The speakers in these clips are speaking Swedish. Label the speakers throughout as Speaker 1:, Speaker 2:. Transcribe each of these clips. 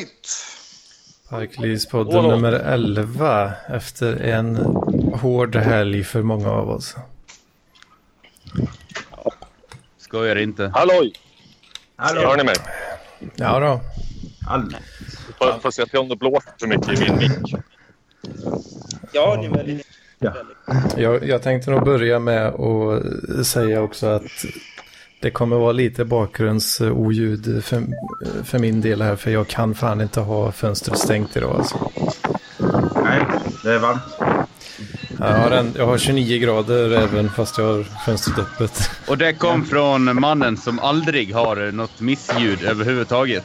Speaker 1: avsnitt.
Speaker 2: Parklivspodden nummer 11 efter en hård helg för många av oss.
Speaker 3: Skojar inte.
Speaker 4: Halloj! Hör
Speaker 5: Hallå!
Speaker 4: ni mig?
Speaker 2: Ja då.
Speaker 5: Hallå.
Speaker 4: Får, får se till om det blåser för mycket i min mick.
Speaker 6: Ja, det är väldigt...
Speaker 2: Jag, jag tänkte nog börja med att säga också att det kommer vara lite bakgrundsoljud för, för min del här för jag kan fan inte ha fönstret stängt idag alltså.
Speaker 5: Nej, det är varmt.
Speaker 2: Jag har, en, jag har 29 grader även fast jag har fönstret öppet.
Speaker 3: Och det kom från mannen som aldrig har något missljud överhuvudtaget.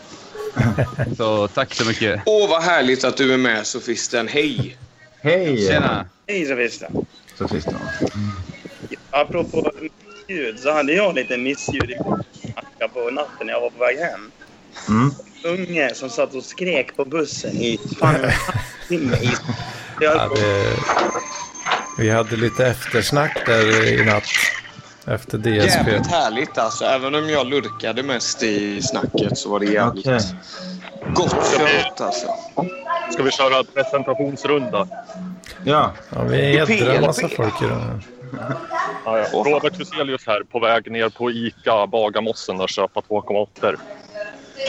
Speaker 3: Så tack så mycket.
Speaker 1: Åh, vad härligt att du är med, sofisten. Hej!
Speaker 5: Hej!
Speaker 3: Tjena!
Speaker 6: Hej Sofista.
Speaker 5: Så tyst då.
Speaker 6: Apropå missljud så hade jag lite missljud i Nacka på natten när jag var på väg hem.
Speaker 5: Mm.
Speaker 6: Unge som satt och skrek på bussen i fan en halvtimme. i- Jag
Speaker 2: Ja, det, vi hade lite eftersnack där i natt efter DSP.
Speaker 1: Jävligt härligt alltså. Även om jag lurkade mest i snacket så var det jävligt
Speaker 5: Okej.
Speaker 1: gott kött alltså.
Speaker 4: Ska vi köra presentationsrunda?
Speaker 5: Ja,
Speaker 2: Ja, vi jädrar en massa folk idag. här.
Speaker 4: Ja, ja. Robert Huselius här, på väg ner på ICA Bagarmossen och köpa 2,8.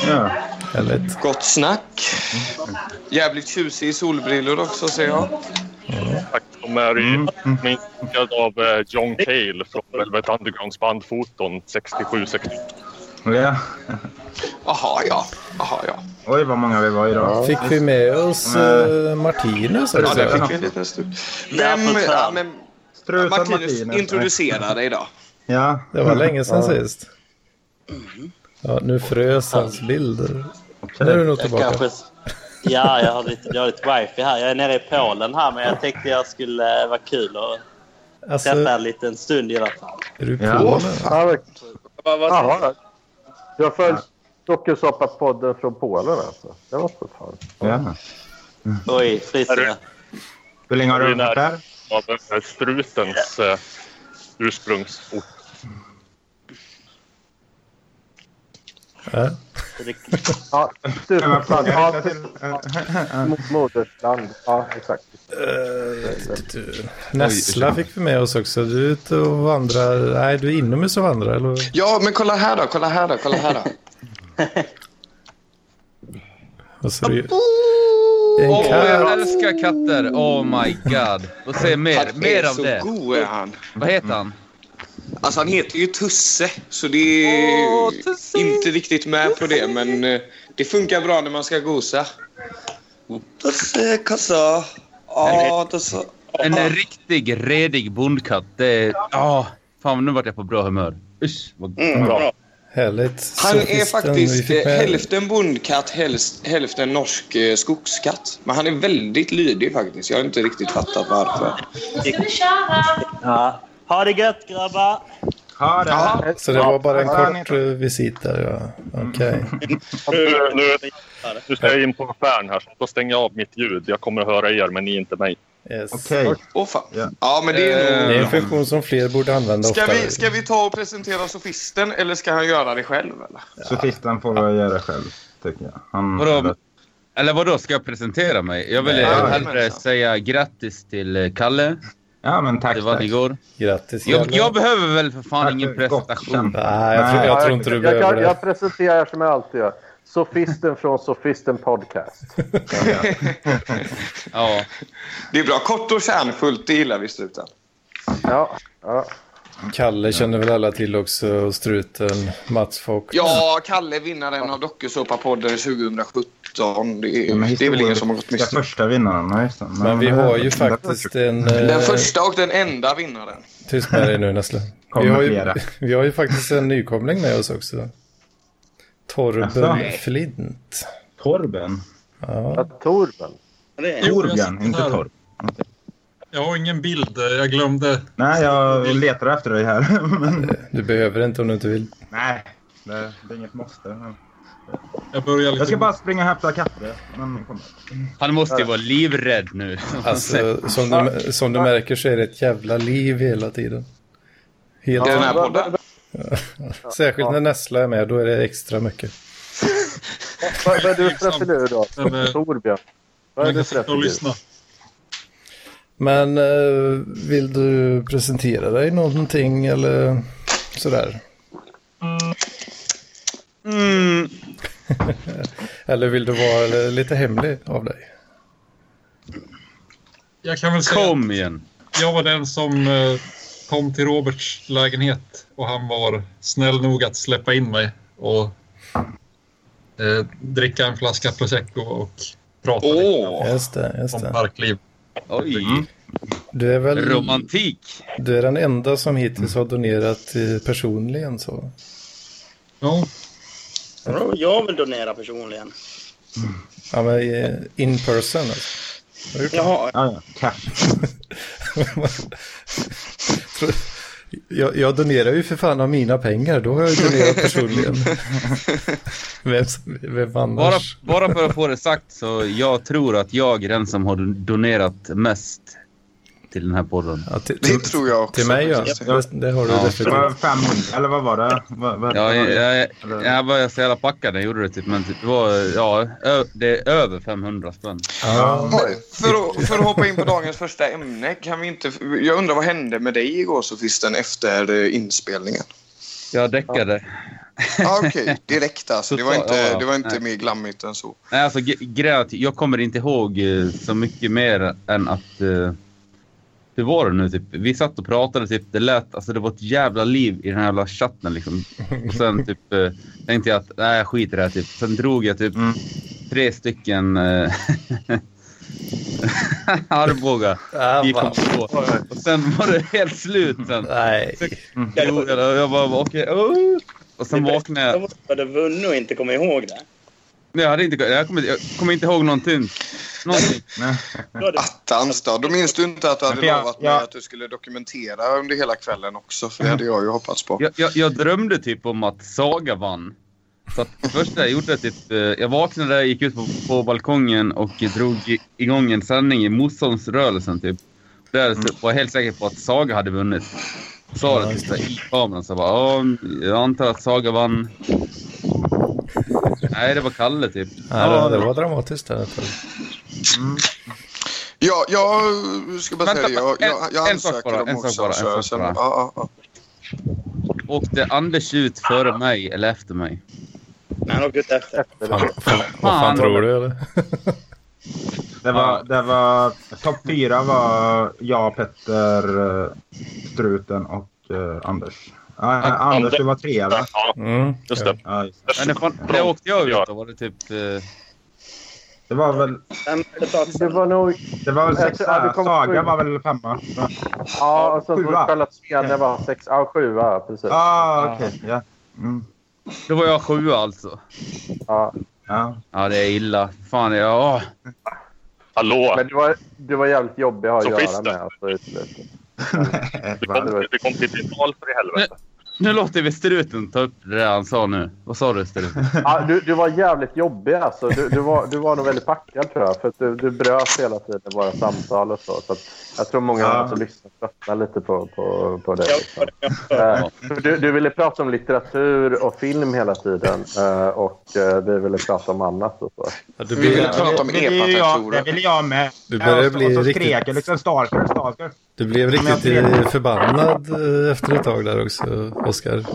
Speaker 5: ja.
Speaker 2: Härligt.
Speaker 1: Gott snack. Jävligt tjusig i solbrillor också ser jag.
Speaker 4: Tack, de är mm. inspirerade av eh, John Cale från Velvet Undergrounds bandfoton 67-68.
Speaker 5: ja.
Speaker 1: Aha ja. Aha ja.
Speaker 5: Oj, vad många vi var idag.
Speaker 2: Fick vi med oss eh, Martinus?
Speaker 1: Ja,
Speaker 2: Alltså.
Speaker 1: det fick vi en liten stund. Vem...
Speaker 6: för fan.
Speaker 1: Ja, men,
Speaker 5: Strutan
Speaker 1: Martinus,
Speaker 5: Martinus.
Speaker 1: introducera dig då.
Speaker 5: Ja.
Speaker 2: Det var länge sedan
Speaker 5: Ja,
Speaker 2: sist. Ja, nu frös hans bilder.
Speaker 5: okej.
Speaker 2: Nu är du nog
Speaker 7: Jag
Speaker 2: tillbaka.
Speaker 7: kanske... Ja, jag har lite dåligt wifi här. Jag är nere i Polen här, men jag tänkte jag skulle eh, vara kul och
Speaker 2: Alltså,
Speaker 7: testa en liten stund i alla fall.
Speaker 2: är du på
Speaker 5: Ja.
Speaker 2: nu?
Speaker 8: Alec,
Speaker 6: Vad, vad,
Speaker 8: ja, jag följer dokusåpa-podden från Polen alltså. Det var så fan.
Speaker 5: Ja.
Speaker 7: Oj, frisyr.
Speaker 5: Hur länge har
Speaker 4: Det
Speaker 5: du
Speaker 4: är
Speaker 5: varit där?
Speaker 4: Av eh, strutens eh, ursprungsort.
Speaker 2: Ja.
Speaker 8: Ja,
Speaker 5: Jag var
Speaker 8: tusen
Speaker 5: på
Speaker 8: tack.
Speaker 5: väg
Speaker 8: Ja,
Speaker 5: till-
Speaker 8: mot modersland. Ja, exakt.
Speaker 2: Du- Nessla fick vi med oss också. Du är ute och vandrar. Nej, du är inomhus och vandrar, eller?
Speaker 1: Ja, men kolla här då. Kolla här då. Kolla här då.
Speaker 2: Vad ser du? En
Speaker 3: Åh, jag
Speaker 2: katt.
Speaker 3: älskar katter! Oh my god. Och se mer,
Speaker 1: Han
Speaker 3: mer
Speaker 1: är
Speaker 3: av
Speaker 1: så
Speaker 3: det.
Speaker 1: god är han.
Speaker 3: Vad heter han?
Speaker 1: Alltså han heter ju Tusse, så det är
Speaker 3: Åh, Tusse!
Speaker 1: inte riktigt med på det. Men eh, det funkar bra när man ska gosa. Tusse, kassa. Ja, Tusse.
Speaker 3: En riktig redig bondkatt. Det är... Ja, fan nu vart jag på bra humör. Usch, vad...
Speaker 6: mm, bra.
Speaker 2: Härligt.
Speaker 1: Han är
Speaker 2: Sofisten vi
Speaker 1: faktiskt
Speaker 2: fick
Speaker 1: eh,
Speaker 2: med.
Speaker 1: hälften bondkatt, häls- hälften norsk eh, skogskatt. Men han är väldigt lydig faktiskt. Jag har inte riktigt fattat varför.
Speaker 7: Ja. Ha det gött, grabbar!
Speaker 5: Ha det!
Speaker 1: Ja,
Speaker 2: Så det var bara en
Speaker 5: Ja, Mm. ni-
Speaker 2: kort eh, visit där, ja. Okej.
Speaker 4: Nu, Eh, nu, nu ska jag in på affären här, så då stänger jag av mitt ljud. Jag kommer att höra er, men ni inte mig.
Speaker 2: Yes.
Speaker 5: Okej.
Speaker 1: åh fan.
Speaker 5: Ja.
Speaker 1: Ja, men
Speaker 8: Eh,
Speaker 1: det
Speaker 2: Det är
Speaker 1: är
Speaker 2: en
Speaker 1: nog...
Speaker 2: funktion som fler borde använda
Speaker 1: Ska
Speaker 2: oftare.
Speaker 1: vi, ska vi ta och presentera sofisten eller ska han göra det själv? Eller?
Speaker 5: Sofisten får väl göra det själv, tycker jag. Han...
Speaker 3: Vadå? Eller vadå, ska jag presentera mig? Jag vill
Speaker 2: Nej,
Speaker 3: eh,
Speaker 5: men
Speaker 3: hellre
Speaker 1: så.
Speaker 3: säga grattis till eh, Kalle.
Speaker 5: Ja, men tack.
Speaker 3: Det var
Speaker 5: tack.
Speaker 3: igår.
Speaker 2: Grattis.
Speaker 3: Jag,
Speaker 2: Kalle.
Speaker 3: jag behöver väl för fan
Speaker 5: Tack,
Speaker 3: ingen
Speaker 5: gott
Speaker 3: prestation.
Speaker 5: kämpat.
Speaker 2: Nej, jag tror, jag tror inte du
Speaker 8: jag,
Speaker 2: behöver
Speaker 8: jag,
Speaker 2: det.
Speaker 8: jag presenterar som jag alltid gör. Sofisten från Sofisten Podcast.
Speaker 3: Ja.
Speaker 1: Det är bra. Kort och kärnfullt, det gillar vi i slutet.
Speaker 8: Ja, ja.
Speaker 2: Kalle känner väl alla till också, och struten, Mats Fock.
Speaker 1: Ja, Kalle vinnaren av Dokusåpapodden 2017. Det
Speaker 5: Ja, men
Speaker 1: är, det är väl ingen som har gått
Speaker 5: historiska
Speaker 1: miste om.
Speaker 5: första vinnaren, ja, just det.
Speaker 2: Men vi
Speaker 5: eh,
Speaker 2: har ju
Speaker 5: det var
Speaker 2: faktiskt en... eh,
Speaker 1: Den första och den enda vinnaren.
Speaker 2: Tyst med dig nu Nessle. Vi
Speaker 5: Kommer
Speaker 2: har, ju,
Speaker 5: flera.
Speaker 2: vi har ju faktiskt en nykomling med oss också.
Speaker 5: Jaså?
Speaker 2: Torben Flint.
Speaker 5: Torben.
Speaker 8: ja. Torben.
Speaker 6: Det är-
Speaker 5: Torbjörn, inte Torb.
Speaker 9: Jag har ingen bild. Jag glömde.
Speaker 5: Nej, jag letar efter dig här. men,
Speaker 2: Du behöver inte om du inte vill.
Speaker 5: nej, det, det är inget måste. Men...
Speaker 9: Jag börjar lite...
Speaker 5: Jag
Speaker 2: liksom-
Speaker 5: ska bara springa och hämta katter. Men kom.
Speaker 3: Han måste ju vara livrädd nu.
Speaker 2: Alltså, som, du, som du märker så är det ett jävla liv hela tiden. Helt,
Speaker 1: Den här podden.
Speaker 2: Särskilt när Nessla är med, då är det extra mycket.
Speaker 8: Vad, vad är du för en filur då?
Speaker 9: Men, eh,
Speaker 8: Torbjörn? Vad är
Speaker 9: Jag
Speaker 8: du
Speaker 9: kan
Speaker 8: för en
Speaker 9: sitta och
Speaker 8: filur?
Speaker 9: lyssna.
Speaker 2: Men eh, vill du presentera dig någonting eller sådär?
Speaker 1: Mm.
Speaker 2: Eller vill du vara lite hemlig av dig?
Speaker 9: Jag kan väl säga
Speaker 3: Kom igen.
Speaker 9: att jag var den som eh, kom till Roberts lägenhet och han var snäll nog att släppa in mig och eh, dricka en flaska prosecco och prata
Speaker 1: Åh!
Speaker 2: Just det, just
Speaker 9: lite om
Speaker 2: det.
Speaker 9: parkliv.
Speaker 3: Oj,
Speaker 9: Mm.
Speaker 2: Du är väl
Speaker 3: romantik.
Speaker 2: du är den enda som hittills har donerat eh, personligen så.
Speaker 9: Ja,
Speaker 6: Bro, jag vill donera personligen.
Speaker 2: Ja, men eh, in person. Alltså. Har du gjort det?
Speaker 6: Jaha,
Speaker 5: Ja, ja. Katt.
Speaker 2: Tror- Jag, jag donerar ju för fan av mina pengar, då har jag ju donerat personligen. vem, som- vem
Speaker 3: Bara,
Speaker 2: annars?
Speaker 3: bara för att få det sagt så jag tror att jag är den som har donerat mest till den här podden.
Speaker 2: Ja, till,
Speaker 1: Det tror jag också.
Speaker 2: Till mig ja,
Speaker 1: faktiskt.
Speaker 2: det, det har du
Speaker 3: Ja.
Speaker 5: Det var
Speaker 2: definitivt.
Speaker 5: 500, eller vad var det? Vad, vad,
Speaker 3: Ja, jag, jag,
Speaker 5: Eller-
Speaker 3: jag var så jävla packad när jag gjorde det. Typ, men typ, det var ja, ö, det är över 500 spänn.
Speaker 2: Ja.
Speaker 1: Oj, För att, för att hoppa in på dagens första ämne. Kan vi inte, jag undrar vad hände med dig igår Sofisten efter eh, inspelningen?
Speaker 3: Jag däckade.
Speaker 1: Ah, Okej, direkt alltså. Det var
Speaker 3: Totalt, ja,
Speaker 1: inte,
Speaker 3: ja.
Speaker 1: det var inte
Speaker 3: Nej.
Speaker 1: mer glammigt än så.
Speaker 3: Nej, alltså gre- grejen är att jag kommer inte ihåg eh, så mycket mer än att... Eh, hur var det nu? Typ? Vi satt och pratade, typ, det lät... Alltså det var ett jävla liv i den här jävla chatten liksom. Och sen typ eh, tänkte jag att nej, jag skiter i det här typ. Sen drog jag typ
Speaker 5: Mm.
Speaker 3: tre stycken eh, Arboga.
Speaker 2: Ah,
Speaker 3: Vi kom
Speaker 2: va.
Speaker 3: på. Och sen var det helt slut sen.
Speaker 2: Nej,
Speaker 3: Jo, jag, jag bara okej. oh. Och sen
Speaker 6: Det bästa
Speaker 3: vaknade jag.
Speaker 6: jag hade vunnit och inte kommit ihåg det.
Speaker 3: Nej, Jag, hade inte, jag, kommer, jag kommer inte ihåg någonting. någonting.
Speaker 5: Nej.
Speaker 6: Då hade
Speaker 1: Attans då. Då minns du inte att du hade
Speaker 5: Men jag-
Speaker 1: lovat mig
Speaker 5: jag-
Speaker 1: att du skulle dokumentera under hela kvällen också. För det hade jag ju hoppats på.
Speaker 3: Jag, jag, jag drömde typ om att Saga vann. Så att det första jag gjorde typ, eh, jag vaknade, gick ut på, på balkongen och drog i- igång en sändning i motståndsrörelsen typ. Där
Speaker 1: Mm.
Speaker 3: så var jag helt säker på att Saga hade vunnit. Sa det typ så här i kameran så jag bara, "Ja, jag antar att Saga vann. Nej, det var Kalle typ.
Speaker 2: nej det, det var dramatiskt. Där.
Speaker 1: Ja, jag ska bara
Speaker 3: Vänta,
Speaker 1: säga det. Jag,
Speaker 3: en-
Speaker 1: jag, jag
Speaker 3: en sak
Speaker 1: ansöker
Speaker 3: bara,
Speaker 1: om
Speaker 3: en sak
Speaker 1: också.
Speaker 3: bara, en
Speaker 1: så jag
Speaker 3: sak
Speaker 1: känner-
Speaker 3: bara.
Speaker 1: ja, ja, ja.
Speaker 3: Åkte Anders ut före mig eller efter mig?
Speaker 6: Nej, han åkte ut efter.
Speaker 2: Fan, fan, vad fan
Speaker 3: Fan.
Speaker 2: tror du? Eller?
Speaker 5: Det var, det var... Topp fyra var jag, Petter, eh, Struten och eh, Anders. Ja, eh, Anders, du var trea va?
Speaker 4: Ja,
Speaker 2: Mm.
Speaker 4: just det.
Speaker 5: Ja, just det.
Speaker 3: Men det, fan, det åkte jag ut då. Var det typ... eh,
Speaker 5: det var väl...
Speaker 6: Vem hade tagit
Speaker 8: Det var nog...
Speaker 5: Det var väl
Speaker 8: Jag tror- ja,
Speaker 5: sexa.
Speaker 8: du kom
Speaker 5: Saga
Speaker 8: sju.
Speaker 5: var väl femma? Ja,
Speaker 8: Ja, och sen så
Speaker 5: sjua.
Speaker 8: Charlotte Svenne var sex... Ja, sjua. Precis.
Speaker 5: ah, okej. Ja. Mm.
Speaker 3: Då var jag sjua alltså.
Speaker 8: Ja.
Speaker 5: Ja.
Speaker 3: Ja, det är illa. Fan, jag... åh.
Speaker 4: Hallå!
Speaker 8: Men du var, du var jävligt jobbig att ha att göra
Speaker 4: Sofisten.
Speaker 8: med. Alltså, i slutet.
Speaker 5: Nej,
Speaker 4: Vi
Speaker 5: va?
Speaker 8: det var-
Speaker 4: kom, vi kom till final för i helvete.
Speaker 3: Nu låter vi struten ta upp det där han sa nu. Vad sa du struten?
Speaker 8: Ja, du, du var jävligt jobbig alltså. Du, du, var, du var nog väldigt packad tror jag. För att du, du bröt hela tiden våra samtal och så. så att jag tror många
Speaker 5: Ja.
Speaker 8: som lyssnar tröttnade lite på, på, på det.
Speaker 6: jag?
Speaker 8: liksom. Eh, för du, du ville prata om litteratur och film hela tiden. eh, Och eh, vi ville prata om annat och så.
Speaker 2: Ja, du
Speaker 5: Mm.
Speaker 1: Vi
Speaker 2: blir,
Speaker 1: vill prata om
Speaker 5: Det ville jag, det
Speaker 1: e-patentjouren.
Speaker 5: ville jag med.
Speaker 2: Du börjar
Speaker 5: Ja, och så-
Speaker 2: bli
Speaker 5: och så
Speaker 2: riktigt-
Speaker 5: skrek jag liksom stalker, stalker.
Speaker 2: du blev riktigt
Speaker 5: Men jag-
Speaker 2: eh, förbannad eh, efter ett tag där också, Oskar.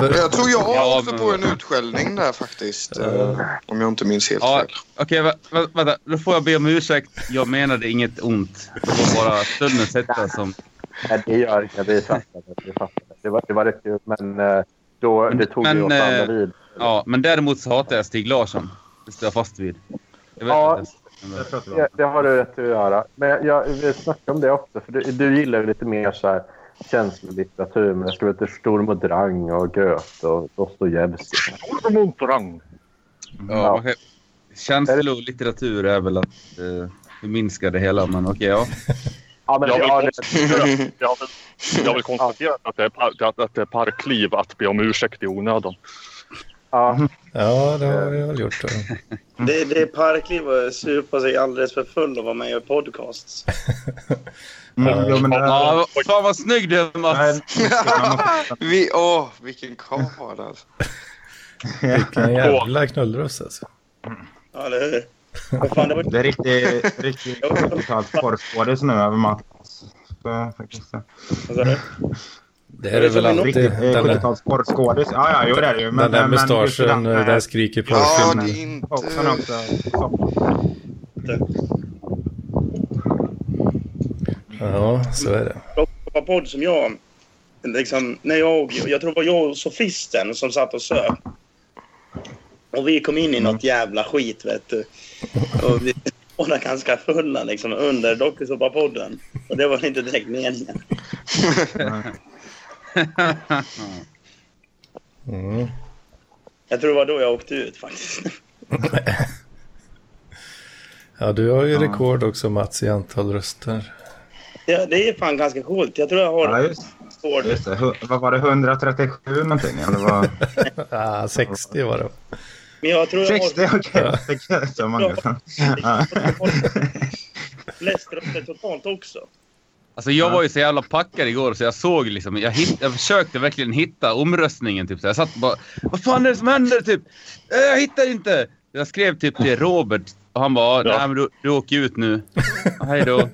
Speaker 1: Jag tror jag
Speaker 3: Ja,
Speaker 1: åkte
Speaker 3: men-
Speaker 1: på en utskällning där faktiskt. eh, Om jag inte minns helt
Speaker 3: Ja,
Speaker 1: fel.
Speaker 3: okej, vä- vä- vänta. Då får jag be om ursäkt. Jag menade inget ont. Det var bara stundens hetta som...
Speaker 8: Nej, det gör inget. Vi fattar det. Vi fattar det. Det, var, det var rätt kul, men eh, då, det tog
Speaker 3: Men,
Speaker 8: ju åt andra
Speaker 3: eh,
Speaker 8: vid.
Speaker 3: Ja, men däremot så hatar jag Stig Larsson. Det står jag fast vid. Jag vet
Speaker 8: Ja.
Speaker 3: inte ens.
Speaker 5: Det pratar vi om.
Speaker 8: Det, det har du rätt att göra. Men jag, jag, vi snackade om det också. För du, du gillar ju lite mer så här känslolitteratur. Men det ska vara lite Sturm och Drang och Goethe och Dostojevskij.
Speaker 4: Ormontorang.
Speaker 3: Ja, man kan- Känslor och litteratur är väl att eh, förminska det hela, men okej, ja.
Speaker 8: Ja, men
Speaker 4: Jag
Speaker 8: det,
Speaker 4: vill
Speaker 8: ja, det,
Speaker 4: konstatera- jag vill- Jag vill konstatera att det är, par, att, att det är parkliv att be om ursäkt i onödan.
Speaker 8: ja,
Speaker 2: Ja, det har vi väl gjort. Då.
Speaker 5: Mm.
Speaker 6: Det, det är parkliv och supa sig alldeles för full och vara med och göra podcasts.
Speaker 5: Mm, jo, men det-
Speaker 3: ja vad- fan vad snygg du är, Mats!
Speaker 5: Nej, man måste-
Speaker 1: Vi, åh, vilken karl alltså.
Speaker 2: Vilken jävla knullruss alltså.
Speaker 6: Ja, eller hur?
Speaker 5: Det är riktigt riktig 70-tals korvskådis nu över Mats. Så, faktiskt.
Speaker 2: Det är det väl alltid.
Speaker 5: Riktigt eh,
Speaker 2: Den där-
Speaker 5: 70-tals korvskådis. Ja, ja, jo det är det ju.
Speaker 2: den där
Speaker 5: just
Speaker 2: mustaschen,
Speaker 5: här-
Speaker 2: där skriker
Speaker 5: Ja,
Speaker 2: porrfilmen.
Speaker 5: det är inte... Boxen också.
Speaker 2: Ja, så är det.
Speaker 6: Det var podd som jag... Liksom, när jag, jag tror det var jag och sofisten som satt och söp. Och vi kom in i något jävla skit, vet du. Och vi var ganska fulla liksom, under dokusåpapodden. Och det var inte direkt meningen.
Speaker 2: Mm.
Speaker 6: Jag tror det var då jag åkte ut faktiskt.
Speaker 2: Ja, du har ju rekord också Mats i antal röster.
Speaker 6: Ja, det är fan ganska coolt. Jag tror jag har...
Speaker 5: Ja, just,
Speaker 6: Står-
Speaker 5: just det. Hu- Vad var det? 137 någonting? Eller vad?
Speaker 2: ah, 60 var det.
Speaker 6: Men jag tror jag
Speaker 5: 60?
Speaker 6: har
Speaker 5: Okej. Okay. Så många. Ja.
Speaker 6: flest röster totalt också.
Speaker 3: Alltså jag var ju så jävla packad igår så jag såg liksom, jag, hitt, jag försökte verkligen hitta omröstningen typ så jag satt bara Vad fan är det som händer typ? "Eh, Jag hittar inte! Jag skrev typ till Robert och han bara
Speaker 4: Ja.
Speaker 3: nej men du, du åker ut nu. Hej då.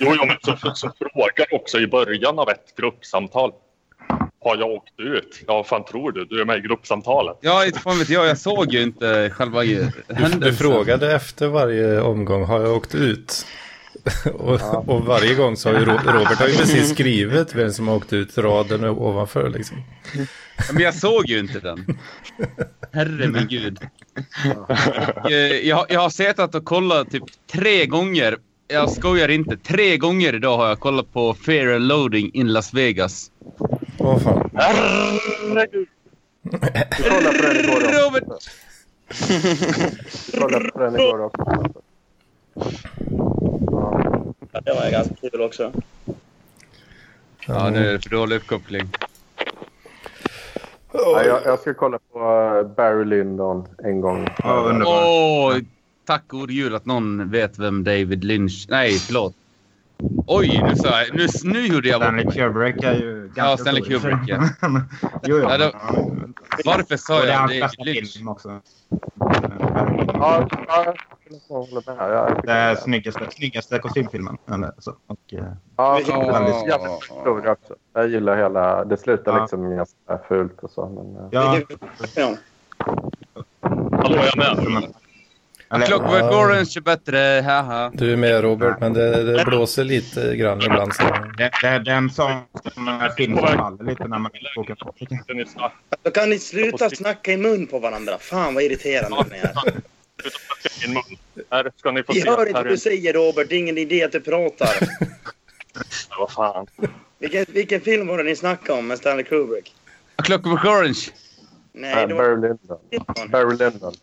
Speaker 4: Jo, jo men så, så frågar också i början av ett gruppsamtal. Har jag åkt ut? Ja, vad fan tror du? Du är med i gruppsamtalet.
Speaker 3: Ja inte fan vet jag, jag såg ju inte själva
Speaker 2: Du,
Speaker 3: händelsen.
Speaker 2: du frågade efter varje omgång, har jag åkt ut? och, och varje gång så har ju Ro- Robert har ju precis skrivit vem som har åkt ut raden ovanför liksom.
Speaker 3: Men jag såg ju inte den. Herre min gud. Och, eh, Jag, jag har suttit och kollat typ tre gånger. Jag skojar inte. Tre gånger idag har jag kollat på Fair and Loading in Las Vegas.
Speaker 2: Åh fan.
Speaker 4: Herregud.
Speaker 8: Du kollade på den igår också.
Speaker 3: Robert!
Speaker 8: Du kollade på den igår också. Ja.
Speaker 6: Ja, Det var ganska kul också.
Speaker 3: Ja, nu är det för dålig uppkoppling.
Speaker 8: Ja, jag, jag ska kolla på eh, Barry Lyndon en gång.
Speaker 5: Ja, underbart.
Speaker 3: Åh! Tack god jul att någon vet vem David Lynch... Nej, förlåt. Oj, nu, sa jag, nu, nu gjorde jag bort
Speaker 5: Stanley
Speaker 3: mig.
Speaker 5: Kubrick är ju ganska
Speaker 3: Ja, Stanley
Speaker 5: stor.
Speaker 3: Kubrick, ja.
Speaker 5: jo, jo.
Speaker 3: Ja, det- Varför
Speaker 5: Och
Speaker 3: sa
Speaker 5: det är
Speaker 3: jag
Speaker 5: hans
Speaker 3: David
Speaker 5: bästa
Speaker 3: Lynch?
Speaker 5: film också.
Speaker 8: Ja, ja, jag håller med. Jag tycker
Speaker 5: Det är snyggaste, snyggaste kostymfilmen. Eller så. Och, eh,
Speaker 8: Ja,
Speaker 6: Vilken
Speaker 5: väldigt-
Speaker 8: jävla historia också. Jag gillar hela... Det slutar
Speaker 5: Ja.
Speaker 8: liksom ganska fult och så. Men, eh,
Speaker 5: ja,
Speaker 6: Ja.
Speaker 4: Hallå, jag är med.
Speaker 5: men- eller-
Speaker 3: Clockwork Orange är bättre, haha.
Speaker 2: Du är med Robert, men det, det blåser lite grann ibland. Så.
Speaker 5: det, det är den som som är film som faller lite när man läser boken.
Speaker 4: Den är snabb.
Speaker 6: Då kan ni sluta snacka i mun på varandra. Fan vad irriterande ni är.
Speaker 4: Sluta snacka i min mun. Här ska ni få
Speaker 6: Vi
Speaker 4: se.
Speaker 6: hör inte
Speaker 4: Här
Speaker 6: vad du
Speaker 4: är
Speaker 6: säger Robert. Det är ingen idé att du pratar.
Speaker 4: Vad fan.
Speaker 6: Vilken, vilken film var det ni snackade om med Stanley Kubrick?
Speaker 3: Clockwork Orange.
Speaker 6: Nej, det
Speaker 8: eh,
Speaker 6: var
Speaker 8: Barry Lyndon.
Speaker 6: Jaha.
Speaker 8: Barry Lyndon.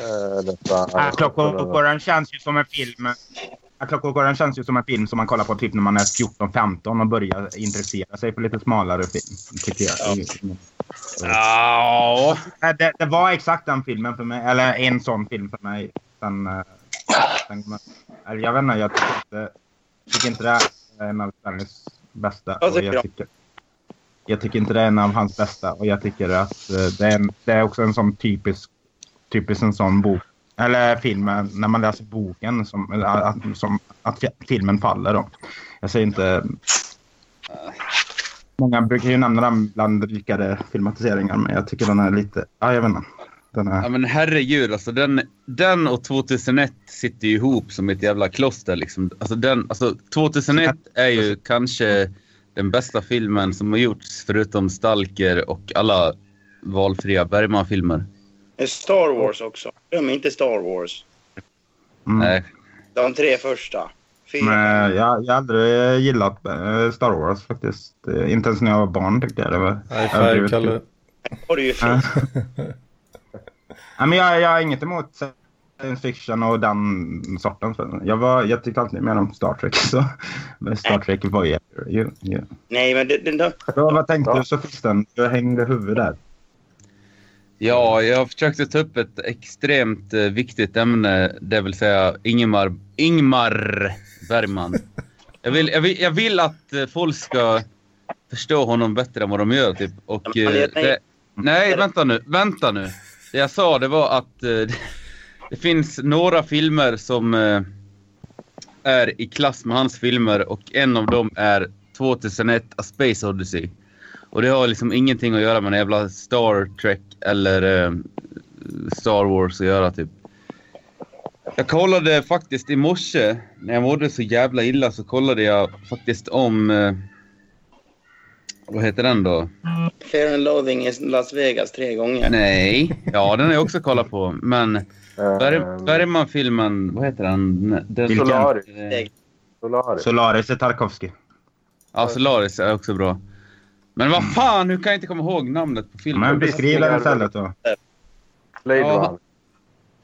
Speaker 8: Eh, detta-
Speaker 5: Ah, Clockwork Orange känns ju som en film. Ah, Clockwork Orange känns ju som en film som man kollar på typ när man är 14-15 och börjar intressera sig för lite smalare film. Tycker jag.
Speaker 3: Ja.
Speaker 5: Eh, Det, det var exakt den filmen för mig. Eller en sån film för mig. Sen, eh, sen, eller jag vet inte, jag tycker inte, tycker inte det här är en av Stanleys bästa.
Speaker 6: Vad
Speaker 5: och
Speaker 6: tycker du?
Speaker 5: jag, tycker, jag tycker inte det är en av hans bästa. Och jag tycker att eh, det är, en, det är också en sån typisk, typisk en sån bok. Eller filmen, när man läser boken, som, eller att, som, att fi- filmen faller då. Jag säger inte... Många brukar ju nämna den bland rikare filmatiseringar, men jag tycker den är lite... Ja, jag vet inte. Den
Speaker 3: Ja
Speaker 5: är...
Speaker 3: men herregud alltså den, den och 2001 sitter ju ihop som ett jävla kloster liksom. Alltså, den, alltså 2001 är ju kanske den bästa filmen som har gjorts förutom Stalker och alla valfria Bergman-filmer.
Speaker 6: Star Wars också. Glöm inte Star Wars.
Speaker 5: Mm.
Speaker 3: Nej.
Speaker 6: De tre första. Fyra.
Speaker 5: Men jag, jag har aldrig gillat eh, Star Wars faktiskt. Eh, Inte ens när jag var barn tyckte jag det var
Speaker 2: High five,
Speaker 5: överdrivet
Speaker 2: Kalle.
Speaker 6: Har du ju
Speaker 5: Ja.
Speaker 6: fel.
Speaker 5: Nej, men jag, jag har inget emot science fiction och den sorten. film. Jag, var, jag tyckte alltid mer om Star Trek. Så. Men Star Trek var ju... ju- ju.
Speaker 6: Nej, men det, det, det,
Speaker 5: Ja, vad tänkte
Speaker 8: Ja.
Speaker 5: du sofisten? Du hängde huvudet där.
Speaker 3: Ja, jag försökte ta upp ett extremt eh, viktigt ämne, det vill säga Ingmar, Ingmar Bergman. Jag vill, jag, vill, jag vill att eh, folk ska förstå honom bättre än vad de gör. Typ. Och,
Speaker 7: men han är
Speaker 3: eh,
Speaker 7: nej.
Speaker 3: det, nej, vänta nu. Vänta nu. Det jag sa det var att eh, det, det finns några filmer som eh, är i klass med hans filmer och en av dem är 2001 A Space Odyssey. Och det har liksom ingenting att göra med en jävla Star Trek eller eh, Star Wars att göra typ. Jag kollade faktiskt i morse, när jag mådde så jävla illa, så kollade jag faktiskt om... Eh, vad heter den då?
Speaker 6: Fear and Loathing i Las Vegas tre gånger.
Speaker 3: Nej. Ja, den har jag också kollat på. Men Berg, Bergman-filmen, vad heter den? den
Speaker 5: Ehm. Vilken?
Speaker 8: Solaris.
Speaker 3: Eh,
Speaker 8: Solaris.
Speaker 5: Solaris är Tarkovsky.
Speaker 3: Ja, Solaris är också bra. Men vad fan, hur kan jag inte komma ihåg namnet på filmen?
Speaker 5: Men beskriv den istället då.
Speaker 8: Blade
Speaker 3: Ja.
Speaker 8: Runner.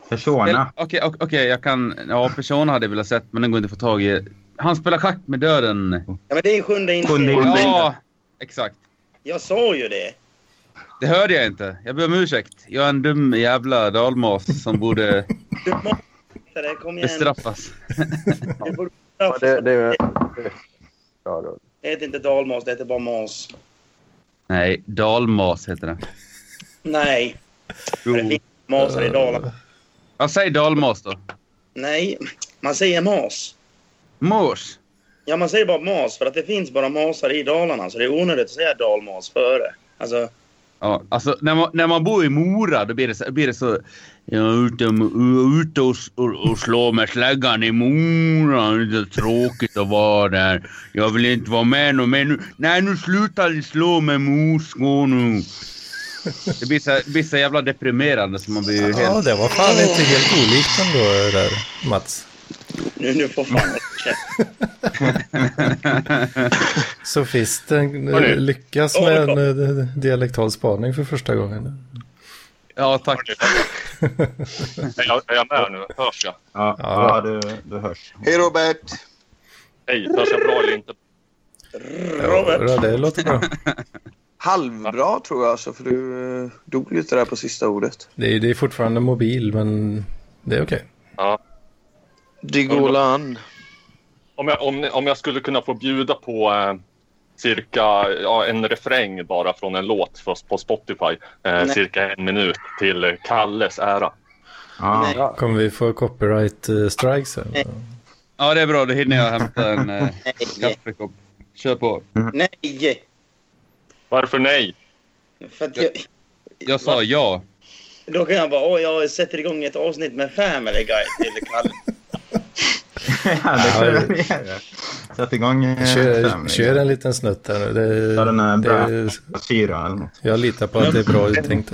Speaker 5: Persona.
Speaker 3: Spel- Okej, okej, okej, jag kan... Ja, Persona hade jag velat sett, men den går inte att få tag i. Han spelar schack med döden.
Speaker 6: Ja, men det är sjunde
Speaker 5: Sjunde
Speaker 6: inspelningen.
Speaker 5: in-
Speaker 3: Ja, exakt.
Speaker 6: Jag sa ju det.
Speaker 3: Det hörde jag inte. Jag ber om ursäkt. Jag är en dum jävla dalmas som borde
Speaker 6: Du måste hitta det. Kom igen.
Speaker 3: bestraffas.
Speaker 6: Du borde
Speaker 8: Ja, det,
Speaker 6: straffa.
Speaker 8: det, är- det, ja, då.
Speaker 6: Det heter inte dalmas, det heter bara mas.
Speaker 3: Nej, dalmas heter det.
Speaker 6: Nej, det
Speaker 3: Jo.
Speaker 6: finns masar
Speaker 8: Eh.
Speaker 6: i Dalarna.
Speaker 3: Jag säger dalmas då.
Speaker 6: Nej, man säger mas.
Speaker 3: Mors.
Speaker 6: Ja, man säger bara mas för att det finns bara masar i Dalarna. Så det är onödigt att säga dalmas före. Alltså,
Speaker 3: Ja, alltså när man, när man bor i Mora då blir det så... Blir det så jag är ute, ute och, och, och slår med släggan i Mora. Det är så tråkigt att vara där. Jag vill inte vara med någon mer nu. Nej, nu slutar ni slå med morskor nu. Det blir så, blir så jävla deprimerande så man blir helt...
Speaker 2: Ja, det var fan inte helt olikt ändå det där, Mats.
Speaker 6: nu, nu får fan...
Speaker 2: Sofisten eh,
Speaker 4: Hörni.
Speaker 2: lyckas med en eh, dialektal spaning för första gången.
Speaker 3: Ja, tack.
Speaker 4: Är jag, är jag med nu? Hörs jag?
Speaker 5: Ja,
Speaker 2: Ja.
Speaker 5: ja du, du hörs.
Speaker 1: Hej Robert!
Speaker 4: Hej, hörs jag bra eller inte?
Speaker 6: Robert.
Speaker 2: Ja, det låter bra.
Speaker 1: Halvbra tror jag alltså, för du eh, dog lite där på sista ordet.
Speaker 2: Det är, det är fortfarande mobil, men det är okej.
Speaker 1: Digolan.
Speaker 4: Om jag, om, ni- om jag skulle kunna få bjuda på eh, cirka ja, en refräng bara från en låt för, på Spotify. Eh,
Speaker 6: Nej.
Speaker 4: cirka en minut till eh, Kalles ära.
Speaker 5: Ja.
Speaker 6: Nej,
Speaker 2: Kommer vi få copyright eh, strikes här?
Speaker 3: Ja, det är bra. Då hinner jag hämta en eh,
Speaker 6: nej,
Speaker 3: kaffekopp. Kör på.
Speaker 6: nej.
Speaker 4: Varför nej?
Speaker 6: För att jag,
Speaker 3: Jag sa ja.
Speaker 6: då kan jag bara, åh, jag sätter igång ett avsnitt med Family Guy till Kalle.
Speaker 5: Ja, det kunde vi göra. Sätt igång eh,
Speaker 2: Kör,
Speaker 5: stämning.
Speaker 2: kör en liten snutt här nu. Det,
Speaker 5: Ta den här
Speaker 2: det,
Speaker 5: Syra eller något.
Speaker 2: jag litar på att det är bra uttänkt.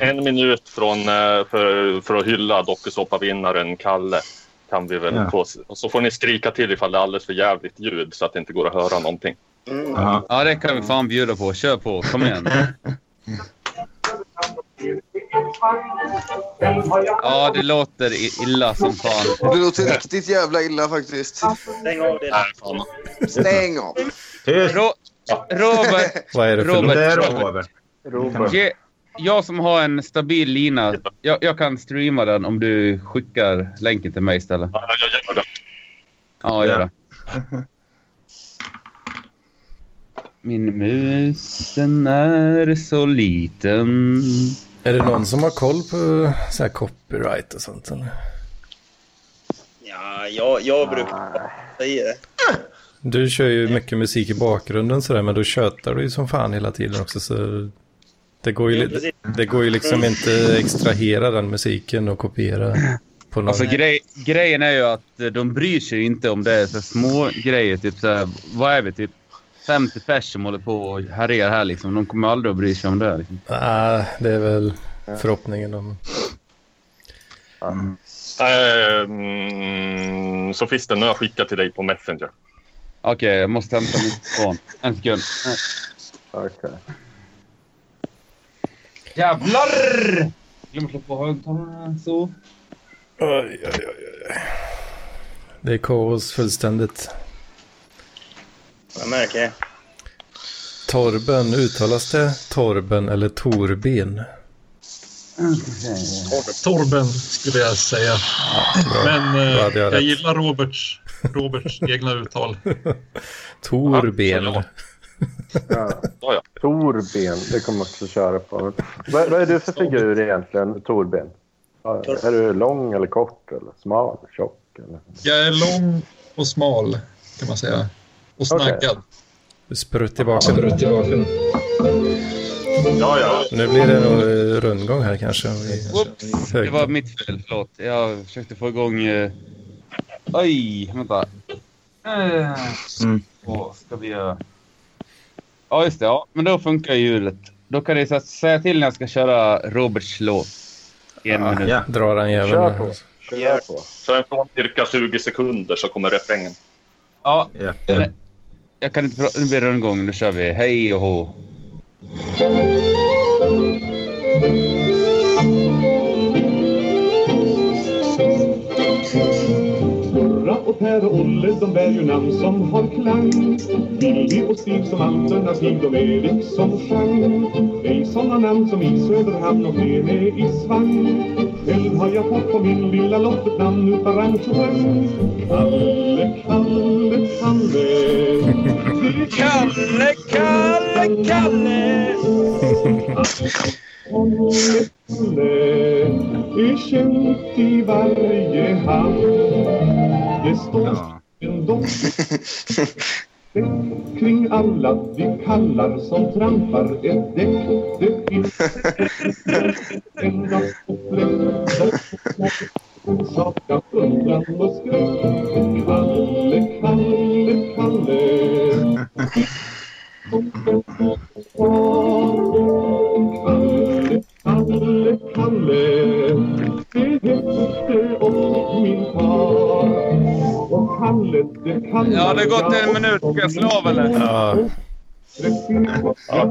Speaker 4: En minut från, eh, för, för att hylla dokusåpavinnaren Kalle. Kan vi väl
Speaker 5: Ja.
Speaker 4: få, och så får ni skrika till ifall det är alldeles för jävligt ljud så att det inte går att höra någonting.
Speaker 6: Mm.
Speaker 5: Jaha.
Speaker 3: Ja, det kan vi fan bjuda på. Kör på. Kom igen. Ja, det låter i- illa som fan.
Speaker 1: Det låter riktigt jävla illa faktiskt.
Speaker 6: Stäng av det.
Speaker 4: Nej, fan.
Speaker 1: Stäng av!
Speaker 5: Tyst!
Speaker 3: Ro Robert,
Speaker 2: Vad är det för
Speaker 3: Robert.
Speaker 2: låt?
Speaker 5: Det är Robert.
Speaker 8: Robert.
Speaker 3: ge, jag som har en stabil lina, jag, jag kan streama den om du skickar länken till mig istället.
Speaker 4: Ja, Jag gör det.
Speaker 3: Ja, gör det. Min mus, den är så liten.
Speaker 2: Är det någon som har koll på så här copyright och sånt? Eller?
Speaker 6: Ja, jag, jag
Speaker 8: Ah.
Speaker 6: brukar säga det.
Speaker 2: Du kör ju mycket musik i bakgrunden sådär, men då tjötar du ju som fan hela tiden också. Så det, går ju,
Speaker 6: Jo, precis.
Speaker 2: li- det går ju liksom inte extrahera den musiken och kopiera på någon.
Speaker 3: Alltså grej, grejen är ju att eh, de bryr sig ju inte om det är så små grejer. Typ så här, vad är vi? Typ 50 pers som håller på och härjar här liksom. De kommer aldrig att bry sig om det. Liksom.
Speaker 2: Nej, det är väl förhoppningen om...
Speaker 4: Ehm, Sofisten, nu har jag skickat till dig på Messenger.
Speaker 3: Okej, jag måste hämta min telefon. En sekund. Eh,
Speaker 8: Okej.
Speaker 3: Jävlar! Glömde slå på högtalarna. Så.
Speaker 2: Oj, oj, oj, oj. Det är kaos fullständigt.
Speaker 6: Jag märker det.
Speaker 2: Torben, uttalas det Torben eller Torben?
Speaker 9: Torben skulle jag säga. Men eh,
Speaker 2: då hade jag
Speaker 9: jag,
Speaker 2: rätt.
Speaker 9: gillar Roberts, Roberts egna uttal.
Speaker 2: Torben.
Speaker 8: Ja. Torben, det kommer jag också köra på. Vad, vad är du för figur egentligen, Torben? Ja, Är du lång eller kort eller smal? Tjock? Eller?
Speaker 9: Jag är lång och smal, kan man säga. Och snaggad.
Speaker 2: Sprutt i bakgrunden.
Speaker 9: Sprutt i bakgrunden.
Speaker 4: Ja, ja.
Speaker 2: Nu blir det nog eh, rundgång här kanske. om vi-
Speaker 3: Oops, det var mitt fel. Förlåt. Jag försökte få igång... eh, Oj, vänta. Eh, Så ska vi göra. Ja, just det. Ja. Men då funkar hjulet. Då kan jag säga till när jag ska köra Roberts låt. En minut.
Speaker 5: Ja.
Speaker 2: Drar den
Speaker 8: Kör
Speaker 2: jäveln.
Speaker 8: på. Kör på.
Speaker 4: Sen från cirka 20 sekunder så kommer refrängen.
Speaker 3: Ja,
Speaker 5: Ja.
Speaker 3: jag kan inte prata. Nu blir det rundgång. Nu kör vi. Hej och hå.
Speaker 10: Gurra och Per och Olle, de bär ju namn som har klang. Billy och Stig som alternativ, de Erik som Chang. Ej sådana namn som i Söderhamn och Lene i Svang. Själv har jag fått på min lilla lott ett namn utav rang tjorang. Kalle, Kalle, Kalle.
Speaker 7: Kalle, Kalle, Kalle!
Speaker 10: Kalle är känt i varje hamn. Det står
Speaker 5: Ja.
Speaker 10: en doft kring alla de kallar som trampar ett däck. Det finns en enda fläck som orsakar undran och skräck. Kalle, Kalle, Kalle. Kalle, Kalle, Kalle Det hette om min far Och Kalle, det Kalle
Speaker 3: Ja, det har gått en minut. Ska jag slå av eller?
Speaker 2: Ja,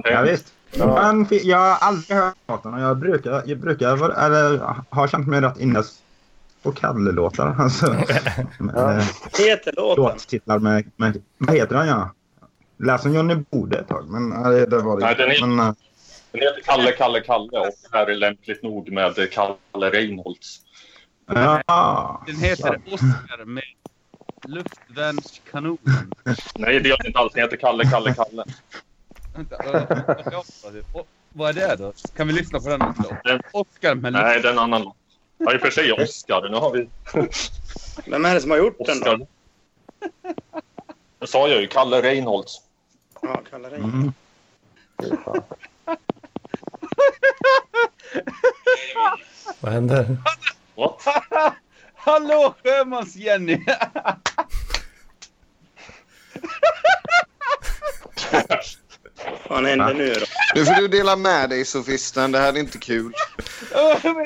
Speaker 5: Ja, visst. Men fi- jag har aldrig hört låten och jag brukar, jag brukar vara- eller har känt mig rätt inläst på Kalle-låtar. Alltså. Men, eh,
Speaker 6: Heter låten?
Speaker 5: låttitlar med, med... Vad heter han, ja? Lät som Johnny Bode ett tag, men eh, det var det
Speaker 4: Nej, den är-
Speaker 5: men, eh,
Speaker 4: Den heter Kalle, Kalle, Kalle och det här är lämpligt nog med Kalle Reinholds.
Speaker 5: Ja.
Speaker 3: Den heter Oscar med Luftvärnskanonen.
Speaker 4: Nej, det gör den inte alls. Den heter Kalle, Kalle, Kalle.
Speaker 3: Vänta, vad- vad jag sa nu? Och- Vad är det då? Kan vi lyssna på den också? Oscar med luft.
Speaker 4: Nej, det är en annan låt. Ja, i och för sig Oscar. Nu har vi
Speaker 6: Vem är det som har gjort den då?
Speaker 4: Oscar. Det sa jag ju. Kalle Reinholds.
Speaker 6: Ja, Kalle Rein.
Speaker 5: Mm.
Speaker 2: vad händer?
Speaker 4: What?
Speaker 3: Hallå Sjömans-Jenny!
Speaker 6: Vad fan händer nu då?
Speaker 1: Nu får du dela med dig, sofisten. Det här är inte kul.
Speaker 8: Nej,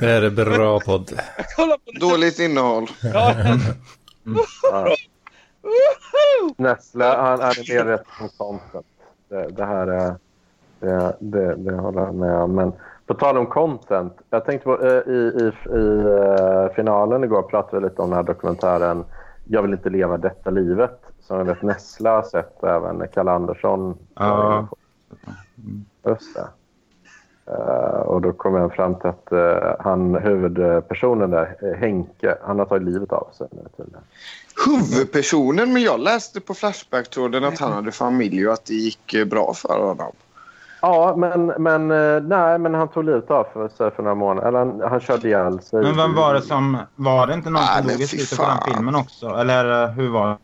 Speaker 2: Det här är bra podd.
Speaker 3: Kolla på den!
Speaker 1: Dåligt innehåll.
Speaker 3: Ja,
Speaker 5: Mm.
Speaker 8: ja. Nessle, han, han är mer rätt mot content. Det, det här är... Det, det, det håller jag med om. Men på tal om content. Jag tänkte på, eh, i, i, i eh, finalen igår pratade vi lite om den här dokumentären Jag vill inte leva detta livet. Som jag vet Nessle har sett och även Kalle Andersson. var
Speaker 5: Ja.
Speaker 8: inne på. Just det. Eh, och då kom jag fram till att eh, han, huvudpersonen där, eh, Henke, han har tagit livet av sig nu tydligen.
Speaker 1: Huvudpersonen, men jag läste på Flashback-tråden att han hade familj och att det gick eh, bra för honom.
Speaker 8: Ja, men, men, eh, nej, men han tog livet av för sig för några månader. Eller han, han körde ihjäl sig.
Speaker 5: Men vem var det som... Var det inte någon
Speaker 1: Ah,
Speaker 5: som
Speaker 1: men
Speaker 5: dog i
Speaker 1: fy
Speaker 5: slutet på den
Speaker 1: fan.
Speaker 5: filmen också? Eller eh, hur var det?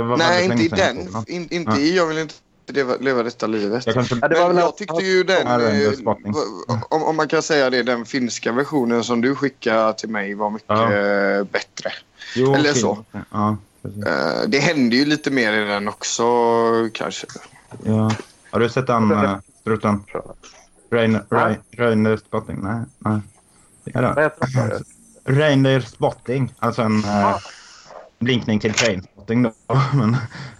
Speaker 5: det? var
Speaker 1: Nej,
Speaker 5: väldigt
Speaker 1: inte
Speaker 5: länge sedan jag
Speaker 1: i den.
Speaker 5: såg den.
Speaker 1: In, inte i Jag vill inte leva, leva detta livet.
Speaker 5: Jag kanske...
Speaker 8: Ja, det var
Speaker 1: Men
Speaker 8: väl
Speaker 1: jag tyckte ju den,
Speaker 5: Ja, det är en
Speaker 1: eh,
Speaker 5: spottning.
Speaker 1: va- om, om man kan säga det, den finska versionen som du skickade till mig var mycket
Speaker 5: Ja.
Speaker 1: eh, bättre.
Speaker 5: Jo,
Speaker 1: eller
Speaker 5: okej.
Speaker 1: så.
Speaker 5: Ja, precis.
Speaker 1: Eh, det hände ju lite mer i den också kanske.
Speaker 5: Ja. Har du sett den eh, struten? Rein-
Speaker 8: Va?
Speaker 5: Rein- Reindeer spotting? Nej. nej. Det är
Speaker 8: Vad
Speaker 5: det.
Speaker 8: heter han?
Speaker 5: Reindeer spotting. Alltså en eh, blinkning till trainspotting då. Men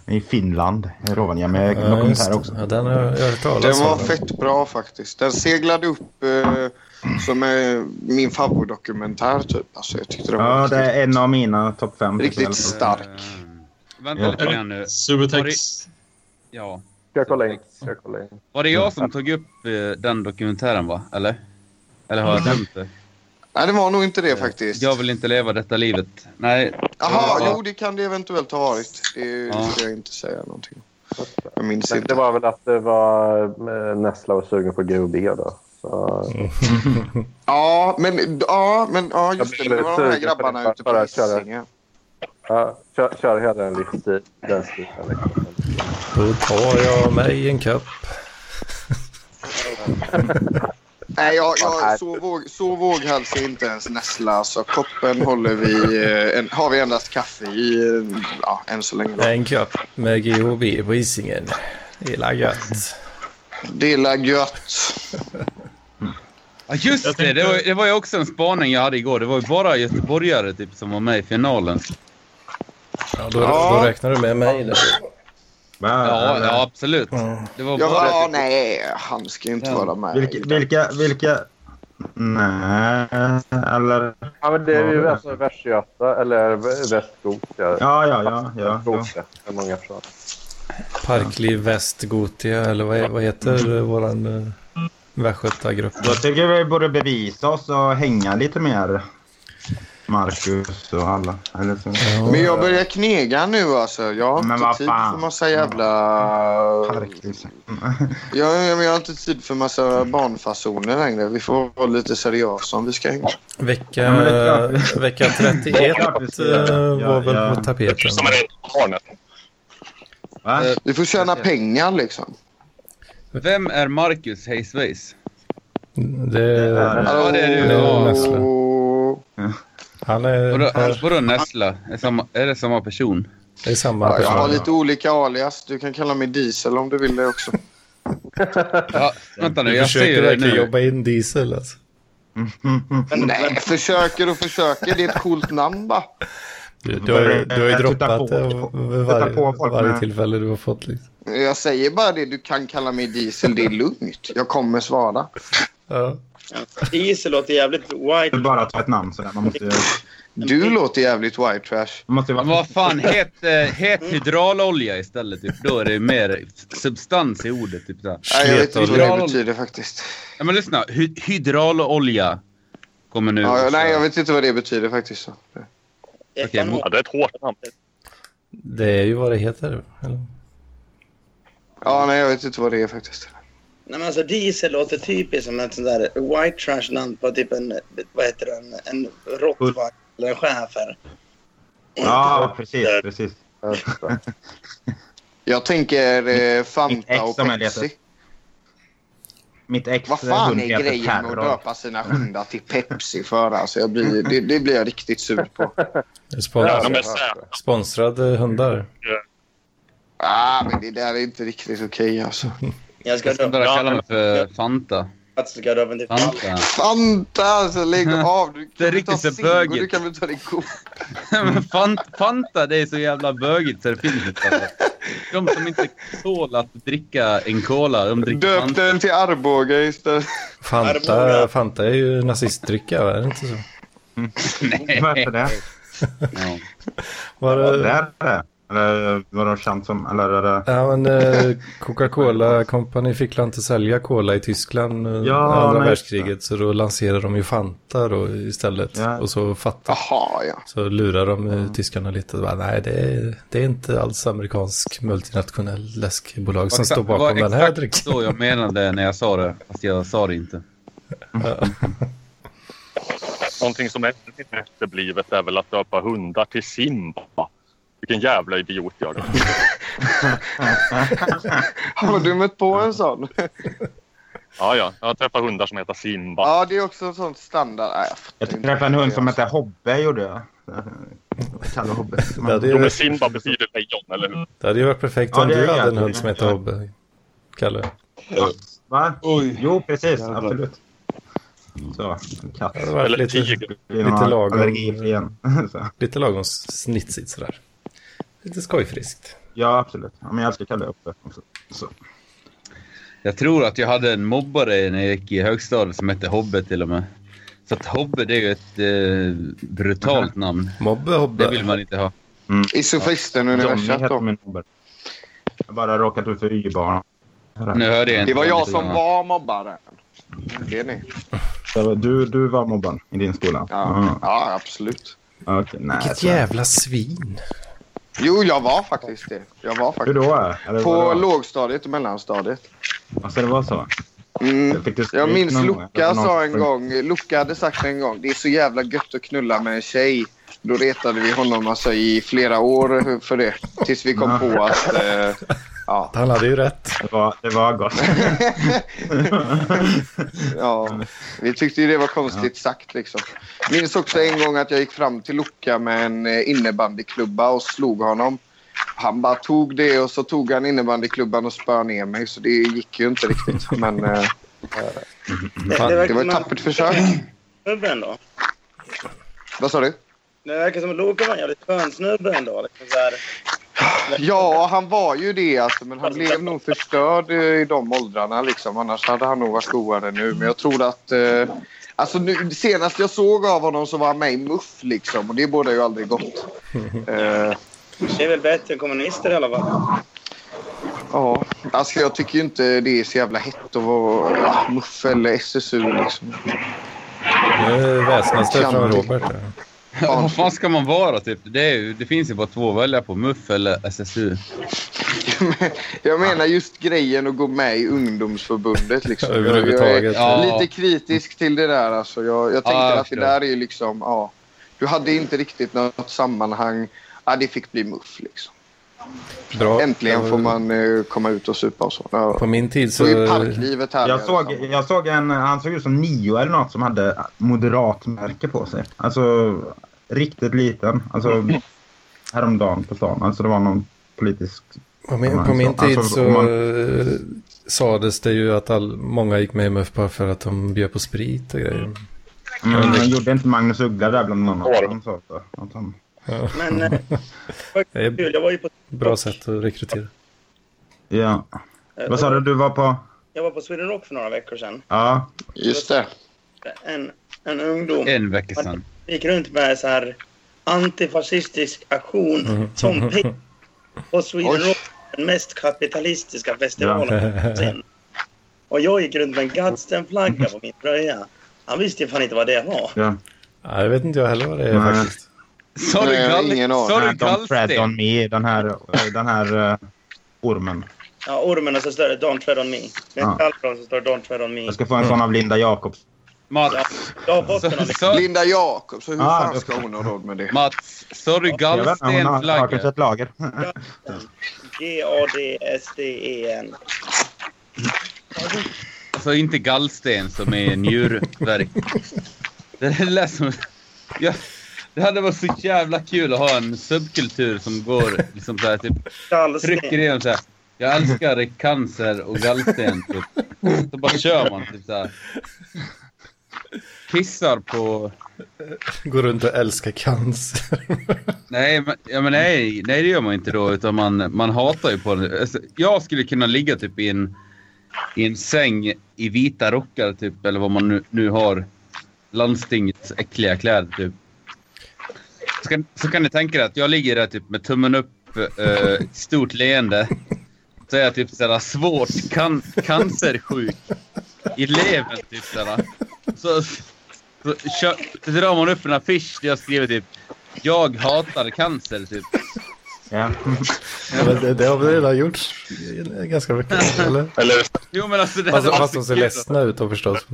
Speaker 5: i Finland. Rovaniemi.
Speaker 2: Ja, just
Speaker 5: Dokumentär
Speaker 2: det.
Speaker 5: också.
Speaker 2: Ja, den har jag hört
Speaker 1: Den
Speaker 2: talas
Speaker 1: var
Speaker 2: om.
Speaker 1: fett bra faktiskt. Den seglade upp eh, som eh, min favoritdokumentär typ. Alltså, jag tyckte den var
Speaker 5: Ja,
Speaker 1: riktigt,
Speaker 5: det är en av mina topp fem.
Speaker 1: riktigt stark.
Speaker 3: Vänta
Speaker 5: Ja.
Speaker 3: lite grann nu.
Speaker 9: Subutex.
Speaker 3: Ja.
Speaker 8: Ska jag kolla in? Ska jag kolla in?
Speaker 3: Var det jag som tog upp eh, den dokumentären va? Eller? Eller har
Speaker 5: Mm.
Speaker 3: jag glömt det? Eh,
Speaker 1: Nej, det var nog inte det faktiskt.
Speaker 3: Jag vill inte leva detta livet. Nej.
Speaker 1: Jaha,
Speaker 3: Ja.
Speaker 1: jo det kan det eventuellt ha varit. Det
Speaker 3: Ja.
Speaker 1: ska jag inte säga någonting om. Jag minns
Speaker 8: Men det
Speaker 1: inte.
Speaker 8: var väl att det var eh, Nessla och sugen på GOB då. Så...
Speaker 1: Ja, men ja, men, ja just det.
Speaker 8: Jag
Speaker 1: Det
Speaker 8: blev
Speaker 1: var de här
Speaker 8: sugen på
Speaker 1: grabbarna
Speaker 8: det,
Speaker 1: ute på
Speaker 8: bara köra.
Speaker 1: Hisingen.
Speaker 8: Ja, kör, kör hela den livsstilen. Den stilen, liksom.
Speaker 2: Då tar jag mig en kopp.
Speaker 1: Nej, jag, jag, så, våg, så våghals är inte ens Nessla. Så koppen håller vi, eh, en, har vi endast kaffe i eh, ja, än så länge. Då.
Speaker 2: En kopp med GHB på Hisingen. Det är gött.
Speaker 1: Det är gött.
Speaker 3: Ja, just det. Det var, det var ju också en spaning jag hade igår. Det var ju bara göteborgare typ, som var med i finalen.
Speaker 2: Ja, då, då räknar du med mig där.
Speaker 3: Ja, ja absolut. Det var
Speaker 1: Jag
Speaker 3: bara...
Speaker 1: bara, "Ah, nej, han ska inte vara med.
Speaker 5: Vilka, vilka, vilka... Nej, eller...
Speaker 8: Ja, men det är ju alltså Västgöta eller Västgotia.
Speaker 5: Ja, ja, ja, ja,
Speaker 8: Västgotia, för många förstår.
Speaker 2: Parkliv Västgotia, eller vad, vad heter eh, våran eh, västgötagrupp?
Speaker 5: Jag tycker vi borde bevisa oss och hänga lite mer. Marcus och alla. Eller så.
Speaker 1: Men jag börjar knega nu alltså. Jag har
Speaker 5: Men
Speaker 1: inte
Speaker 5: vad
Speaker 1: tid
Speaker 5: fan. liksom.
Speaker 1: för massa jävla... Jag, jag, men jag har inte tid för massa barnfasoner längre. Vi får vara lite seriösa om vi ska hänga.
Speaker 2: Vecka,
Speaker 1: Ja, men det är klart.
Speaker 2: vecka 31
Speaker 1: Det är klart vi ska göra det.
Speaker 2: eh, var väl
Speaker 1: Ja, ja.
Speaker 2: på tapeten.
Speaker 5: Eh,
Speaker 1: Vi får tjäna pengar liksom.
Speaker 3: Vem är Marcus Hayesways?
Speaker 2: Det,
Speaker 3: Ja, det är du.
Speaker 2: Nessle. Han är
Speaker 3: Vadå,
Speaker 2: här.
Speaker 3: vadå Nessla? Är, samma, är det samma person?
Speaker 2: Det är samma
Speaker 1: Ja, jag har
Speaker 2: person.
Speaker 1: lite olika alias. Du kan kalla mig Diesel om du vill det också.
Speaker 3: Ja, vänta nu,
Speaker 2: Du
Speaker 3: jag
Speaker 2: försöker
Speaker 3: ser det
Speaker 2: verkligen
Speaker 3: nu. Mm,
Speaker 2: jobba in diesel alltså.
Speaker 1: Nej, försöker och försöker. Det är ett coolt namn bara.
Speaker 2: Du, du, har, ju- du har ju
Speaker 1: Jag tittar
Speaker 2: droppat
Speaker 1: på-
Speaker 2: det vid varje,
Speaker 1: tittar på folk
Speaker 2: varje
Speaker 1: med-
Speaker 2: tillfälle du har fått. Liksom.
Speaker 1: Jag säger bara det. Du kan kalla mig Diesel. Det är lugnt. Jag kommer svara.
Speaker 6: Diesel låter jävligt white.
Speaker 5: Bara ta ett namn sådär. Man måste ju...
Speaker 1: Du låter jävligt white trash.
Speaker 5: Måste
Speaker 3: Men vad fan, het, eh, het hydraulolja istället. Typ. Då är det mer substans i ordet. Typ, så här.
Speaker 1: Nej, jag vet inte vad det
Speaker 3: Hydraul-
Speaker 1: betyder faktiskt.
Speaker 3: Ja, men lyssna. Hy hydraulolja kommer nu.
Speaker 1: Ja,
Speaker 3: Så-
Speaker 1: jag- nej, jag vet inte vad det betyder faktiskt.
Speaker 3: Okej, mo-
Speaker 4: det är ett hårt namn.
Speaker 2: Det är ju vad det heter. Eller?
Speaker 1: Ja, nej, jag vet inte vad det är faktiskt.
Speaker 6: Nej, men alltså, diesel låter typiskt som ett sånt där white trash-namn på typ en, vad heter den, en rottweiler eller en schäfer.
Speaker 5: Ja, precis. precis.
Speaker 1: Jag tänker eh, Fanta och
Speaker 5: som jag letar.
Speaker 1: Pepsi.
Speaker 5: Mitt ex
Speaker 1: Vad fan
Speaker 5: hund
Speaker 1: är
Speaker 5: heter
Speaker 1: grejen med att
Speaker 5: Terror.
Speaker 1: döpa sina hundar till Pepsi för? Alltså, jag blir, det, det blir jag riktigt sur på. Ja,
Speaker 2: Sponsrad,
Speaker 1: men-
Speaker 2: sponsrade hundar.
Speaker 1: Ah, men det där är inte riktigt okej alltså.
Speaker 6: Jag ska
Speaker 3: ska börja kalla mig för Fanta.
Speaker 6: Ska döpa till
Speaker 3: Fanta.
Speaker 1: Fanta alltså, lägg av. Du
Speaker 3: Det är
Speaker 1: kan väl ta
Speaker 3: riktigt så
Speaker 1: Singo,
Speaker 3: bögigt.
Speaker 1: du kan väl ta din ko.
Speaker 3: Men Fant- Fanta, det är så jävla bögigt så det finns inte. Alltså. De som inte tål att dricka en cola, de dricker
Speaker 1: Döp
Speaker 3: Fanta.
Speaker 1: den till Arboga istället.
Speaker 2: Fanta, Fanta är ju nazistdricka, va? är det inte så?
Speaker 5: Varför det?
Speaker 2: Var
Speaker 5: det... Där är det. Eller var det känt som... Eller är det...
Speaker 2: Ja, men eh, Coca-Cola Company fick väl inte sälja cola i Tyskland eh,
Speaker 5: Ja,
Speaker 2: andra
Speaker 5: nej, just
Speaker 2: världskriget. Så då lanserade de ju Fanta då istället.
Speaker 5: Ja.
Speaker 2: Och så fattade
Speaker 1: Aha, ja.
Speaker 2: Så lurade de eh, tyskarna lite. Bara, Nej, det är, det är inte alls amerikansk multinationell läskbolag som står bakom den här drycken.
Speaker 3: Det var så jag menade när jag sa det, fast jag sa det inte.
Speaker 4: Någonting som är lite efterblivet är väl att döpa hundar till Simba. Vilken jävla idiot jag är.
Speaker 1: Har du mött på en sån?
Speaker 4: Ja, ja. Jag har träffat hundar som heter Simba.
Speaker 1: Ja, det är också en sån standard. Nej, jag fattar
Speaker 5: Jag
Speaker 1: inte.
Speaker 5: träffade en hund som hette Hobbe, gjorde jag. Kalle Hobbe.
Speaker 2: Ja, det är-
Speaker 4: Jo, men Simba betyder lejon, eller hur?
Speaker 2: Det hade ju varit perfekt
Speaker 5: Ja,
Speaker 2: om
Speaker 5: det är
Speaker 2: du hade en
Speaker 5: jävligt.
Speaker 2: hund som heter Hobbe, Kalle.
Speaker 5: Va? Jo, precis. Absolut. Så, katt.
Speaker 2: Det hade varit lite, lite lagom,
Speaker 5: Allergifri igen. Så.
Speaker 2: lite lagom snitsigt sådär. Lite skojfriskt.
Speaker 5: Ja, absolut. Ja, men jag älskar Kalle Hobbe. också. Så.
Speaker 3: Jag tror att jag hade en mobbare när jag gick i högstadiet som hette Hobbe till och med. Så att Hobbe det är ju ett eh, brutalt namn.
Speaker 2: Mobbe Hobbe.
Speaker 3: Det vill man inte ha.
Speaker 5: Mm.
Speaker 1: Isofisten-universum
Speaker 5: Johnny hette
Speaker 1: då.
Speaker 5: min Hobbe. Jag bara råkat ut för Y-barn.
Speaker 3: Nu hörde jag
Speaker 1: Det
Speaker 3: inte
Speaker 1: var
Speaker 3: vad
Speaker 1: jag
Speaker 3: det
Speaker 1: som var mobbaren. Det är ni.
Speaker 5: Du, du var mobbaren i din skola?
Speaker 3: Mm.
Speaker 1: Ja, ja absolut.
Speaker 5: Okej, nej,
Speaker 2: Vilket
Speaker 5: så-
Speaker 2: jävla svin.
Speaker 1: Jo, jag var faktiskt det. Jag var faktiskt
Speaker 5: Hur då? Eller
Speaker 1: På
Speaker 5: vadå?
Speaker 1: lågstadiet och mellanstadiet.
Speaker 5: Alltså det var så?
Speaker 1: Mm.
Speaker 5: Fick du stryk
Speaker 1: Jag minns
Speaker 5: någon gång?
Speaker 1: Luca
Speaker 5: Eller någon
Speaker 1: sa en
Speaker 5: spring-
Speaker 1: gång, Luca hade sagt en gång, det är så jävla gött att knulla med en tjej. Då retade vi honom alltså i flera år för det. Tills vi kom på att... Eh, ja.
Speaker 2: Han hade ju rätt.
Speaker 5: Det var, det var gott.
Speaker 1: ja, vi tyckte ju det var konstigt sagt liksom. Minns också en gång att jag gick fram till Luca med en eh, innebandyklubba och slog honom. Han bara tog det och så tog han innebandyklubban och spöade ner mig så det gick ju inte riktigt. Men eh, fan,
Speaker 6: verkar
Speaker 1: det var
Speaker 6: som
Speaker 1: ett
Speaker 6: att-
Speaker 1: tappert försök.
Speaker 6: Snubbe ändå.
Speaker 1: Vad sa du?
Speaker 6: Det verkar som att Loke var en jävligt skön snubbe ändå. Liksom så här.
Speaker 1: Ja, han var ju det alltså, men han blev nog förstörd eh, i de åldrarna liksom. Annars hade han nog varit godare nu. Men jag tror att... Eh, alltså nu, senast jag såg av honom så var han med i MUF liksom och det borde ju aldrig gått. Eh,
Speaker 6: Det är väl bättre än kommunister i alla fall.
Speaker 1: Ja, alltså jag tycker ju inte det är så jävla hett att vara ja, MUF eller SSU liksom.
Speaker 2: Nu väsnas det från
Speaker 1: Klantigt.
Speaker 2: Robert. här.
Speaker 3: Ja, vad fan ska man vara typ? Det, är ju, det finns ju bara två att välja på, MUF eller SSU.
Speaker 1: Jag menar just grejen att gå med i ungdomsförbundet. Liksom.
Speaker 2: Ja,
Speaker 1: Jag-
Speaker 2: överhuvudtaget.
Speaker 1: Jag är
Speaker 3: Ja.
Speaker 1: lite kritisk till det där. Alltså. Jag, jag tänkte
Speaker 3: Ja, jag
Speaker 1: att det
Speaker 3: förstår.
Speaker 1: där är ju liksom... Ja, du hade inte riktigt något sammanhang. Ja, det fick bli muff. Liksom.
Speaker 2: Bra.
Speaker 1: Äntligen får man eh, komma ut och supa och så. Ja.
Speaker 2: På min tid så...
Speaker 1: Då är parklivet här.
Speaker 5: Jag såg,
Speaker 6: liksom.
Speaker 5: jag såg en, han såg ut som nio eller något som hade moderatmärke på sig. Alltså riktigt liten. Alltså häromdagen på stan. Alltså det var någon politisk...
Speaker 2: På min, på min
Speaker 5: Alltså,
Speaker 2: tid
Speaker 5: alltså,
Speaker 2: så
Speaker 5: om man-
Speaker 2: eh, sades det ju att all, många gick med i MUF bara för att de bjöd på sprit och grejer. Mm.
Speaker 5: Men Mm, han gjorde inte Magnus Uggla där bland annat?
Speaker 4: Ja.
Speaker 5: Han sa så, att han,
Speaker 2: Ja,
Speaker 6: Men eh, det var
Speaker 2: Det är-
Speaker 6: kul. Jag var ju på,
Speaker 2: bra sätt att rekrytera.
Speaker 5: ja. Vad sa du? Du var på...
Speaker 6: jag var på Sweden Rock för några veckor sedan.
Speaker 5: Ja.
Speaker 1: Just det.
Speaker 6: En, en ungdom
Speaker 3: En vecka sedan.
Speaker 6: gick runt med så här antifascistisk aktion som pek på Sweden
Speaker 1: Oj.
Speaker 6: Rock, den mest kapitalistiska festivalen någonsin. Och jag gick runt med en Gadsden-flagga på min tröja. Han visste ju fan inte vad det var.
Speaker 5: ja.
Speaker 2: Nej, jag vet inte jag heller vad det är
Speaker 5: Nej.
Speaker 2: faktiskt.
Speaker 3: Sa du
Speaker 1: Nej, jag har ingen
Speaker 3: gall-
Speaker 1: aning.
Speaker 3: sa du
Speaker 5: Nej, Don't tread on
Speaker 3: gallsten?
Speaker 5: me, den här, eh, den här eh, ormen.
Speaker 6: Ja, ormen och så står det Don't tread on me. Det är
Speaker 5: Ja.
Speaker 6: inte alls så står det Don't tread on me.
Speaker 5: Jag ska få en sån av Linda Jacobs.
Speaker 6: Ja,
Speaker 3: Mats,
Speaker 6: jag har fått den av
Speaker 3: sa- sa-
Speaker 1: Linda Jakob, så hur
Speaker 5: Ah,
Speaker 1: fan
Speaker 5: det-
Speaker 1: ska hon ha råd med det?
Speaker 3: Mats, sa du
Speaker 5: Jag vet inte, hon har, har kanske
Speaker 3: gallstenflagga?
Speaker 5: ett lager.
Speaker 6: G-A-D-S-D-E-N.
Speaker 3: Alltså inte gallsten som är njurverk. Det lät som... Ja, det hade varit så jävla kul att ha en subkultur som går liksom så här, typ trycker
Speaker 6: Gallsten.
Speaker 3: igenom så här. Jag älskar cancer och gallsten. Typ. Så bara kör man typ så här. Kissar på...
Speaker 2: Går runt och älskar cancer.
Speaker 3: Nej, men, ja, men nej, nej, det gör man inte då. Utan man, man hatar ju på det. Alltså, jag skulle kunna ligga typ i en, i en säng i vita rockar typ. Eller vad man nu, nu har. Landstingets äckliga kläder typ. Så kan, så kan ni tänka er att jag ligger där typ med tummen upp, eh, stort leende. Så är jag typ sådär svårt kan, cancersjuk i levern typ sådär. Så, så, kö, så drar man upp en affisch där jag skriver typ jag hatar cancer typ.
Speaker 5: Ja.
Speaker 2: Men det, det har väl redan gjorts ganska mycket, eller?
Speaker 4: Eller
Speaker 3: Jo men alltså det
Speaker 2: Fast,
Speaker 3: hade varit
Speaker 2: fast de
Speaker 3: så
Speaker 2: ser
Speaker 3: kul.
Speaker 2: ledsna ut då förstås.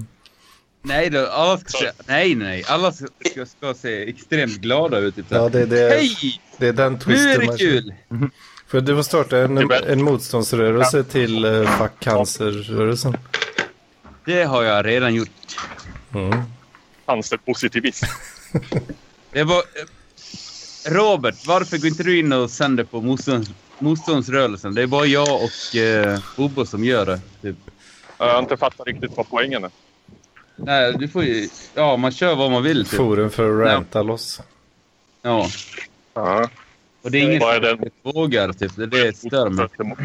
Speaker 3: Nej då, alla ska se, nej nej, alla ska, ska, ska se extremt glada ut. Typ, så här.
Speaker 2: Ja, det, det,
Speaker 3: Hej!
Speaker 2: det är den
Speaker 3: Nu är
Speaker 2: twisten Mhm.
Speaker 3: det kul!
Speaker 2: För du får starta en, en motståndsrörelse till uh, Fuck Cancer-rörelsen.
Speaker 3: Det har jag redan gjort.
Speaker 2: Mm.
Speaker 4: cancerpositivism.
Speaker 3: Det var... eh, Robert, varför går inte du in och sänder på motstånds, motståndsrörelsen? Det är bara jag och eh, Bobo som gör det. Typ.
Speaker 4: Jag har inte fattat riktigt vad poängen är.
Speaker 3: Nej, du får ju... Ja, man kör vad man vill typ.
Speaker 2: Forum för att ranta loss.
Speaker 3: Ja.
Speaker 4: Ja.
Speaker 3: Och det är ingen
Speaker 4: Vad är
Speaker 3: som
Speaker 4: den?
Speaker 3: vågar typ. Det är det som stör mig.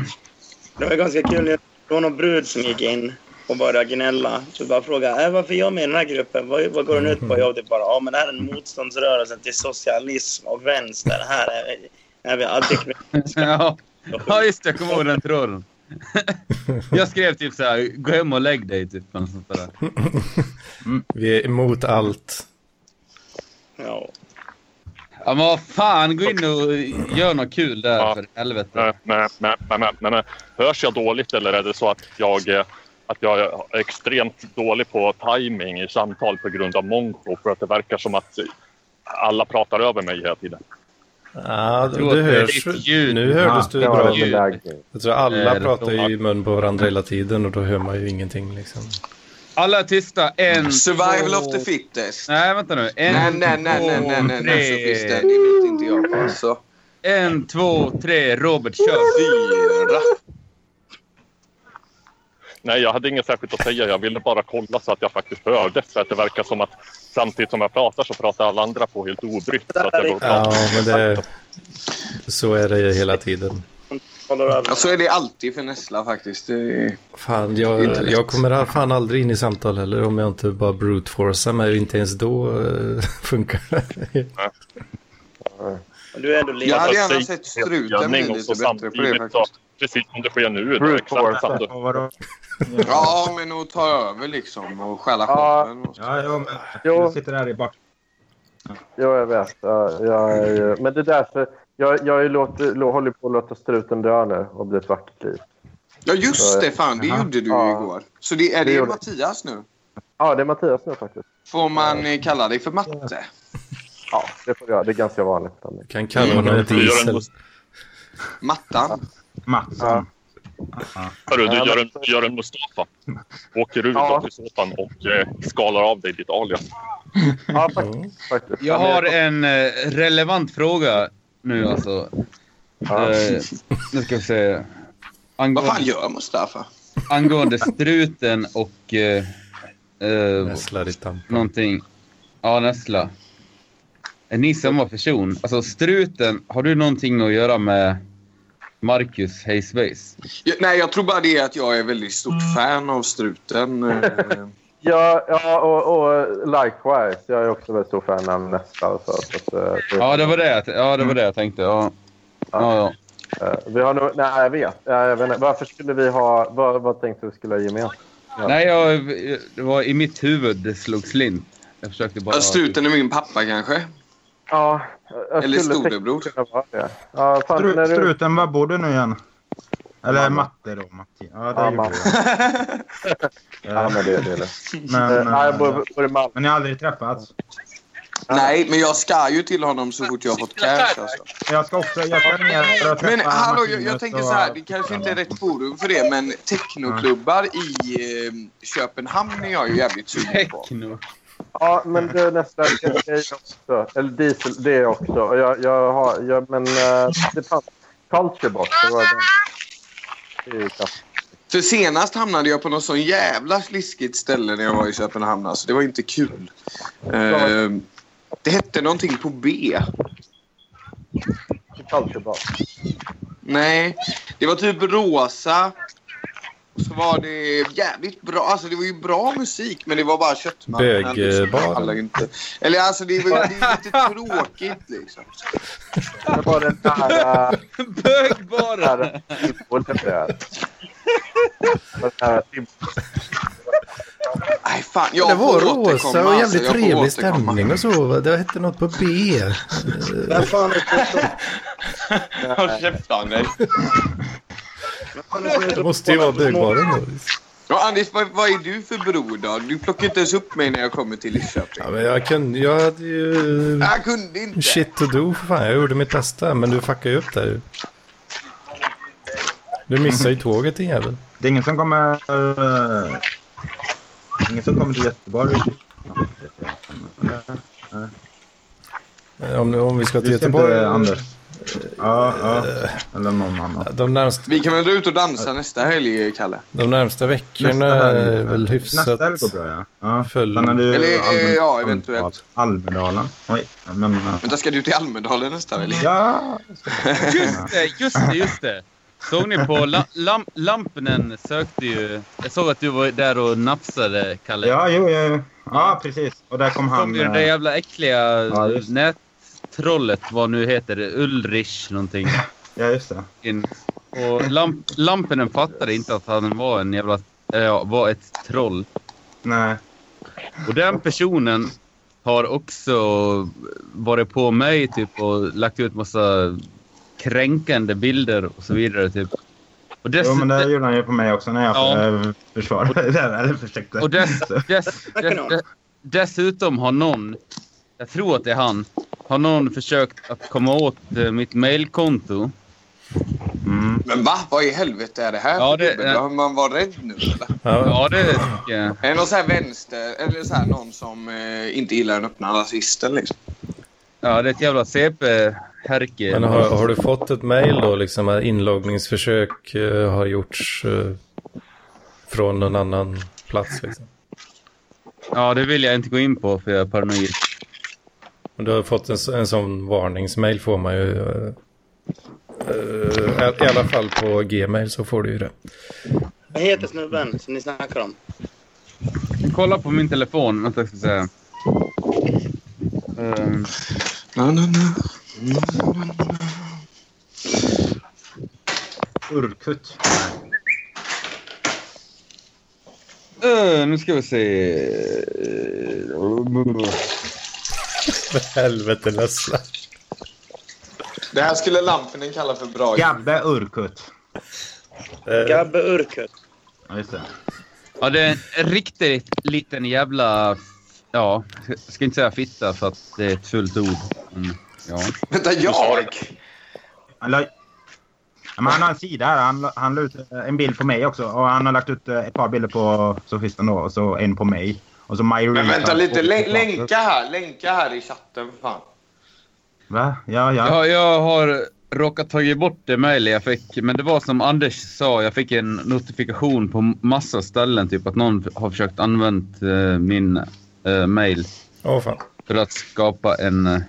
Speaker 6: Det var ganska kul. Det var någon brud som gick in och började gnälla. Så bara frågade äh, varför är jag med i den här gruppen. Vad, vad går den ut på? Jag typ bara ja, men det här är en motståndsrörelse till socialism och vänster. Här är, här är vi antikvitetiska.
Speaker 3: Ja. ja, just det. Jag kommer ihåg den tråden. Jag skrev typ så här, gå hem och lägg dig. Typ, eller något sånt där. Mm.
Speaker 2: Vi är emot allt.
Speaker 6: Ja.
Speaker 3: Ja, men vad fan, gå in och gör något kul där för helvete.
Speaker 4: Men, men, men, men, men, hörs jag dåligt eller är det så att jag, eh, att jag är extremt dålig på timing i samtal på grund av mongo? För att det verkar som att alla pratar över mig hela tiden.
Speaker 2: Ja,
Speaker 4: tror att
Speaker 2: det
Speaker 4: det är
Speaker 2: hörs.
Speaker 4: ditt ljud.
Speaker 2: Nu hördes du
Speaker 4: Ja, det var
Speaker 2: bra.
Speaker 4: en beläggning.
Speaker 2: Jag tror alla
Speaker 3: Eh,
Speaker 2: pratar
Speaker 3: de-
Speaker 2: ju i mun på varandra hela tiden och då hör man ju ingenting liksom.
Speaker 3: Alla är tysta. En,
Speaker 1: Survival
Speaker 3: två...
Speaker 1: of the fittest.
Speaker 3: Nej, vänta nu. En,
Speaker 1: Nej, nej, nej,
Speaker 3: två,
Speaker 1: nej, nej, nej, nej,
Speaker 3: tre.
Speaker 1: så finns det. Det vet inte jag på alltså.
Speaker 3: En, två, tre. Robert, kör.
Speaker 1: Fyra.
Speaker 4: Nej, jag hade inget särskilt att säga. Jag ville bara kolla så att jag faktiskt hörde. För att det verkar som att samtidigt som jag pratar så pratar alla andra på helt obrytt. Så att jag går och pratar.
Speaker 2: Ja, men det... Så är det ju hela tiden.
Speaker 1: Ja, så är det alltid för Nessla faktiskt. Det är...
Speaker 2: Fan, jag, jag kommer all- fan aldrig in i samtal heller om jag inte bara brute forcear mig. Inte ens då eh, funkar det.
Speaker 6: Du är ändå lite...
Speaker 1: Jag hade
Speaker 4: Alltså,
Speaker 1: gärna
Speaker 4: säg-
Speaker 1: sett struten bli
Speaker 4: Övning och
Speaker 1: lite
Speaker 4: så
Speaker 1: bättre på det
Speaker 4: samtidigt
Speaker 1: faktiskt.
Speaker 4: så- Precis som det sker nu.
Speaker 1: Brute
Speaker 4: Det är exakt
Speaker 1: force.
Speaker 4: samma sak.
Speaker 1: Ja, men att ta över liksom och stjäla showen.
Speaker 5: Ja, ja, men
Speaker 8: Jo.
Speaker 5: du sitter där i bak.
Speaker 8: Jo, jag vet. Ja, jag är ju... Men det är därför... Jag, jag är låter, lå- håller på att låta struten dö nu och bli ett vackert liv.
Speaker 1: Ja, just det. Fan, det
Speaker 8: Jaha.
Speaker 1: gjorde du
Speaker 8: Ja.
Speaker 1: ju igår. Så det, är
Speaker 8: Det
Speaker 1: det,
Speaker 8: gjorde-
Speaker 1: Mattias nu?
Speaker 8: Ja, det är Mattias nu faktiskt.
Speaker 1: Får man eh, kalla dig för Matte?
Speaker 8: Ja, det får jag. Det är ganska vanligt. Du
Speaker 2: kan kalla honom Diesel.
Speaker 1: Mattan?
Speaker 5: Mattsson.
Speaker 4: Hörru, du
Speaker 8: Ja,
Speaker 4: gör
Speaker 8: men-
Speaker 4: en, gör en Mustafa. Åker ut
Speaker 8: Ja.
Speaker 4: av sopan och eh, skalar av dig ditt alias.
Speaker 8: Ja, faktiskt. faktiskt.
Speaker 3: Jag
Speaker 8: Ja, men
Speaker 3: har en eh, relevant fråga
Speaker 1: Mm.
Speaker 3: nu alltså.
Speaker 8: Ja.
Speaker 3: Eh, nu ska vi se.
Speaker 1: Vad fan
Speaker 3: Angående,
Speaker 1: gör Mustafa?
Speaker 3: angående struten och... Eh, eh,
Speaker 2: Näslar i tampen.
Speaker 3: någonting. Ja, näsla. Är ni samma person? Alltså struten, har du någonting att göra med Marcus Hayesbase?
Speaker 1: Ja, nej, jag tror bara det är att jag är väldigt stort
Speaker 5: Mm.
Speaker 1: fan av struten. eh.
Speaker 8: Ja, ja och, och likewise. Jag är också väldigt stor fan av nästa. och Så, så att, eh, det,
Speaker 3: Ja, det var det, jag- ja, det, var det jag tänkte. Ja. Ja, ja.
Speaker 8: eh, vi har nog, nej, jag vet. Ja, Jag vet inte. Varför skulle vi ha... Vad, vad tänkte vi skulle ha gemensamt?
Speaker 3: Nej, jag, det var i mitt huvud det slog slint. Jag försökte bara...
Speaker 1: Ja, struten är min pappa kanske?
Speaker 8: Ja, jag
Speaker 1: Eller
Speaker 8: skulle
Speaker 1: storebror.
Speaker 8: säkert kunna vara det. Ja, fan,
Speaker 5: Stru,
Speaker 8: när du,
Speaker 5: struten, var bor du nu igen? Eller matte då, Matti. Ja, det
Speaker 8: Ja,
Speaker 5: gjorde
Speaker 8: Matti.
Speaker 5: jag.
Speaker 8: ja, men det, det är det.
Speaker 5: Men,
Speaker 8: Eh, nej, jag
Speaker 5: men,
Speaker 8: bor, bor i Malmö.
Speaker 5: men ni har aldrig träffats?
Speaker 1: Nej, men jag ska ju till honom så fort jag har fått cash. Alltså.
Speaker 5: Jag ska också... Jag ska ner för att träffa
Speaker 1: Men hallå, jag, jag
Speaker 5: Martinus
Speaker 1: tänker
Speaker 5: och-
Speaker 1: så här. Det kanske inte är rätt forum för det, men technoklubbar i eh, Köpenhamn är jag ju jävligt sugen på.
Speaker 3: Techno.
Speaker 8: Ja, men det är nästa det är jag också. Eller diesel, det är jag också. Och Jag, jag har, jag, men eh, det fanns culture box. Det var den. Det är ju kass.
Speaker 1: För senast hamnade jag på något sån jävla sliskigt ställe när jag var i Köpenhamn. Alltså, det var inte kul. Ehm, det hette någonting på B.
Speaker 8: Culture box.
Speaker 1: Nej, det var typ rosa. Och Så var det jävligt bra. Alltså det var ju bra musik men det var bara köttmarknad. liksom.
Speaker 2: Bögbar.
Speaker 1: Det pallar inte. Eller alltså det var det är lite tråkigt liksom.
Speaker 8: Det var den här... eh,
Speaker 3: Bögbara!
Speaker 8: här symbolen där. Den här symbolen.
Speaker 1: Nej fan, jag
Speaker 2: Det
Speaker 1: får
Speaker 2: var
Speaker 1: återkomma, Alltså,
Speaker 2: rosa och jävligt
Speaker 1: jag får
Speaker 2: trevlig
Speaker 1: återkomma.
Speaker 2: stämning och så. va? Det hette något på B.
Speaker 6: Vem fan är det som-
Speaker 1: Håll käften dig.
Speaker 6: vem fan är det som heter-
Speaker 2: Det måste ju vara bögbaren då.
Speaker 1: Ja, Anders, vad, vad är du för bror då? Du plockar inte ens upp mig när jag kommer till Lidköping.
Speaker 2: Ja, men jag kunde... Jag hade ju...
Speaker 1: Jag kunde inte.
Speaker 2: Shit to do för fan. Jag gjorde mitt bästa. Men du fuckade ju upp där ju. Du missade ju tåget din jävel.
Speaker 5: Det är ingen som kommer... eh, ingen som kommer till Göteborg.
Speaker 2: Om, om vi ska till
Speaker 5: Du ska
Speaker 2: Göteborg. Eh.
Speaker 5: inte, Anders. Ja, ja. Eller någon annan.
Speaker 2: De närmsta,
Speaker 1: Vi kan väl dra ut och dansa nästa helg, Kalle?
Speaker 2: de närmsta veckorna
Speaker 5: Nästa helg.
Speaker 2: är väl
Speaker 5: Nästa
Speaker 2: hyfsat...
Speaker 5: helg går bra, ja. ja.
Speaker 2: full.
Speaker 5: Sen är du
Speaker 1: Eller, eh,
Speaker 5: Almen-
Speaker 1: ja, eventuellt.
Speaker 5: Almedalen. Oj, men... eh,
Speaker 1: Vänta, ska du till Almedalen nästa helg?
Speaker 5: Ja,
Speaker 3: Just det, just det, just det. Såg ni på la, lam, Lampinen sökte ju... Jag såg att du var där och nafsade, Kalle.
Speaker 5: ja, jo, ja, ja. ja, precis. Och där kom
Speaker 3: Som
Speaker 5: han...
Speaker 3: ju det där
Speaker 5: eh,
Speaker 3: jävla äckliga
Speaker 5: Ja, just
Speaker 3: nättrollet, vad nu heter det, Ulrich någonting.
Speaker 5: Ja, just det.
Speaker 3: In. Och lamp, Lampinen fattade inte att han var en jävla... eh, Ja, var ett troll.
Speaker 5: Nej.
Speaker 3: Och den personen har också varit på mig typ och lagt ut massa kränkande bilder och så vidare. Typ. Och
Speaker 5: Jo, men
Speaker 3: dessutom,
Speaker 5: det gjorde han ju på mig också när jag
Speaker 3: Ja.
Speaker 5: ja. försvarade det. Eller försökte.
Speaker 3: och dess, dess, dess,
Speaker 6: Kanon.
Speaker 3: dess, dessutom har någon, jag tror att det är han, har någon försökt att komma åt eh, mitt mailkonto.
Speaker 5: Mm.
Speaker 1: Men va? Vad i helvete är det här
Speaker 3: Ja,
Speaker 1: för
Speaker 3: det-
Speaker 1: gubbe? Behöver man vara rädd nu eller?
Speaker 2: Ja,
Speaker 3: Ja, det tycker jag.
Speaker 1: Är det någon sån här vänster... Eller så här någon som eh, inte gillar den öppna rasisten liksom?
Speaker 3: Ja, det är ett jävla CP-härke.
Speaker 2: men har, har du fått ett mejl då, liksom att inloggningsförsök eh, har gjorts eh, från någon annan plats? Liksom?
Speaker 3: Ja, det vill jag inte gå in på för jag är paranoid.
Speaker 2: Och Du har fått en, s- en sån varningsmail får man ju. eh, eh, I alla fall på Gmail så får du ju det.
Speaker 6: Vad heter snubben som ni snackar om?
Speaker 3: Kolla på min telefon. Vänta, jag ska säga. Ehm,
Speaker 1: Na, na, na.
Speaker 5: Urkut.
Speaker 3: eh, nu ska vi se.
Speaker 2: För helvete Lasse.
Speaker 1: Det här skulle Lampinen kalla för bra
Speaker 5: Gabbe Urkut.
Speaker 2: Eh,
Speaker 6: Gabbe Urkut.
Speaker 5: Ja, just det.
Speaker 3: Ja, det är en riktigt liten jävla... Ja, jag ska inte säga fitta för att det är ett fult ord. Mm, ja.
Speaker 1: Vänta, jag?
Speaker 5: Han, la... Ja, men han har en sida här. Han, la- han la ut eh, en bild på mig också. Och han har lagt ut eh, ett par bilder på sofisten då. Och så en på mig. Och så Maja
Speaker 1: Men
Speaker 5: Reed
Speaker 1: vänta
Speaker 5: har-
Speaker 1: lite. Län- Länka här. Länka här i chatten för fan.
Speaker 5: Va? Ja, ja.
Speaker 3: Jag, jag har råkat tagit bort det mejl jag fick. Men det var som Anders sa, jag fick en notifikation på massa ställen. Typ att någon har försökt använda eh, min eh, mejl.
Speaker 2: Åh fan.
Speaker 3: för att skapa en eh,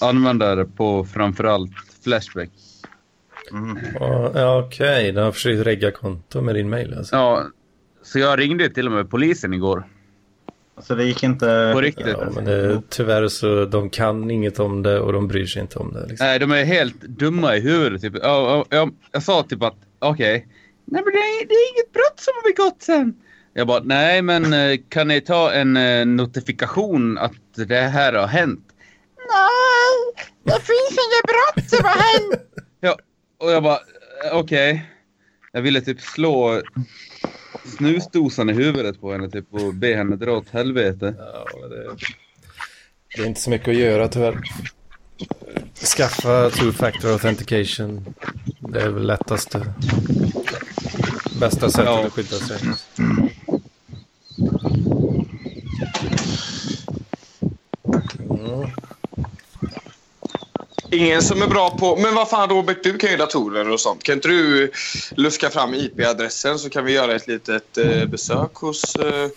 Speaker 3: användare på framförallt Flashback.
Speaker 5: Mm.
Speaker 2: Ja, ja, Okej, den har försökt regga konto med din mail alltså.
Speaker 3: Ja, så jag ringde till och med polisen igår.
Speaker 5: Så det gick inte...
Speaker 3: På riktigt.
Speaker 2: Ja, men det, tyvärr så de kan inget om det och de bryr sig inte om det. Liksom.
Speaker 3: Nej, de är helt dumma i huvudet. Typ. Ja, ja, ja, jag sa typ att okej, nej men det är, det är inget brott som har begåtts sen. Jag bara, nej men eh, kan ni ta en eh, notifikation att det här har hänt? Nej, det finns inget brott som har hänt. Ja, och jag bara, eh, okej. Jag ville typ slå snusdosan i huvudet på henne typ och be henne dra åt helvete.
Speaker 2: Ja, men
Speaker 3: Oh,
Speaker 2: det, det är inte så mycket att göra tyvärr. Skaffa two factor authentication. Det är väl lättaste. Bästa sättet
Speaker 3: Ja.
Speaker 2: att skydda sig.
Speaker 1: Ingen som är bra på... Men vad fan Robert, du kan ju datorer och sånt. Kan inte du luska fram IP-adressen så kan vi göra ett litet eh, besök hos eh,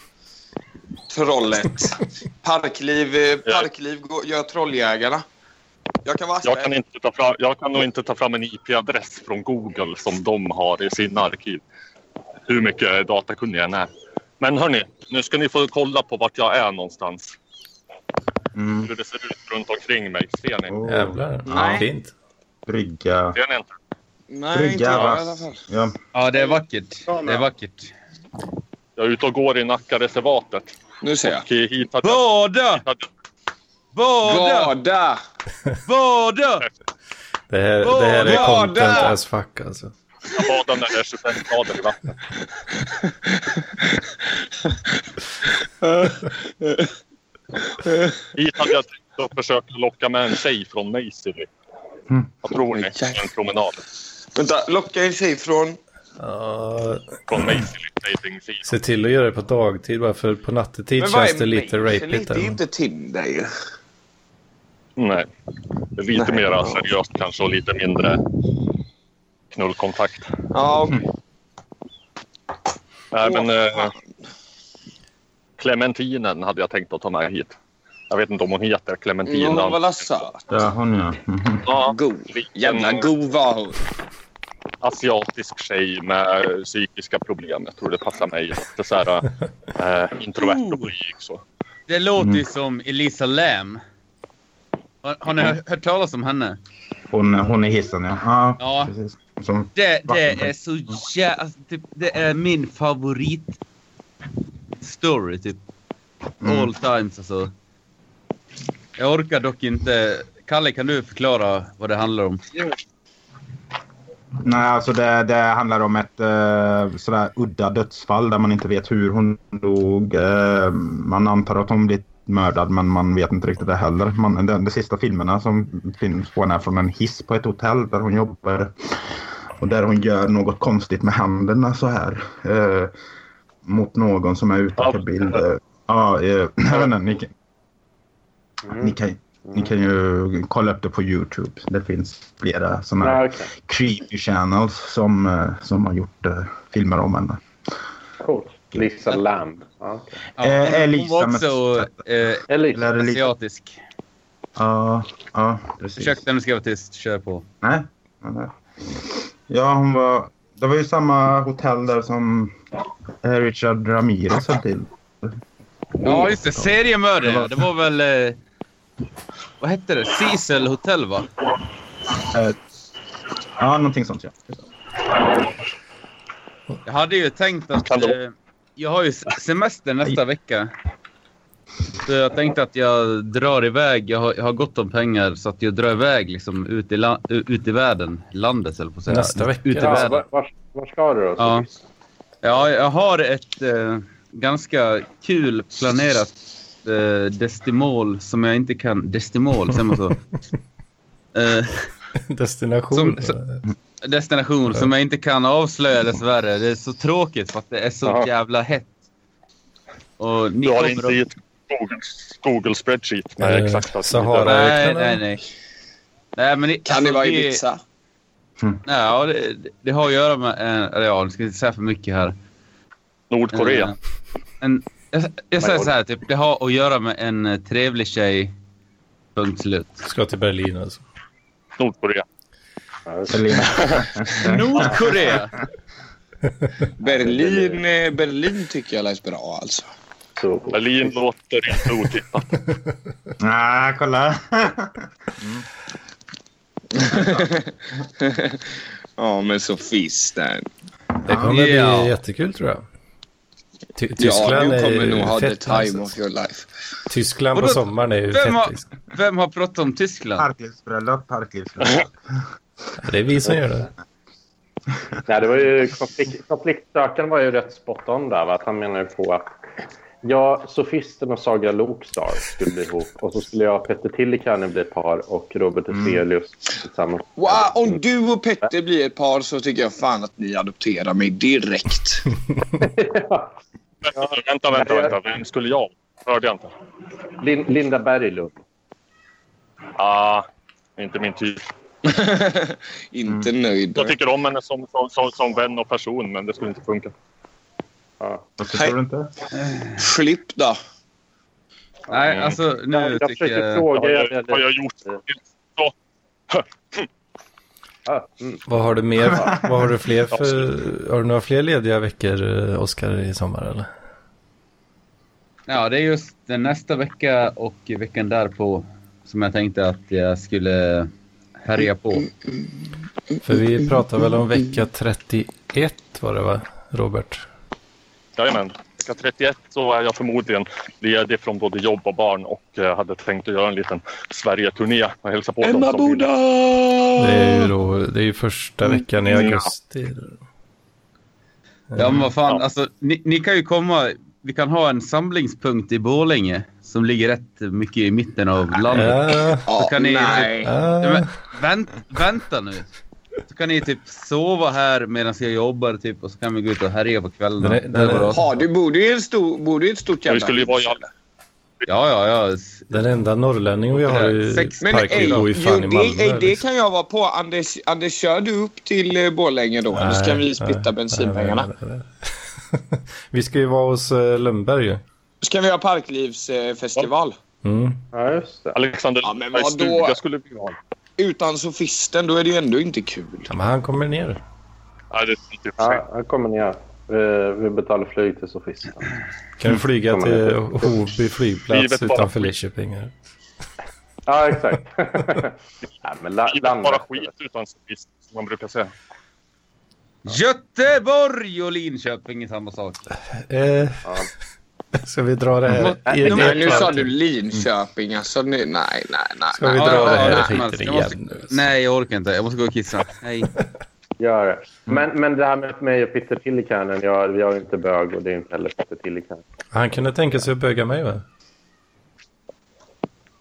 Speaker 1: trollet. Parkliv, eh, parkliv går- gör trolljägarna. Jag kan vara
Speaker 4: Jag kan,
Speaker 1: Aspberg.
Speaker 4: inte ta fram, jag kan nog inte ta fram en IP-adress från Google som de har i sina arkiv. Hur mycket datakunnig jag än är. Men hörni, nu ska ni få kolla på vart jag är någonstans.
Speaker 5: Mm.
Speaker 4: Hur det ser ut runt omkring mig. Ser ni?
Speaker 5: Oh,
Speaker 2: Jävlar.
Speaker 5: Nej.
Speaker 2: Fint.
Speaker 5: Brygga.
Speaker 4: Ser ni inte?
Speaker 1: Nej, inte
Speaker 5: Brygga,
Speaker 1: jag
Speaker 5: va?
Speaker 1: i alla fall.
Speaker 5: Ja.
Speaker 3: Ja, det är vackert.
Speaker 6: Ja, men.
Speaker 3: Det är vackert.
Speaker 4: Jag är ute och går i Nackareservatet.
Speaker 1: Nu ser jag.
Speaker 4: Och hit hade jag...
Speaker 3: Bada! Bada!
Speaker 1: Gada!
Speaker 3: Bada!
Speaker 2: Det här, det här är
Speaker 3: Ja,
Speaker 2: content
Speaker 1: där!
Speaker 2: as fuck alltså.
Speaker 4: Jag badade när det är 25 grader i vattnet. Hit hade jag tänkt att försöka locka med en tjej från Maisilly.
Speaker 5: Mm.
Speaker 4: Vad tror ni? En promenad
Speaker 1: Vänta, locka en tjej från...
Speaker 2: Ja,
Speaker 4: från Maisilly Dating Sida.
Speaker 2: se till att göra det på dagtid bara för på nattetid känns det lite
Speaker 1: Maisie?
Speaker 2: rapigt.
Speaker 1: Det är ju
Speaker 2: där.
Speaker 1: inte Tinder ju.
Speaker 4: Nej. Det är lite
Speaker 1: Nej.
Speaker 4: mer seriöst kanske och lite mindre knullkontakt.
Speaker 1: Ja, okej.
Speaker 4: Nej,
Speaker 1: Åh,
Speaker 4: men eh,
Speaker 1: fan.
Speaker 4: Clementinen hade jag tänkt att ta med hit. Jag vet inte om hon heter Clementina.
Speaker 1: Jo, Mm, hon var la söt.
Speaker 5: Ja, hon ja. Mhm.
Speaker 4: Ja,
Speaker 1: God.
Speaker 4: liten
Speaker 1: Jävla god var hon.
Speaker 4: asiatisk tjej med eh, psykiska problem. Jag tror det passar mig. Lite så här, eh, introvert och blyg. Så.
Speaker 3: Det låter ju som Elisa Lam. Har, har ni hört, hört talas om henne?
Speaker 5: Hon, hon är hissen ja. Ja,
Speaker 3: Ja.
Speaker 5: precis. Som,
Speaker 3: Det, det är så jä... Alltså, typ, det är min
Speaker 2: Mm.
Speaker 3: favorit story typ. All times alltså. Jag orkar dock inte. Kalle, kan du förklara vad det handlar om?
Speaker 5: Nej, alltså det, det handlar om ett eh, sådär udda dödsfall där man inte vet hur hon dog. Eh, man antar att hon blivit mördad men man vet inte riktigt det heller. Man, de, de sista filmerna som finns på henne är från en hiss på ett hotell där hon jobbar. Och där hon gör något konstigt med händerna så här. Eh, mot någon som är utanför bild. Eh, Ja, eh, jag vet inte, ni, kan- ni, kan, ni kan ju kolla upp det på Youtube. Det finns flera sådana
Speaker 8: Nej, okej.
Speaker 5: creepy channels som, eh, som har gjort eh, filmer om henne.
Speaker 8: Coolt. Lisa Lamb. Ja, okej.
Speaker 3: Ja,
Speaker 5: Eh,
Speaker 3: hon var
Speaker 5: Elisa, men-
Speaker 3: också eh,
Speaker 8: Elisa.
Speaker 5: Eller lite,
Speaker 3: asiatisk.
Speaker 5: ja, ja, precis.
Speaker 3: Ursäkta, nu ska jag vara tyst. Kör på.
Speaker 5: Nej. nej, nej. Ja, hon var... Det var ju samma hotell där som eh, Richard Ramirez höll till.
Speaker 3: Ja, just det. Seriemördare. ja. Det var väl... Eh, vad hette det? Cecil Hotel, va?
Speaker 5: Eh, Ja, någonting sånt ja.
Speaker 3: Jag hade ju tänkt att...
Speaker 4: Hallå?
Speaker 3: Eh, jag har ju s- semester nästa vecka. Så jag tänkte att jag drar iväg. Jag har, jag har gott om pengar så att jag drar iväg liksom ut i, la, ut i världen. Landet, eller på att säga.
Speaker 2: Nästa vecka?
Speaker 3: Ut i
Speaker 8: Ja,
Speaker 3: världen.
Speaker 8: var, var, var ska du då?
Speaker 3: Ja. Ja, jag har ett eh, ganska kul planerat eh, destimol som jag inte kan... Destimol, säger man så? Eh,
Speaker 2: Destination.
Speaker 3: Som- destination som jag inte kan avslöja dessvärre. Det är så tråkigt för att det är så
Speaker 4: Jaha.
Speaker 3: jävla hett. Och ni
Speaker 4: Du har
Speaker 3: kommer
Speaker 4: inte
Speaker 3: att-
Speaker 4: i ett Google, Google spreadsheet
Speaker 2: Är
Speaker 4: med
Speaker 2: det
Speaker 4: exakt vad som
Speaker 2: Sahara?
Speaker 4: är
Speaker 3: Nej,
Speaker 2: Räkna
Speaker 3: nej,
Speaker 2: med.
Speaker 3: nej. Nej, men
Speaker 6: Kan det vara Ibiza?
Speaker 3: Nej, ja, det, det har att göra med... eh, Eller ja, nu ska jag inte säga för mycket här.
Speaker 4: Nordkorea.
Speaker 3: Eh, En, jag, jag säger så här, typ, det har att göra med en eh, trevlig tjej. Punkt slut.
Speaker 2: Ska till Berlin alltså.
Speaker 4: Nordkorea.
Speaker 5: Berlin.
Speaker 3: Nordkorea!
Speaker 6: Berlin, eh, Berlin tycker jag lät bra alltså.
Speaker 4: Berlin låter inte otippat.
Speaker 5: Nej, kolla.
Speaker 6: Ja, men så finns den.
Speaker 2: Det kommer
Speaker 3: Ja.
Speaker 2: bli jättekul tror jag. Ty
Speaker 6: Ja,
Speaker 2: Tyskland
Speaker 6: du
Speaker 2: är
Speaker 6: kommer
Speaker 2: ju
Speaker 6: nog ha the
Speaker 2: fett.
Speaker 6: time of
Speaker 2: Alltså.
Speaker 6: your life.
Speaker 2: Tyskland på
Speaker 3: Vadå?
Speaker 2: sommaren är ju
Speaker 3: Vem har,
Speaker 2: fett. Liksom.
Speaker 3: vem har pratat om Tyskland?
Speaker 5: Parklivsbröllop, parklivsbröllop.
Speaker 2: Det är vi som gör det.
Speaker 8: Nej, det var ju konflikt, konfliktsökaren var ju rätt spot on där. Va? Att han menar ju på att jag, sofisten och Saga Lokstar skulle bli ihop. Och så skulle jag, Petter Tillikainen bli ett par och Robert
Speaker 3: Mm.
Speaker 8: Heselius tillsammans.
Speaker 6: Wow, om du och Petter blir ett par så tycker jag fan att ni adopterar mig direkt.
Speaker 4: Vänta, vänta, vänta, vänta. Vem skulle jag? Hörde jag inte.
Speaker 8: Lin, Linda Berglund.
Speaker 4: Ah, inte min typ. Mm.
Speaker 6: Inte nöjd.
Speaker 4: Jag tycker om henne som, som, som, som vän och person, men det skulle inte funka.
Speaker 5: Varför tror du inte?
Speaker 6: Flipp då.
Speaker 3: Nej,
Speaker 4: Mm.
Speaker 3: alltså nu
Speaker 8: jag
Speaker 3: tycker
Speaker 8: försöker
Speaker 3: jag...
Speaker 8: fråga
Speaker 4: Har
Speaker 8: er...
Speaker 4: jag, har jag
Speaker 8: eller-
Speaker 4: gjort
Speaker 8: Ja, mm.
Speaker 2: Vad har du mer? Vad har du fler för? Har du några fler lediga veckor, eh, Oscar, i sommar eller?
Speaker 3: Ja, det är just nästa vecka och veckan därpå som jag tänkte att jag skulle härja på.
Speaker 2: För vi pratar väl om vecka 31 var det va, Robert?
Speaker 4: Jajamän. Vecka 31 så var jag förmodligen ledig från både jobb och barn och eh, hade tänkt att göra en liten Sverige-turné och hälsa på
Speaker 6: Emma
Speaker 4: dem som
Speaker 6: Boda!
Speaker 4: ville.
Speaker 2: Det är ju då, det är ju första veckan i augusti.
Speaker 3: Ja, men vad fan,
Speaker 4: Ja.
Speaker 3: alltså ni, ni kan ju komma... Vi kan ha en samlingspunkt i Borlänge som ligger rätt mycket i mitten av landet.
Speaker 2: Ja,
Speaker 6: Ja,
Speaker 3: kan ni- typ,
Speaker 6: nej.
Speaker 2: ja.
Speaker 3: Men, vänt, vänta nu. Så kan ni typ sova här medan jag jobbar typ och så kan vi gå ut och härja på kvällen.
Speaker 2: Den är- den är-
Speaker 6: Ja, du borde ju i en stor, borde ju i ett stort
Speaker 4: Ja,
Speaker 6: jävla
Speaker 4: vi skulle ju vara i alla...
Speaker 3: Ja, ja, ja. S-
Speaker 2: Den enda norrlänningen vi har i
Speaker 3: Sex-
Speaker 6: Men ej,
Speaker 2: parken bor ju
Speaker 6: jo,
Speaker 2: fan i
Speaker 6: det,
Speaker 2: Malmö.
Speaker 6: ej, det
Speaker 2: liksom.
Speaker 6: kan jag vara på. Anders, Anders kör du upp till eh, Borlänge då? Eller ska
Speaker 2: Nej,
Speaker 6: vi
Speaker 2: nej,
Speaker 6: splitta
Speaker 2: nej,
Speaker 6: bensinpengarna?
Speaker 2: nej, nej, nej. Vi ska ju vara hos eh, Lundberg ju.
Speaker 6: Ska vi ha parklivsfestival?
Speaker 2: Mm.
Speaker 8: ja, just det.
Speaker 4: Alexander
Speaker 6: Ja, men
Speaker 4: Lundbergs
Speaker 6: vadå?
Speaker 4: stuga skulle vi ha.
Speaker 6: Utan sofisten, då är det ju ändå inte kul.
Speaker 2: Ja, men han kommer ner.
Speaker 4: Nej, det är typ inte
Speaker 8: Ja, här kommer ni. här. Eh, Vi betalar flyg till sofisten.
Speaker 2: Kan du flyga
Speaker 8: Mm. Kommer
Speaker 2: till
Speaker 8: ner.
Speaker 2: Hovby flygplats
Speaker 4: Livet bara
Speaker 2: utanför Lidköping? här?
Speaker 8: Ja, exakt. Nej, men la,
Speaker 4: Det är
Speaker 8: landet.
Speaker 4: bara skit utan sist, som man brukar säga.
Speaker 2: Mm.
Speaker 3: Göteborg och Linköping är samma sak.
Speaker 2: Eh, Ska vi dra eh, det
Speaker 8: Mm.
Speaker 2: här? i- i-
Speaker 1: Nej, nu sa du Linköping. Alltså, nu, nej, nej, nej.
Speaker 2: Ska vi
Speaker 1: nej.
Speaker 2: dra det här
Speaker 1: nej.
Speaker 2: skiten
Speaker 3: Jag måste-
Speaker 2: igen nu?
Speaker 3: Nej, jag orkar inte. Jag måste gå och kissa. Hej.
Speaker 8: Gör det. Men, men det här med mig och Peter Tillikanen, jag, jag är inte bög och det är inte heller Peter Tillikanen.
Speaker 2: Han kunde tänka sig att böga mig va?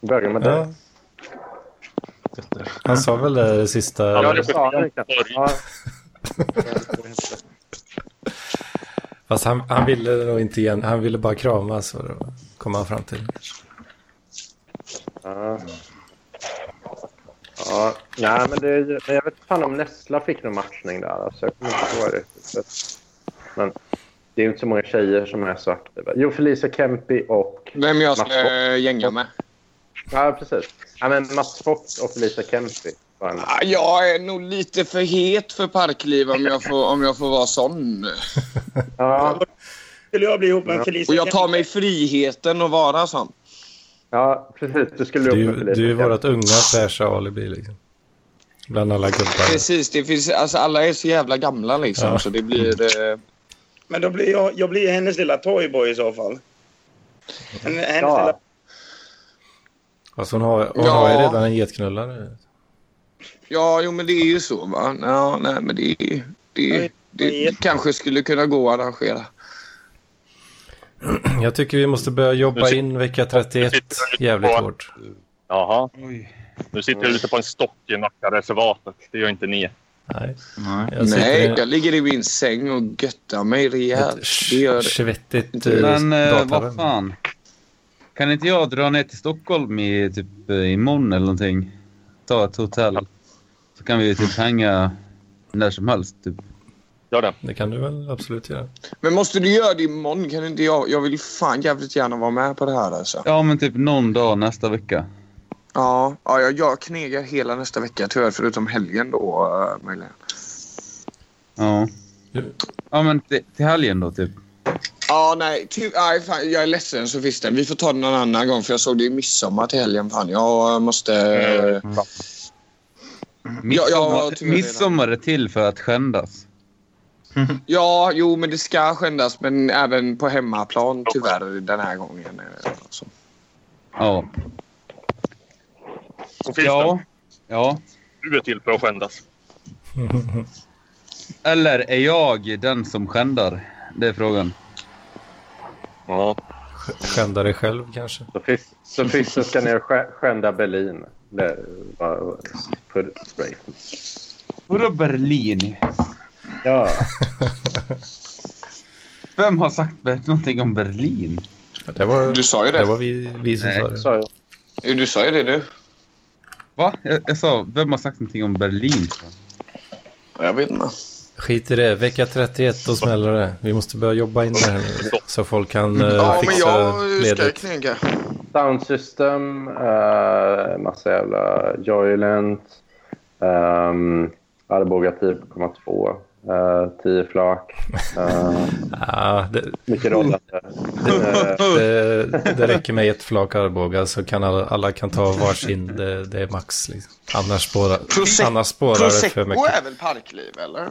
Speaker 8: Bögar med dig?
Speaker 2: Ja. Han sa väl det här sista...
Speaker 8: Ja, det sa han kanske. Ja.
Speaker 2: Fast han, han ville nog inte igen. Han ville bara kramas. var det då, Kom han fram till.
Speaker 8: Ja. Ja, nej, men, det, men jag vet fan om Nessla fick någon matchning där. Alltså, jag kommer inte ihåg det. Så, men det är ju inte så många tjejer som är så aktiva. Jo, Felicia Kempi och...
Speaker 1: Vem jag
Speaker 8: Mats
Speaker 1: skulle
Speaker 8: Fock.
Speaker 1: eh, gänga med?
Speaker 8: Ja, precis. Ja, men Mats Fock och Felicia Kempi. var en-
Speaker 1: Ah, Jag är nog lite för het för parkliv om jag får, om jag får vara sån.
Speaker 8: Ja,
Speaker 6: Skulle jag bli ihop med en
Speaker 8: Ja.
Speaker 6: Felicia
Speaker 1: Och jag tar
Speaker 6: Kempe?
Speaker 1: mig friheten att vara sån.
Speaker 8: ja precis. Du skulle
Speaker 2: Du,
Speaker 8: upp med Felicia
Speaker 2: är- du är
Speaker 8: Kempi.
Speaker 2: vårt unga fräscha alibi liksom. Bland alla gubbar.
Speaker 1: Precis, det finns, alltså, alla är så jävla gamla liksom.
Speaker 2: Ja.
Speaker 1: Så det blir... Eh,
Speaker 6: Men då blir jag, jag blir hennes lilla toyboy i så fall. Men Hennes
Speaker 8: Ja.
Speaker 6: lilla...
Speaker 2: Alltså hon har, hon
Speaker 1: Ja.
Speaker 2: har ju redan en getknullare.
Speaker 1: ja, jo men det är ju så va. Ja, nej men det, det, det, det kanske skulle kunna gå att arrangera.
Speaker 2: Jag tycker vi måste börja jobba in vecka 31 jävligt hårt.
Speaker 4: Jaha. Nu sitter du lite på en stock i Nackareservatet. Det gör inte ni.
Speaker 2: Nej.
Speaker 5: Nej.
Speaker 2: Jag sitter
Speaker 1: Nej,
Speaker 2: i
Speaker 1: jag ligger i min säng och göttar mig rejält.
Speaker 2: ett
Speaker 1: Det gör
Speaker 2: sh-
Speaker 1: det.
Speaker 2: svettigt eh,
Speaker 3: Men eh, vad
Speaker 2: datarum.
Speaker 3: fan. Kan inte jag dra ner till Stockholm i, typ, eh, imorgon eller någonting? Ta ett hotell. Så kan vi ju typ hänga när som helst. Typ.
Speaker 4: Gör det.
Speaker 2: Det kan du väl absolut göra.
Speaker 1: Men måste du göra det imorgon? Kan inte jag? Jag vill fan jävligt gärna vara med på det här alltså.
Speaker 3: Ja, men typ någon dag nästa vecka.
Speaker 1: Ja, ja jag, jag knegar hela nästa vecka tyvärr förutom helgen då eh, möjligen.
Speaker 3: Ja. Ja, men till, till helgen då typ.
Speaker 1: Ja, nej. Ty- nej fan, jag är ledsen Sofisten. Vi får ta den en annan gång för jag såg det i midsommar till helgen. Fan. Jag måste...
Speaker 4: Eh,
Speaker 2: Eh,
Speaker 1: Ja, ja,
Speaker 3: Midsommar,
Speaker 1: tyvärr redan.
Speaker 3: midsommar är till för att skändas.
Speaker 1: Ja, jo men det ska skändas men även på hemmaplan tyvärr den här gången. eh, alltså.
Speaker 3: Ja.
Speaker 4: Så finns det
Speaker 3: Ja.
Speaker 4: en-
Speaker 3: Ja.
Speaker 4: du är till för att skändas.
Speaker 3: Eller är jag den som skändar? Det är frågan.
Speaker 4: Ja.
Speaker 2: Skända dig själv kanske.
Speaker 8: Sofis- Sofisten ska ner och skä- skända Berlin. Det var för spray.
Speaker 3: Vadå Berlin?
Speaker 8: Ja,
Speaker 3: Vem har sagt ber- någonting om Berlin?
Speaker 2: Det var,
Speaker 1: Du sa ju
Speaker 2: det
Speaker 1: det.
Speaker 2: var vi, vi som
Speaker 3: Nej,
Speaker 2: sa det.
Speaker 8: sa jag.
Speaker 1: Jo, Du sa ju det du.
Speaker 3: Va? Jag, jag sa, vem har sagt någonting om Berlin?
Speaker 1: Jag vet inte.
Speaker 2: Skit i det. Vecka 31, då smäller det. Vi måste börja jobba in det här nu. Så folk kan eh,
Speaker 1: Ja, men
Speaker 2: fixa
Speaker 1: jag eh, ska
Speaker 2: ledigt.
Speaker 1: knäcka.
Speaker 8: Soundsystem, uh, massa jävla Joylent, um, Arboga 10,2, eh, 10 flak, eh,
Speaker 2: Ja, det,
Speaker 8: mycket rollande. Eh,
Speaker 2: det, det räcker med ett flak Arboga så kan alla, alla kan ta varsin. Det, det är max. Liksom. Annars spårar,
Speaker 1: Prosec-
Speaker 2: annars spårar det för
Speaker 1: Prosecco
Speaker 2: mycket.
Speaker 1: är väl parkliv eller?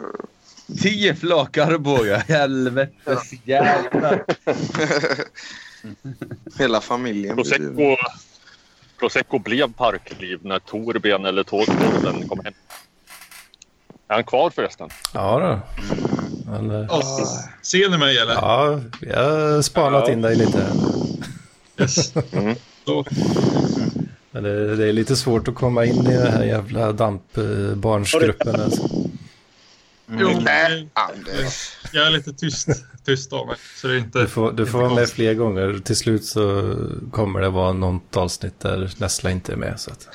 Speaker 3: Tio flak Arboga. Helvetes jävlar.
Speaker 1: Hela familjen. blir-
Speaker 4: Prosecco, Prosecco blev parkliv när Torben eller Torben kom hem. Är han kvar förresten?
Speaker 2: Ja då. Men, eh,
Speaker 9: Ah. Ser ni mig eller?
Speaker 2: ja, vi har spanat in dig lite.
Speaker 9: Yes.
Speaker 1: Mm.
Speaker 9: Då,
Speaker 2: Men det, det är lite svårt att komma in i den här jävla dampbarnsgruppen. Alltså.
Speaker 1: Jo, Mm. nej, Anders.
Speaker 9: jag är lite tyst, tyst av mig. Så det är inte...
Speaker 2: Du får, du
Speaker 9: inte
Speaker 2: får vara med
Speaker 9: konstigt.
Speaker 2: fler gånger. Till slut så kommer det vara något avsnitt där Nessla inte är med. Så att...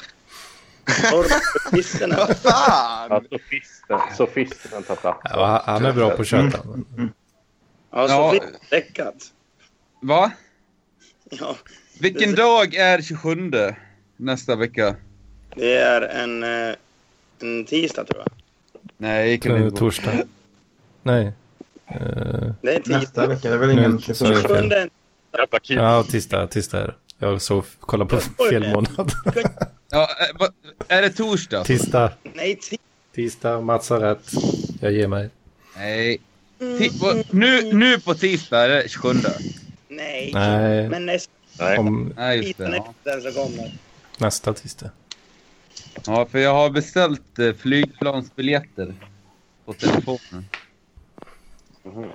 Speaker 6: Ormkvisterna.
Speaker 1: Vad fan!
Speaker 8: Ja, sofisten, sofisten tar plats.
Speaker 2: ja, han- han är bra på att köta. men-
Speaker 6: Ja,
Speaker 3: Ja.
Speaker 6: så fick räckat.
Speaker 3: Va?
Speaker 6: Ja,
Speaker 3: Vilken dag är 27 nästa vecka?
Speaker 6: det är en, eh, en tisdag tror jag.
Speaker 3: Nej, det kan
Speaker 2: Nu är
Speaker 3: inte vara.
Speaker 2: torsdag. Nej. Eh,
Speaker 6: Det är en
Speaker 5: Nästa
Speaker 6: tisdag.
Speaker 5: vecka. Det är väl
Speaker 2: nu
Speaker 5: ingen...
Speaker 2: sa jag fel.
Speaker 6: Sjunde-
Speaker 4: Jävla kid.
Speaker 2: Ja, tisdag. Tisdag är det. Jag såg, kollade på fel månad.
Speaker 3: Ja, eh, va- är det torsdag?
Speaker 2: Tisdag.
Speaker 6: Nej, tisdag.
Speaker 2: Tisdag. Mats har rätt. Jag ger mig.
Speaker 3: Nej. Ti- va- nu, nu på tisdag är det 27.
Speaker 6: nej.
Speaker 2: Nej.
Speaker 6: Men nästa
Speaker 2: Om
Speaker 3: Nej, just det. Ja.
Speaker 6: den som kommer.
Speaker 2: nästa tisdag.
Speaker 3: Ja, för jag har beställt eh, flygplansbiljetter på telefonen.
Speaker 6: Den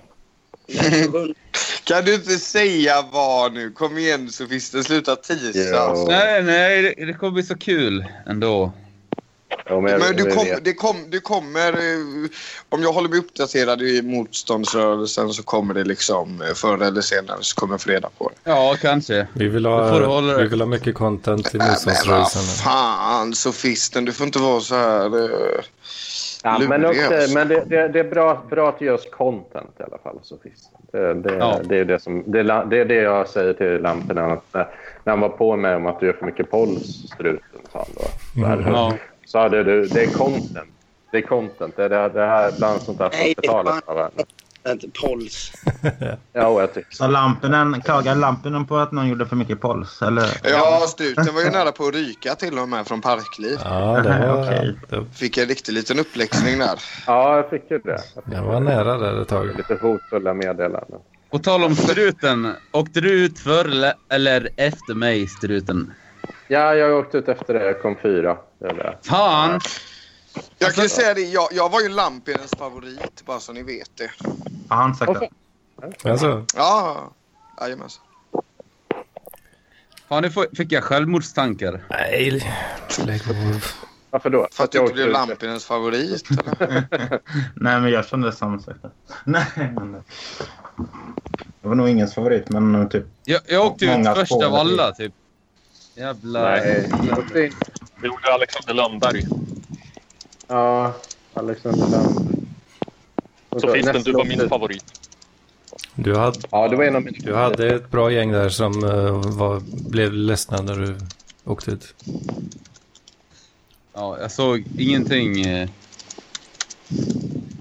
Speaker 6: 27.
Speaker 1: Kan du inte säga vad nu? Kom igen sofisten, sluta tisa.
Speaker 8: Ja.
Speaker 3: Nej, nej, det, det kommer bli så kul ändå.
Speaker 8: Ja, men jag-
Speaker 1: Men du,
Speaker 8: jag
Speaker 1: kom,
Speaker 8: vet.
Speaker 1: det kom, du kommer... eh, Om jag håller mig uppdaterad i motståndsrörelsen så kommer det liksom eh, förr eller senare så kommer fredag på det.
Speaker 3: Ja, kanske.
Speaker 2: Vi vill
Speaker 3: Då får du hålla
Speaker 2: ha,
Speaker 3: dig.
Speaker 2: vi vill ha mycket content till
Speaker 1: Men vad
Speaker 2: motståndsrörelsen.
Speaker 1: fan sofisten, du får inte vara så här... eh,
Speaker 8: Ja, men
Speaker 1: lurig,
Speaker 8: också,
Speaker 1: alltså.
Speaker 8: men det, det, det är bra, bra att det görs content i alla fall. Så finns det. Det, det,
Speaker 3: Ja.
Speaker 8: det, är det, som, det, är la- det är det jag säger till Lamporna. att När, när han var på mig om att du gör för mycket polls, struten, sa han då. Så här,
Speaker 2: Mm.
Speaker 3: Ja.
Speaker 8: Så hade du, det är content. Det är content. Det, det, det här bland sånt där
Speaker 6: Nej,
Speaker 8: får
Speaker 6: det är
Speaker 8: betalas
Speaker 6: fan-
Speaker 8: av en.
Speaker 6: Inte Pols.
Speaker 8: Ja, och jag tycker
Speaker 5: Så lamporna, klagade lamporna på att någon gjorde för mycket pols? Eller?
Speaker 1: Ja, struten var ju nära på att ryka till och med från Parkliv.
Speaker 2: Ja, det var,
Speaker 5: Okej.
Speaker 2: det,
Speaker 1: Fick en riktig liten uppläxning där.
Speaker 8: Ja, jag tycker det. Jag
Speaker 2: det
Speaker 8: tycker
Speaker 2: var nära där ett tag.
Speaker 8: Lite hotfulla meddelanden.
Speaker 3: På tal om struten. Åkte du ut före eller- eller efter mig, struten?
Speaker 8: Ja, jag åkte ut efter det. Jag kom fyra. Det är det.
Speaker 3: Fan!
Speaker 1: Jag kan ju säga det, jag, jag var ju Lampinens favorit, bara så ni vet det.
Speaker 5: Har han sagt det?
Speaker 2: Alltså,
Speaker 1: Ja, jajamensan.
Speaker 3: Fan, nu får- fick jag självmordstankar.
Speaker 2: nej. Lägg av.
Speaker 8: Varför då?
Speaker 1: För att du
Speaker 8: jag
Speaker 1: inte
Speaker 8: åkte
Speaker 1: blev
Speaker 8: ut-
Speaker 1: Lampinens favorit. Eller?
Speaker 5: Nej, men jag kände samma sak. där. Nej, men... Det var nog ingens favorit, men eh, typ...
Speaker 3: Jag, jag åkte ut
Speaker 5: Många
Speaker 3: först
Speaker 5: spår. Eh,
Speaker 3: av alla, typ. Jävla...
Speaker 8: Nej, jag åkte in
Speaker 4: Det gjorde Alexander Lönnberg.
Speaker 8: Ja, Alexander Lund. Och
Speaker 4: Så finns det du var min
Speaker 8: nästa-
Speaker 4: favorit.
Speaker 2: Du hade,
Speaker 8: Ja, det var en av mina.
Speaker 2: du hade ett bra gäng där som eh, var, blev ledsna när du åkte ut.
Speaker 3: Ja, jag såg ingenting. eh.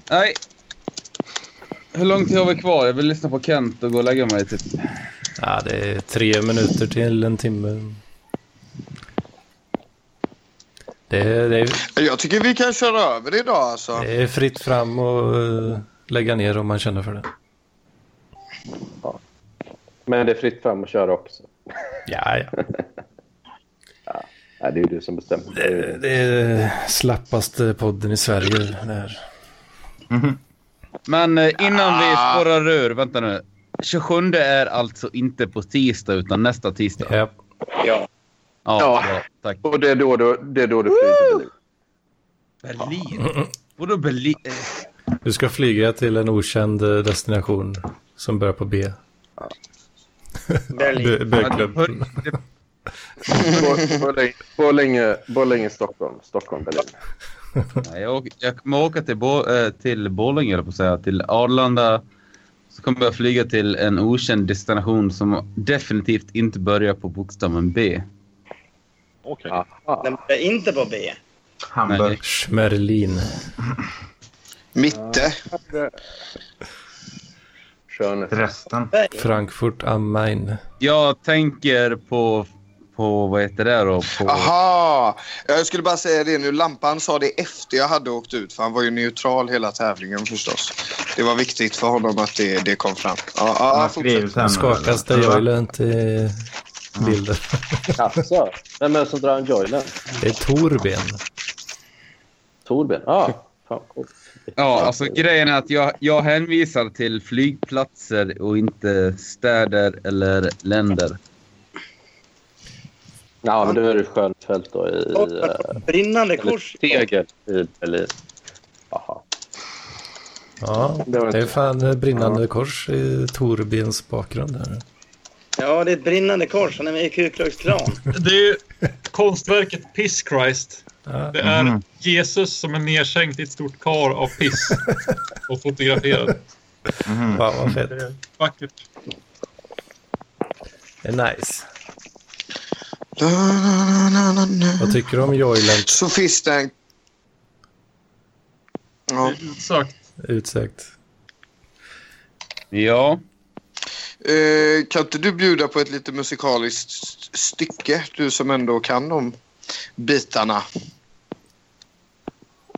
Speaker 3: Nej. Hur lång tid har vi kvar? Jag vill lyssna på Kent och gå och lägga mig. Typ.
Speaker 2: Ja, det är tre minuter till en timme. Det är, det är,
Speaker 1: Jag tycker vi kan köra över det idag alltså.
Speaker 2: det är fritt fram och eh, lägga ner om man känner för det.
Speaker 8: Men det är fritt fram att köra också.
Speaker 2: Ja, ja.
Speaker 8: Nej, det är ju du som bestämmer. Det är ju-
Speaker 2: Det, det är slappaste podden i Sverige. det här.
Speaker 3: Men eh, innan vi
Speaker 4: Ah.
Speaker 3: spårar ur. Vänta nu. 27 är alltså inte på tisdag utan nästa tisdag. Ja,
Speaker 2: Ja.
Speaker 8: Ja.
Speaker 3: bra. tack.
Speaker 8: Och det är då du, det är då du flyger. till Berlin.
Speaker 3: Berlin? Vadå Berlin? Eh,
Speaker 2: Du ska flyga till en okänd eh, destination som börjar på B.
Speaker 6: Berlin.
Speaker 2: B- B-klubben.
Speaker 8: Bo- Borlänge- Borlänge, Borlänge, Stockholm. Stockholm, Berlin.
Speaker 3: Nej, jag, åker- jag kommer åka till, Bo, eh, till Borlänge, eller på att säga. Till Arlanda. Så kommer jag flyga till en okänd destination som definitivt inte börjar på bokstaven B.
Speaker 4: Okej.
Speaker 8: Aha.
Speaker 6: Den är inte på B.
Speaker 5: Hamburg.
Speaker 3: Nej.
Speaker 2: Schmerlin.
Speaker 1: Mitte.
Speaker 8: Schöne.
Speaker 5: Resten.
Speaker 2: Frankfurt am Main.
Speaker 3: Jag tänker på, på vad heter det då? På,
Speaker 1: Aha! Jag skulle bara säga det nu. Lampan sa det efter jag hade åkt ut. För han var ju neutral hela tävlingen förstås. Det var viktigt för honom att det, det kom fram. Ja,
Speaker 5: Han
Speaker 1: ja,
Speaker 5: har
Speaker 1: fortsätt.
Speaker 5: skrivit sen.
Speaker 2: Skakas det joylent i bilden?
Speaker 8: Jaså? Alltså. Vem är det som drar en joylen?
Speaker 2: Det är Torben.
Speaker 8: Torben? Ja. Fan, coolt.
Speaker 3: ja, alltså grejen är att jag, jag hänvisar till flygplatser och inte städer eller länder.
Speaker 8: Ja, men då är det Schönfeldt då i... eh,
Speaker 6: Brinnande kors.
Speaker 8: Eller Tegel i Berlin. Jaha.
Speaker 2: Ja,
Speaker 8: Det var
Speaker 2: det är
Speaker 8: inte-
Speaker 2: fan eh, brinnande kors i Torbens bakgrund här.
Speaker 6: Ja, det är ett brinnande kors. Han är med i Ku Klux Klan.
Speaker 9: Det är ju konstverket Piss Christ.
Speaker 2: Ja.
Speaker 9: Det är
Speaker 3: Mm.
Speaker 5: Mhm.
Speaker 9: Jesus som är nedsänkt i ett stort kar av piss och fotograferad.
Speaker 3: Mm.
Speaker 5: Mhm.
Speaker 2: Wow, vad fett.
Speaker 9: Det är vackert.
Speaker 2: Det är nice.
Speaker 1: Na, na, na, na, na.
Speaker 2: Vad tycker du om Joylent?
Speaker 1: Sofisten.
Speaker 9: Det
Speaker 1: Ja.
Speaker 9: är utsökt.
Speaker 2: Utsökt.
Speaker 3: Ja,
Speaker 1: Eh, kan inte du bjuda på ett lite musikaliskt st- stycke? Du som ändå kan de bitarna.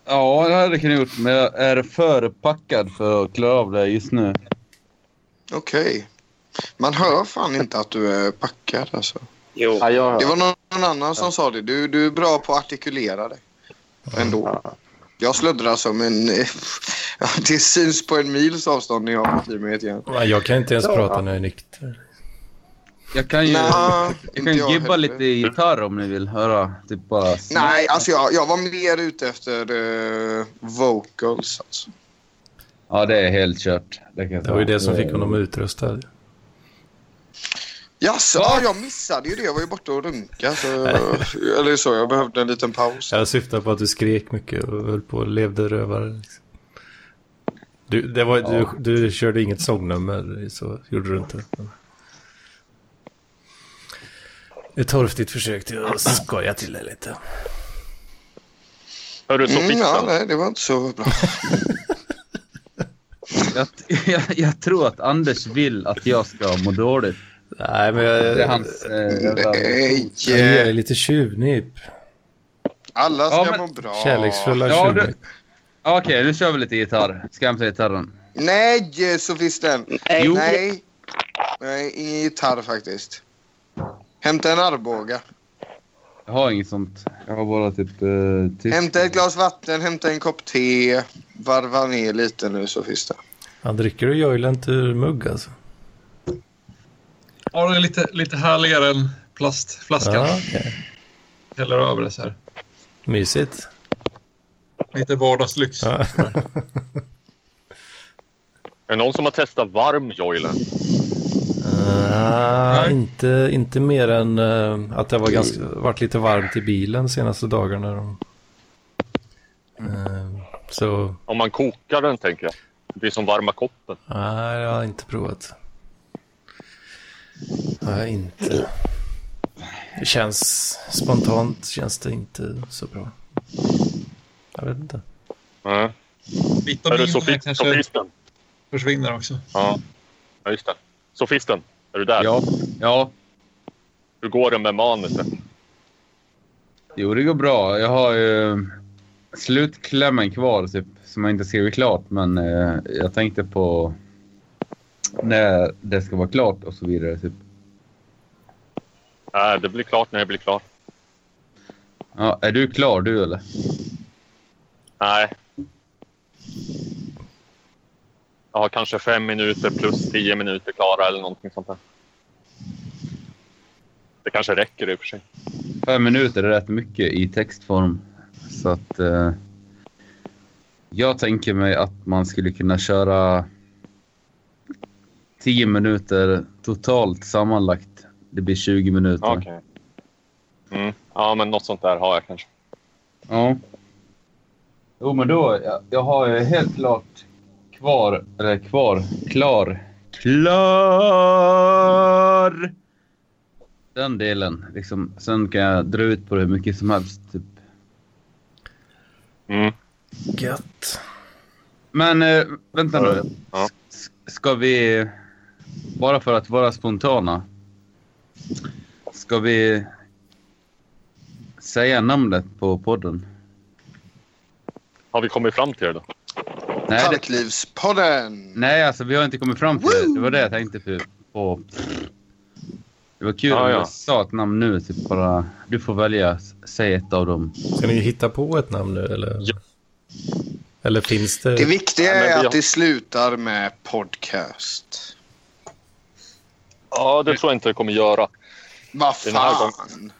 Speaker 3: ja det hade jag kunnat gjort, men jag är för packad för att klara av det just nu.
Speaker 1: Okej. Man hör fan inte att du är packad alltså.
Speaker 7: Jo.
Speaker 8: Ja, jag hör.
Speaker 1: Det var någon annan som sa det. Du, du är bra på att artikulera dig. Ändå. Jag sluddrar som en... Ja, det syns på en mils avstånd när jag har fått i mig ett järn.
Speaker 2: Nej, Jag kan inte ens
Speaker 8: Ja.
Speaker 2: prata när jag är nykter.
Speaker 3: Jag kan ju,
Speaker 1: Nej,
Speaker 3: jag kan ju
Speaker 1: jag
Speaker 3: gibba
Speaker 1: heller.
Speaker 3: lite gitarr om ni vill höra. Typ bara...
Speaker 1: Nej, alltså jag, jag var mer ute efter eh, vocals. Alltså.
Speaker 3: Ja, det är helt kört. Det, kan jag
Speaker 2: Det var ju
Speaker 3: säga.
Speaker 2: det som fick honom utrustad.
Speaker 1: Jaså, ja, jag missade ju det. Jag var ju borta och runka. Så, eller så, jag behövde en liten paus.
Speaker 2: Jag syftar på att du skrek mycket och höll på och levde rövare. Liksom. Du, det var, du, du körde inget sångnummer, så gjorde du inte. Men... Ett torftigt försök till att skoja till det lite.
Speaker 4: Hör du så
Speaker 1: Mm, ja,
Speaker 4: fixen?
Speaker 1: nej, det var inte så bra.
Speaker 3: Jag, jag, jag tror att Anders vill att jag ska må dåligt.
Speaker 2: Nej, men jag,
Speaker 3: Det är hans... Eh, jävla-
Speaker 1: Nej,
Speaker 2: jag ger dig lite tjuvnyp.
Speaker 1: alla ska
Speaker 3: Ja, men-
Speaker 1: må bra.
Speaker 2: Kärleksfulla
Speaker 3: Ja, du-
Speaker 2: tjuvnyp.
Speaker 3: Ja, Okej, nu kör vi lite gitarr. Skämta gitarren.
Speaker 1: Nej, sofisten.
Speaker 6: Nej,
Speaker 3: Jo.
Speaker 1: Nej. Nej, ingen gitarr faktiskt. Hämta en armbåga.
Speaker 3: Jag har inget sånt. Jag har bara typ... Eh, tyst.
Speaker 1: Hämta ett glas vatten, hämta en kopp te. Varva ner lite nu, sofisten.
Speaker 2: Han dricker du joilent ur mugg alltså?
Speaker 9: Ja, det är lite, lite härligare än plastflaskan.
Speaker 2: Ja, okej.
Speaker 9: Häller över det så här.
Speaker 2: Mysigt.
Speaker 9: Lite vardagslyx.
Speaker 2: Ja.
Speaker 4: Är det någon som har testat varm joilen?
Speaker 2: Ah,
Speaker 9: Nej.
Speaker 2: inte, inte mer än eh, att det var ganska, varit lite varmt i bilen senaste dagarna. De, Eh, så
Speaker 4: Om man kokar den, tänker jag. Det blir som varma koppen.
Speaker 2: nej, jag har inte provat. Jag har inte. Det känns spontant känns det inte så bra. Jag vet inte.
Speaker 4: Mm. Är du
Speaker 9: Vitaminerna
Speaker 4: sofist,
Speaker 9: kanske
Speaker 4: sofisten?
Speaker 9: försvinner också.
Speaker 4: Ja. ja, just det. Sofisten, är du där?
Speaker 3: Ja. Ja.
Speaker 4: Hur går det med manuset?
Speaker 3: Jo, det går bra. Jag har ju eh, slutklämmen kvar typ, som jag inte skrivit klart. Men eh, jag tänkte på när det ska vara klart och så vidare. Typ.
Speaker 4: Nej, det blir klart när det blir klart.
Speaker 3: Ja, är du klar du eller?
Speaker 4: Nej. Jag har kanske fem minuter plus tio minuter klara eller någonting sånt där. Det kanske räcker i och för sig.
Speaker 3: Fem minuter är rätt mycket i textform. Så att eh, jag tänker mig att man skulle kunna köra tio minuter totalt sammanlagt. Det blir 20 minuter.
Speaker 4: Okej. Mm. Ja, men något sånt där har jag kanske.
Speaker 3: Ja. Jo, men då. Jag, jag har ju helt klart kvar, eller kvar, klar. Klar! Den delen. Liksom. Sen kan jag dra ut på det hur mycket som helst. Typ.
Speaker 4: Mm.
Speaker 2: Gött.
Speaker 3: Men eh, vänta nu.
Speaker 4: Ja.
Speaker 3: S- Ska vi, bara för att vara spontana, ska vi säga namnet på podden?
Speaker 4: Har vi kommit fram till det då?
Speaker 3: Nej, det,
Speaker 1: Parklivspodden!
Speaker 3: Nej, alltså vi har inte kommit fram till det. Det var det jag tänkte på. på. Det var kul
Speaker 4: Ja,
Speaker 3: om
Speaker 4: ja.
Speaker 3: jag sa ett namn nu. Typ bara, du får välja. S- Säg ett av dem.
Speaker 2: Ska ni hitta på ett namn nu eller?
Speaker 4: Ja.
Speaker 2: Eller finns det?
Speaker 1: Det viktiga
Speaker 4: Ja, men
Speaker 1: är
Speaker 4: vi-
Speaker 1: att det slutar med podcast.
Speaker 4: Ja, det tror jag inte det kommer göra.
Speaker 1: Vad
Speaker 4: Den här
Speaker 1: fan!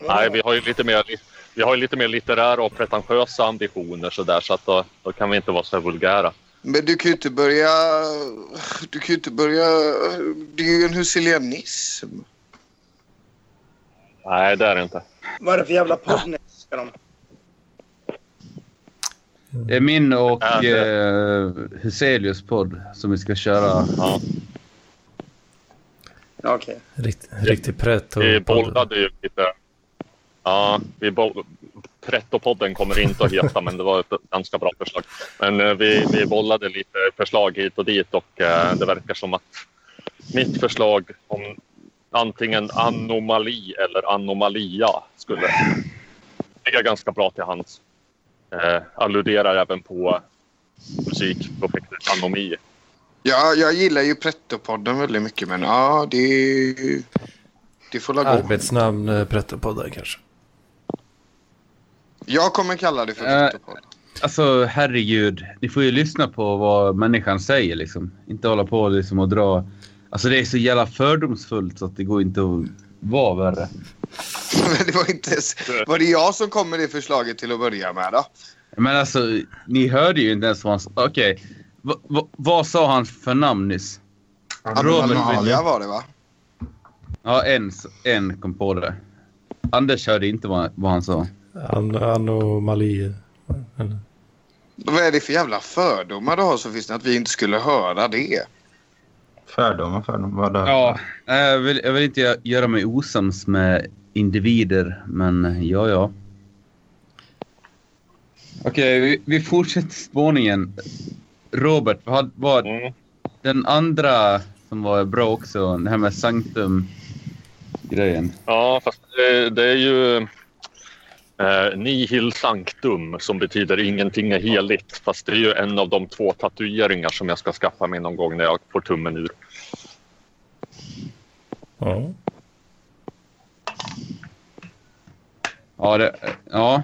Speaker 4: Nej, vi har ju lite mer, vi har ju lite mer litterära och pretentiösa ambitioner så där, så att då, då kan vi inte vara så här vulgära.
Speaker 1: Men du kan ju inte börja... Du kan ju inte börja... Det är ju en husilianism.
Speaker 4: Nej, det är det inte.
Speaker 6: Vad är det för jävla podd ska de?
Speaker 3: Det är min och
Speaker 4: Ja, det-
Speaker 3: eh, Huselius podd som vi ska köra.
Speaker 4: Ja,
Speaker 6: Ja, Okej.
Speaker 2: Rikt, riktigt prätt och...
Speaker 4: vi bollade ju lite. Ja, vi boll... Pretto-podden kommer inte att heta, men det var ett ganska bra förslag. Men eh, vi, vi bollade lite förslag hit och dit och eh, det verkar som att mitt förslag om antingen anomali eller anomalia skulle ligga ganska bra till hands. Eh, alluderar även på musikprojektet Anomi.
Speaker 1: Ja, jag gillar ju Pretto-podden väldigt mycket, men ja, det, det får la gå.
Speaker 2: Arbetsnamn eh, prettopoddar kanske.
Speaker 1: Jag kommer kalla det för
Speaker 3: Eh,
Speaker 1: Pretto-podden.
Speaker 3: Alltså herregud, ni får ju lyssna på vad människan säger liksom. Inte hålla på liksom och dra... Alltså det är så jävla fördomsfullt så att det går inte att vara värre.
Speaker 1: Men det var inte ens... Var det jag som kom med det förslaget till att börja med då?
Speaker 3: Men alltså, ni hörde ju inte ens vad han sa. Okej, Va- va- vad sa han för namn nyss?
Speaker 1: Animalia var det va?
Speaker 3: Ja, en, s- en kom på det. Anders hörde inte vad, vad han sa.
Speaker 2: An- anomali.
Speaker 1: Vad är det för jävla fördomar du har som finns det att vi inte skulle höra det?
Speaker 5: Fördomar, fördomar. Vad då?
Speaker 3: Ja, nej, jag vill, jag vill inte gö- göra mig osams med individer, men ja, ja. Okej, vi, vi fortsätter spåningen. Robert, vad var
Speaker 4: Mm.
Speaker 3: den andra som var bra också? Det här med Sanctum-grejen.
Speaker 4: Ja, fast eh, det är ju eh, nihil sanctum som betyder ingenting är heligt. Fast det är ju en av de två tatueringar som jag ska skaffa mig någon gång när jag får tummen ur.
Speaker 2: Ja.
Speaker 3: Ja, det, ja.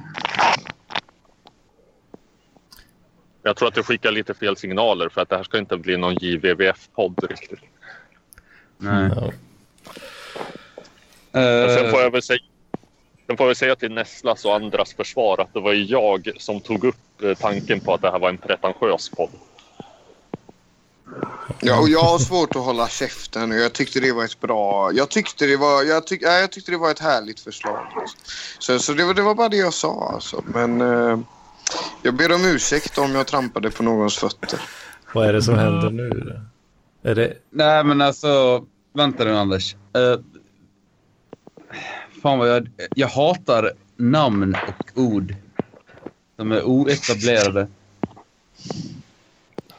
Speaker 4: Jag tror att du skickar lite fel signaler för att det här ska inte bli någon JVVF-podd riktigt.
Speaker 3: Nej.
Speaker 4: Men
Speaker 3: Eh,
Speaker 4: sen får jag väl säga, sen får jag väl säga till Nesslas och andras försvar att det var ju jag som tog upp eh, tanken på att det här var en pretentiös podd.
Speaker 1: Ja, och jag har svårt att hålla käften och jag tyckte det var ett bra... Jag tyckte det var, jag tyck, nej, jag tyckte det var ett härligt förslag. alltså. Så, så det, var, det var bara det jag sa alltså. Men eh, jag ber om ursäkt om jag trampade på någons fötter.
Speaker 2: Vad är det som händer nu? då? Är det...
Speaker 3: Nej, men alltså... Vänta nu, Anders. Eh, fan vad jag... Jag hatar namn och ord som är oetablerade.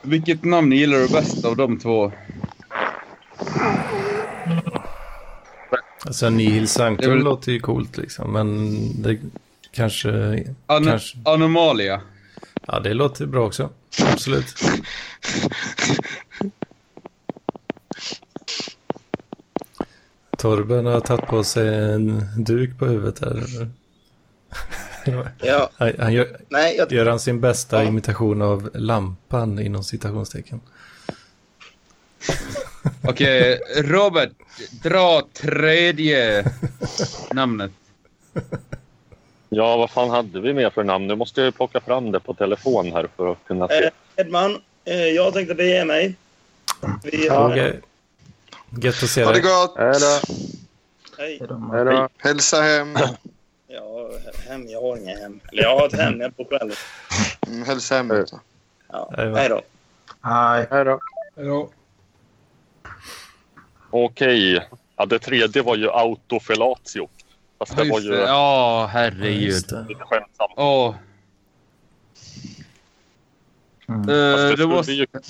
Speaker 3: Vilket namn gillar du bäst av de två?
Speaker 2: Alltså Nihil Sanctum
Speaker 3: Det är väl-
Speaker 2: låter ju coolt liksom, men det kanske...
Speaker 3: An-
Speaker 2: kanske...
Speaker 3: Anomalia.
Speaker 2: Ja, det låter bra också. Absolut. Torben har tagit på sig en duk på huvudet här.
Speaker 6: Ja,
Speaker 2: Han, han gör,
Speaker 6: nej, jag,
Speaker 2: gör han sin bästa imitation av lampan inom citationstecken.
Speaker 3: Okej, Robert. Dra tredje namnet.
Speaker 4: Ja, vad fan hade vi mer för namn? Nu måste jag ju plocka fram det på telefon här för att kunna se.
Speaker 6: eh, Edman, eh, jag tänkte bege mig. Vi har...
Speaker 2: Okej. Gött att se
Speaker 1: Ha det
Speaker 2: dig.
Speaker 1: gott!
Speaker 8: Hej då.
Speaker 6: Hej.
Speaker 8: Hej då.
Speaker 1: Hälsa hem!
Speaker 6: Ja, hem. Jag har inga hem. Eller jag har ett hem, jag bor själv.
Speaker 1: Mm, Hälsa hem.
Speaker 8: Hej.
Speaker 6: Ja.
Speaker 2: Hej då.
Speaker 6: Hej då.
Speaker 5: Aj.
Speaker 8: Hej då.
Speaker 9: Ja,
Speaker 4: Okej. Ja, det tredje var ju autofellatio. Fast det var
Speaker 3: Just
Speaker 4: ju
Speaker 3: det. Ja,
Speaker 2: Ja, just
Speaker 3: herregud.
Speaker 2: det.
Speaker 4: lite skämtsamt.
Speaker 3: Åh.
Speaker 5: Mm.
Speaker 3: Eh,
Speaker 4: Fast det,
Speaker 3: det
Speaker 4: skulle
Speaker 3: måste...
Speaker 4: ju kunna,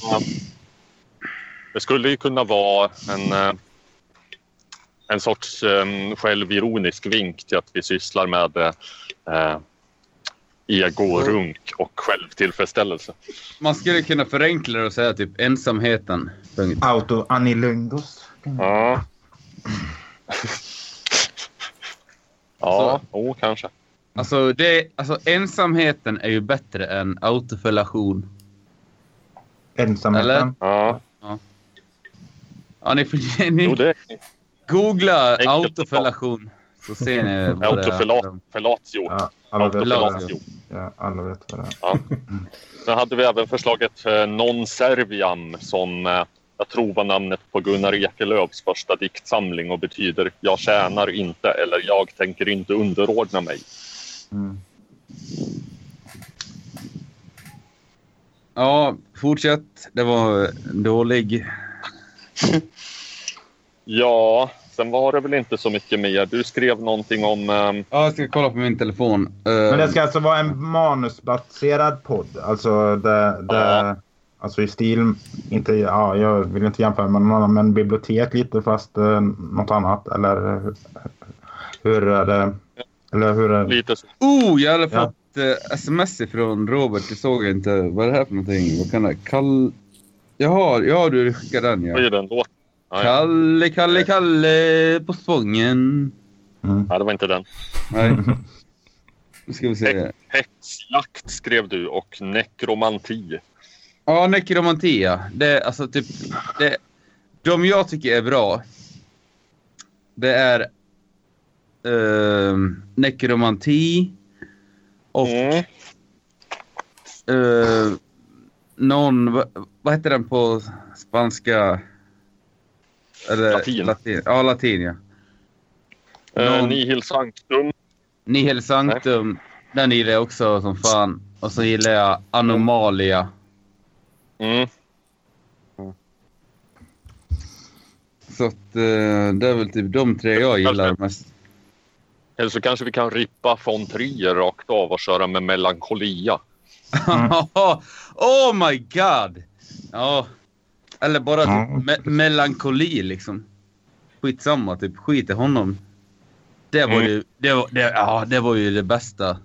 Speaker 4: det skulle ju kunna vara en, eh, en sorts eh, självironisk vink till att vi sysslar med eh, egorunk och självtillfredsställelse.
Speaker 3: Man skulle kunna förenkla det och säga typ ensamheten. Punkt.
Speaker 5: Auto anilungos.
Speaker 4: Ja. Ja, jo, kanske.
Speaker 3: Alltså, det, alltså ensamheten är ju bättre än autofellation.
Speaker 5: Ensamheten.
Speaker 3: Eller?
Speaker 4: Ja,
Speaker 3: Ja, ni får ni
Speaker 4: jo, det
Speaker 3: googla
Speaker 4: Enkelt och
Speaker 3: autofellation så ser ni
Speaker 4: är
Speaker 3: vad det är.
Speaker 4: autofellatio.
Speaker 5: Ja, alla vet vad det är.
Speaker 4: Autofellatio.
Speaker 5: Ja, alla vet vad det är.
Speaker 4: Sen hade vi även förslaget eh, Non Serviam som eh, jag tror var namnet på Gunnar Ekelöfs första diktsamling och betyder Jag tjänar inte eller Jag tänker inte underordna mig.
Speaker 5: Mm.
Speaker 3: Ja, fortsätt. Det var dålig.
Speaker 4: Ja, sen var det väl inte så mycket mer. Du skrev någonting om... eh,
Speaker 3: Ja, jag ska kolla på min telefon. Eh,
Speaker 5: Men det ska alltså vara en manusbaserad podd. Alltså, där, där, alltså i stil, inte, ja, jag vill inte jämföra med någon annan, men bibliotek lite fast eh, något annat. Eller hur- hur är det? Eller hur är det?
Speaker 4: Lite så.
Speaker 3: Oh, jag hade
Speaker 5: Ja.
Speaker 3: fått eh, sms ifrån Robert. Det såg jag inte. Vad är det här för någonting? Vad kan det Kall... Jaha, ja du skickar den
Speaker 4: Vad är
Speaker 3: ja.
Speaker 4: den låten? Nej,
Speaker 3: Kalle, Kalle, Kalle på Spången.
Speaker 4: nej, det var inte den.
Speaker 3: Nej. Nu ska vi se.
Speaker 4: Häxjakt skrev du och nekromanti.
Speaker 3: Ja, Necromantia. Det är alltså typ... Det, de jag tycker är bra, det är uh, Necromanti och
Speaker 4: Mm.
Speaker 3: eh, någon... va- Vad heter den på spanska? Eller,
Speaker 4: Latin.
Speaker 3: Ja, latin ja.
Speaker 4: Eh,
Speaker 3: Någon-
Speaker 4: Nihil Sanctum.
Speaker 3: Nihil Sanctum. Den gillar jag också som fan. Och så gillar jag Anomalia.
Speaker 4: Mm.
Speaker 3: Så att, eh, det är väl typ de tre jag gillar mest.
Speaker 4: Eller så kanske vi kan rippa von Trier rakt av och köra med melankolia.
Speaker 3: oh my god! Ja. Eller bara
Speaker 5: Ja.
Speaker 3: typ me- melankoli liksom. Skitsamma, typ. Skit i honom. Det var
Speaker 4: Mm.
Speaker 3: ju det, var, det, ja, det, var ju det bästa.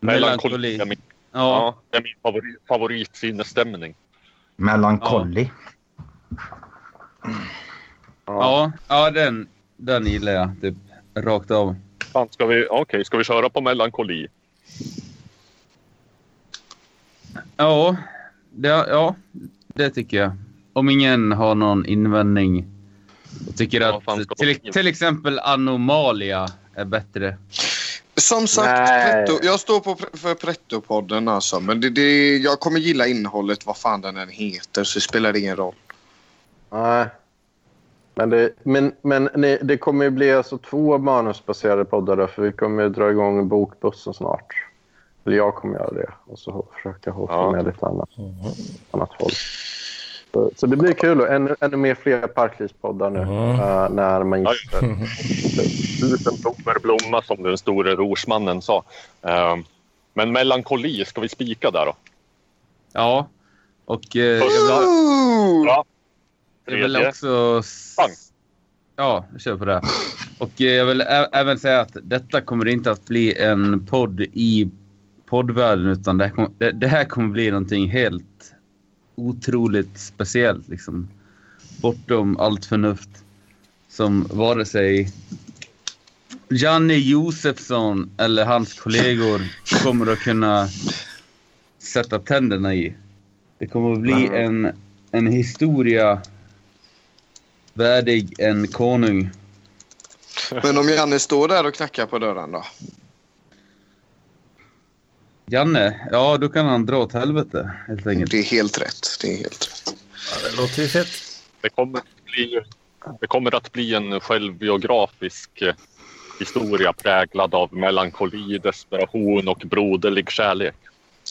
Speaker 3: Melankoli.
Speaker 4: är min,
Speaker 3: Ja.
Speaker 4: ja. det är min favorit, favoritsinnesstämning.
Speaker 5: Melancholy.
Speaker 3: Ja. ja, den, den gillar jag. Typ rakt av.
Speaker 4: Fan, ska vi, okej, ska vi köra på melankoli?
Speaker 3: Ja, det, ja, det tycker jag. Om ingen har någon invändning. Jag tycker
Speaker 4: Ja, fan, ska
Speaker 3: att till,
Speaker 4: de-
Speaker 3: till exempel Anomalia är bättre.
Speaker 1: Som sagt,
Speaker 8: Nej.
Speaker 1: pretto, jag står på, pre- för Pretto-podden alltså. Men det, det, jag kommer gilla innehållet, vad fan den än heter, så spelar det ingen roll.
Speaker 8: Nej. Men det, men, men ni, det kommer ju bli alltså två manusbaserade poddar då, för vi kommer ju dra igång bokbussen snart. Eller jag kommer göra det och så ho- försöka hoppa
Speaker 4: Ja.
Speaker 8: med lite annat, annat håll. Så, så det blir kul och ännu, ännu mer fler parklivspoddar nu
Speaker 2: Ja.
Speaker 8: eh, när man
Speaker 4: Ja,
Speaker 8: gissar.
Speaker 4: Tusen blommor blomma som den store rorsmannen sa. Ehm, men melankoli, ska vi spika där då?
Speaker 3: Ja, och eh, jag vill, ha-
Speaker 1: Ooh!
Speaker 4: Bra.
Speaker 3: jag vill
Speaker 4: Tredje.
Speaker 3: också... s-
Speaker 4: Pang.
Speaker 3: Ja, jag kör på det. Och eh, jag vill ä- även säga att detta kommer inte att bli en podd i poddvärlden utan det här kommer, det, det här kommer bli någonting helt otroligt speciellt liksom. Bortom allt förnuft som vare sig Janne Josefsson eller hans kollegor kommer att kunna sätta tänderna i. Det kommer att bli en, en historia värdig en konung.
Speaker 1: Men om Janne står där och knackar på dörren då?
Speaker 3: Janne, ja då kan han dra åt helvete helt enkelt.
Speaker 1: Det är helt rätt. Det är helt rätt.
Speaker 2: Det låter ju fett.
Speaker 4: Det kommer att bli, det kommer att bli en självbiografisk eh, historia präglad av melankoli, desperation och broderlig kärlek.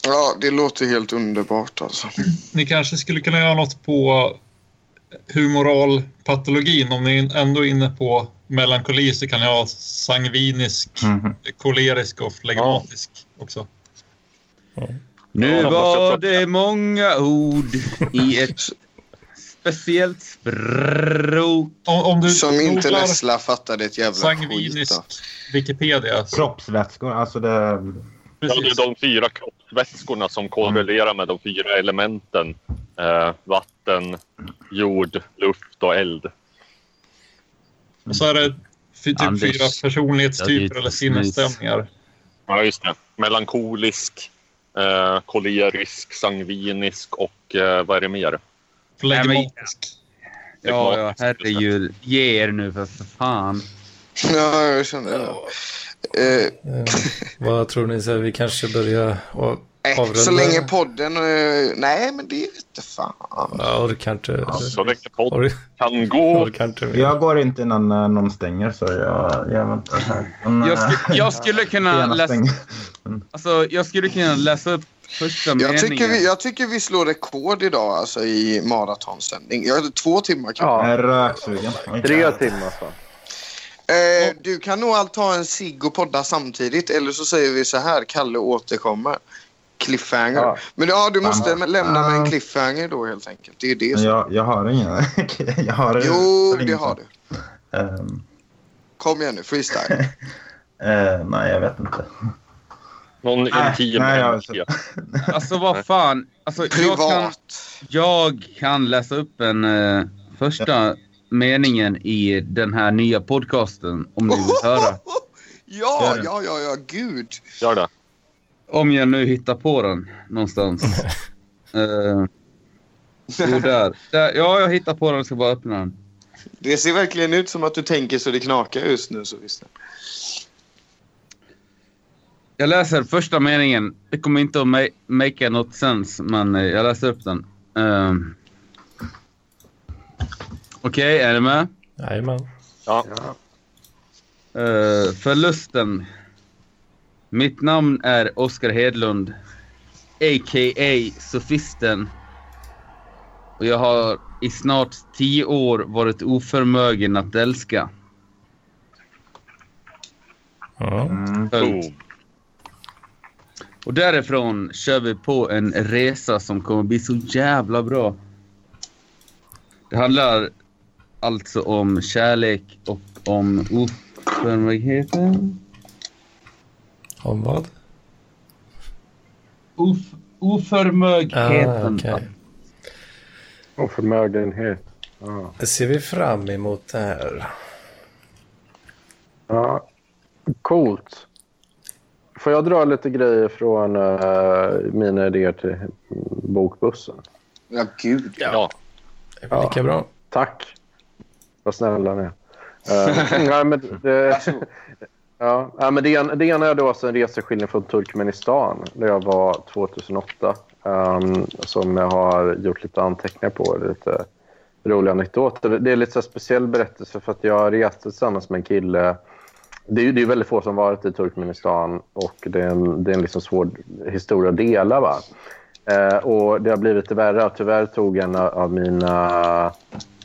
Speaker 1: Ja, det låter helt underbart alltså.
Speaker 9: Ni kanske skulle kunna göra något på humoralpatologin. Om ni ändå är inne på melankoli så kan jag ha sangvinisk,
Speaker 5: Mhm.
Speaker 9: kolerisk och flegmatisk också.
Speaker 3: Nu
Speaker 4: Ja,
Speaker 3: var
Speaker 4: jag tror-
Speaker 3: det många ord i ett speciellt språk.
Speaker 9: Om, om du
Speaker 1: Som inte
Speaker 9: googlar
Speaker 1: Nessla fattade ett jävla skit alltså.
Speaker 9: sangvinisk
Speaker 1: då.
Speaker 9: Wikipedia. så-
Speaker 5: Kroppsvätskor. Alltså det...
Speaker 4: Ja, det
Speaker 9: Precis.
Speaker 4: är de fyra kroppsvätskorna som korrelerar med de fyra elementen. Eh, vatten, jord, luft och eld.
Speaker 9: Och så är det fy- typ
Speaker 3: Anders.
Speaker 9: fyra
Speaker 3: Ja,
Speaker 9: personlighetstyper
Speaker 3: det är
Speaker 9: eller sinnesstämningar.
Speaker 4: Ja, just det. Melankolisk, eh, kolerisk, sangvinisk och eh, vad är det mer?
Speaker 3: men-
Speaker 9: Flegmatisk.
Speaker 3: Ja, ja, herregud. Ge er nu för, för fan.
Speaker 1: Ja, jag kände det. Eh,
Speaker 2: Eh, vad tror ni? Så här, vi kanske börjar av-
Speaker 1: nej,
Speaker 2: avrunda?
Speaker 1: så länge podden... eh, nej, men det vete fan.
Speaker 2: Jag orkar inte.
Speaker 4: Så länge podden
Speaker 2: Or-
Speaker 4: kan gå.
Speaker 2: orkar inte mer.
Speaker 5: Jag går inte innan eh, någon stänger så jag, jag väntar här. Men,
Speaker 3: Jag,
Speaker 5: eh,
Speaker 3: sku, jag skulle kunna
Speaker 5: gärna
Speaker 3: läsa,
Speaker 5: stäng.
Speaker 3: alltså, jag skulle kunna läsa upp första
Speaker 1: Jag
Speaker 3: meningen.
Speaker 1: tycker, vi, jag tycker vi slår rekord idag alltså, i maratonsändning. Jag, två timmar kanske.
Speaker 5: Jag
Speaker 8: Ja,
Speaker 5: är röksugen. Oj.
Speaker 8: tre timmar så.
Speaker 1: Eh, du kan nog allt ta en cigg och podda samtidigt eller så säger vi så här, Kalle återkommer. Cliffhanger.
Speaker 8: Ja.
Speaker 1: Men ja, du måste
Speaker 5: Ja.
Speaker 1: lämna med en
Speaker 5: Ja.
Speaker 1: cliffhanger då helt enkelt. Det är det
Speaker 5: Men
Speaker 1: som...
Speaker 5: Jag, jag har ingen. jag har
Speaker 1: Jo, det har du.
Speaker 5: Ehm,
Speaker 1: Kom igen nu, freestyle.
Speaker 5: eh, nej, jag vet inte.
Speaker 4: Någon
Speaker 5: Nej,
Speaker 4: intim
Speaker 5: nej, jag har
Speaker 4: hemlighet.
Speaker 3: Alltså vad fan. Alltså, jag, kan, jag kan läsa upp en eh, första meningen i den här nya podcasten om ni vill höra.
Speaker 1: Ja,
Speaker 3: Gör det.
Speaker 1: ja, ja, ja, gud.
Speaker 4: Gör det.
Speaker 3: Om jag nu hittar på den någonstans. Eh, jo, där. där. Ja, jag hittar på den. Jag ska bara öppna den.
Speaker 1: Det ser verkligen ut som att du tänker så det knakar just nu. Så visst.
Speaker 3: Jag läser första meningen. Det kommer inte att ma- make något sense, men eh, jag läser upp den. Ehm. Okej, är ni med?
Speaker 2: Jajamän.
Speaker 4: Ja.
Speaker 3: Eh, förlusten. Mitt namn är Oskar Hedlund, a.k.a. Sofisten. Och jag har i snart tio år varit oförmögen att älska.
Speaker 2: Ja.
Speaker 3: Punkt. Och därifrån kör vi på en resa som kommer bli så jävla bra. Det handlar alltså om kärlek och om oförmögenheten.
Speaker 2: Om vad?
Speaker 3: Of, oförmögenheten.
Speaker 2: Ah, okej.
Speaker 8: Och förmögenhet. Ja.
Speaker 2: Det ser vi fram emot det här.
Speaker 8: Ja, coolt. Får jag dra lite grejer från eh, mina idéer till mm, bokbussen?
Speaker 1: Ja, gud.
Speaker 4: Ja.
Speaker 2: Det är väl Lika bra.
Speaker 8: Tack. Vad snälla ni är. Eh, nej, men det, ja, nej, men det, en- det ena är då alltså en reseskildring från Turkmenistan där jag var 2008 ehm, som jag har gjort lite anteckningar på. Lite roliga anekdoter. Det är lite så här speciell berättelse för att jag reste tillsammans med en kille. Det är ju det är väldigt få som varit i Turkmenistan och det är en, det är en liksom svår historia att dela. Va? Eh, och det har blivit det värre. Tyvärr tog en av mina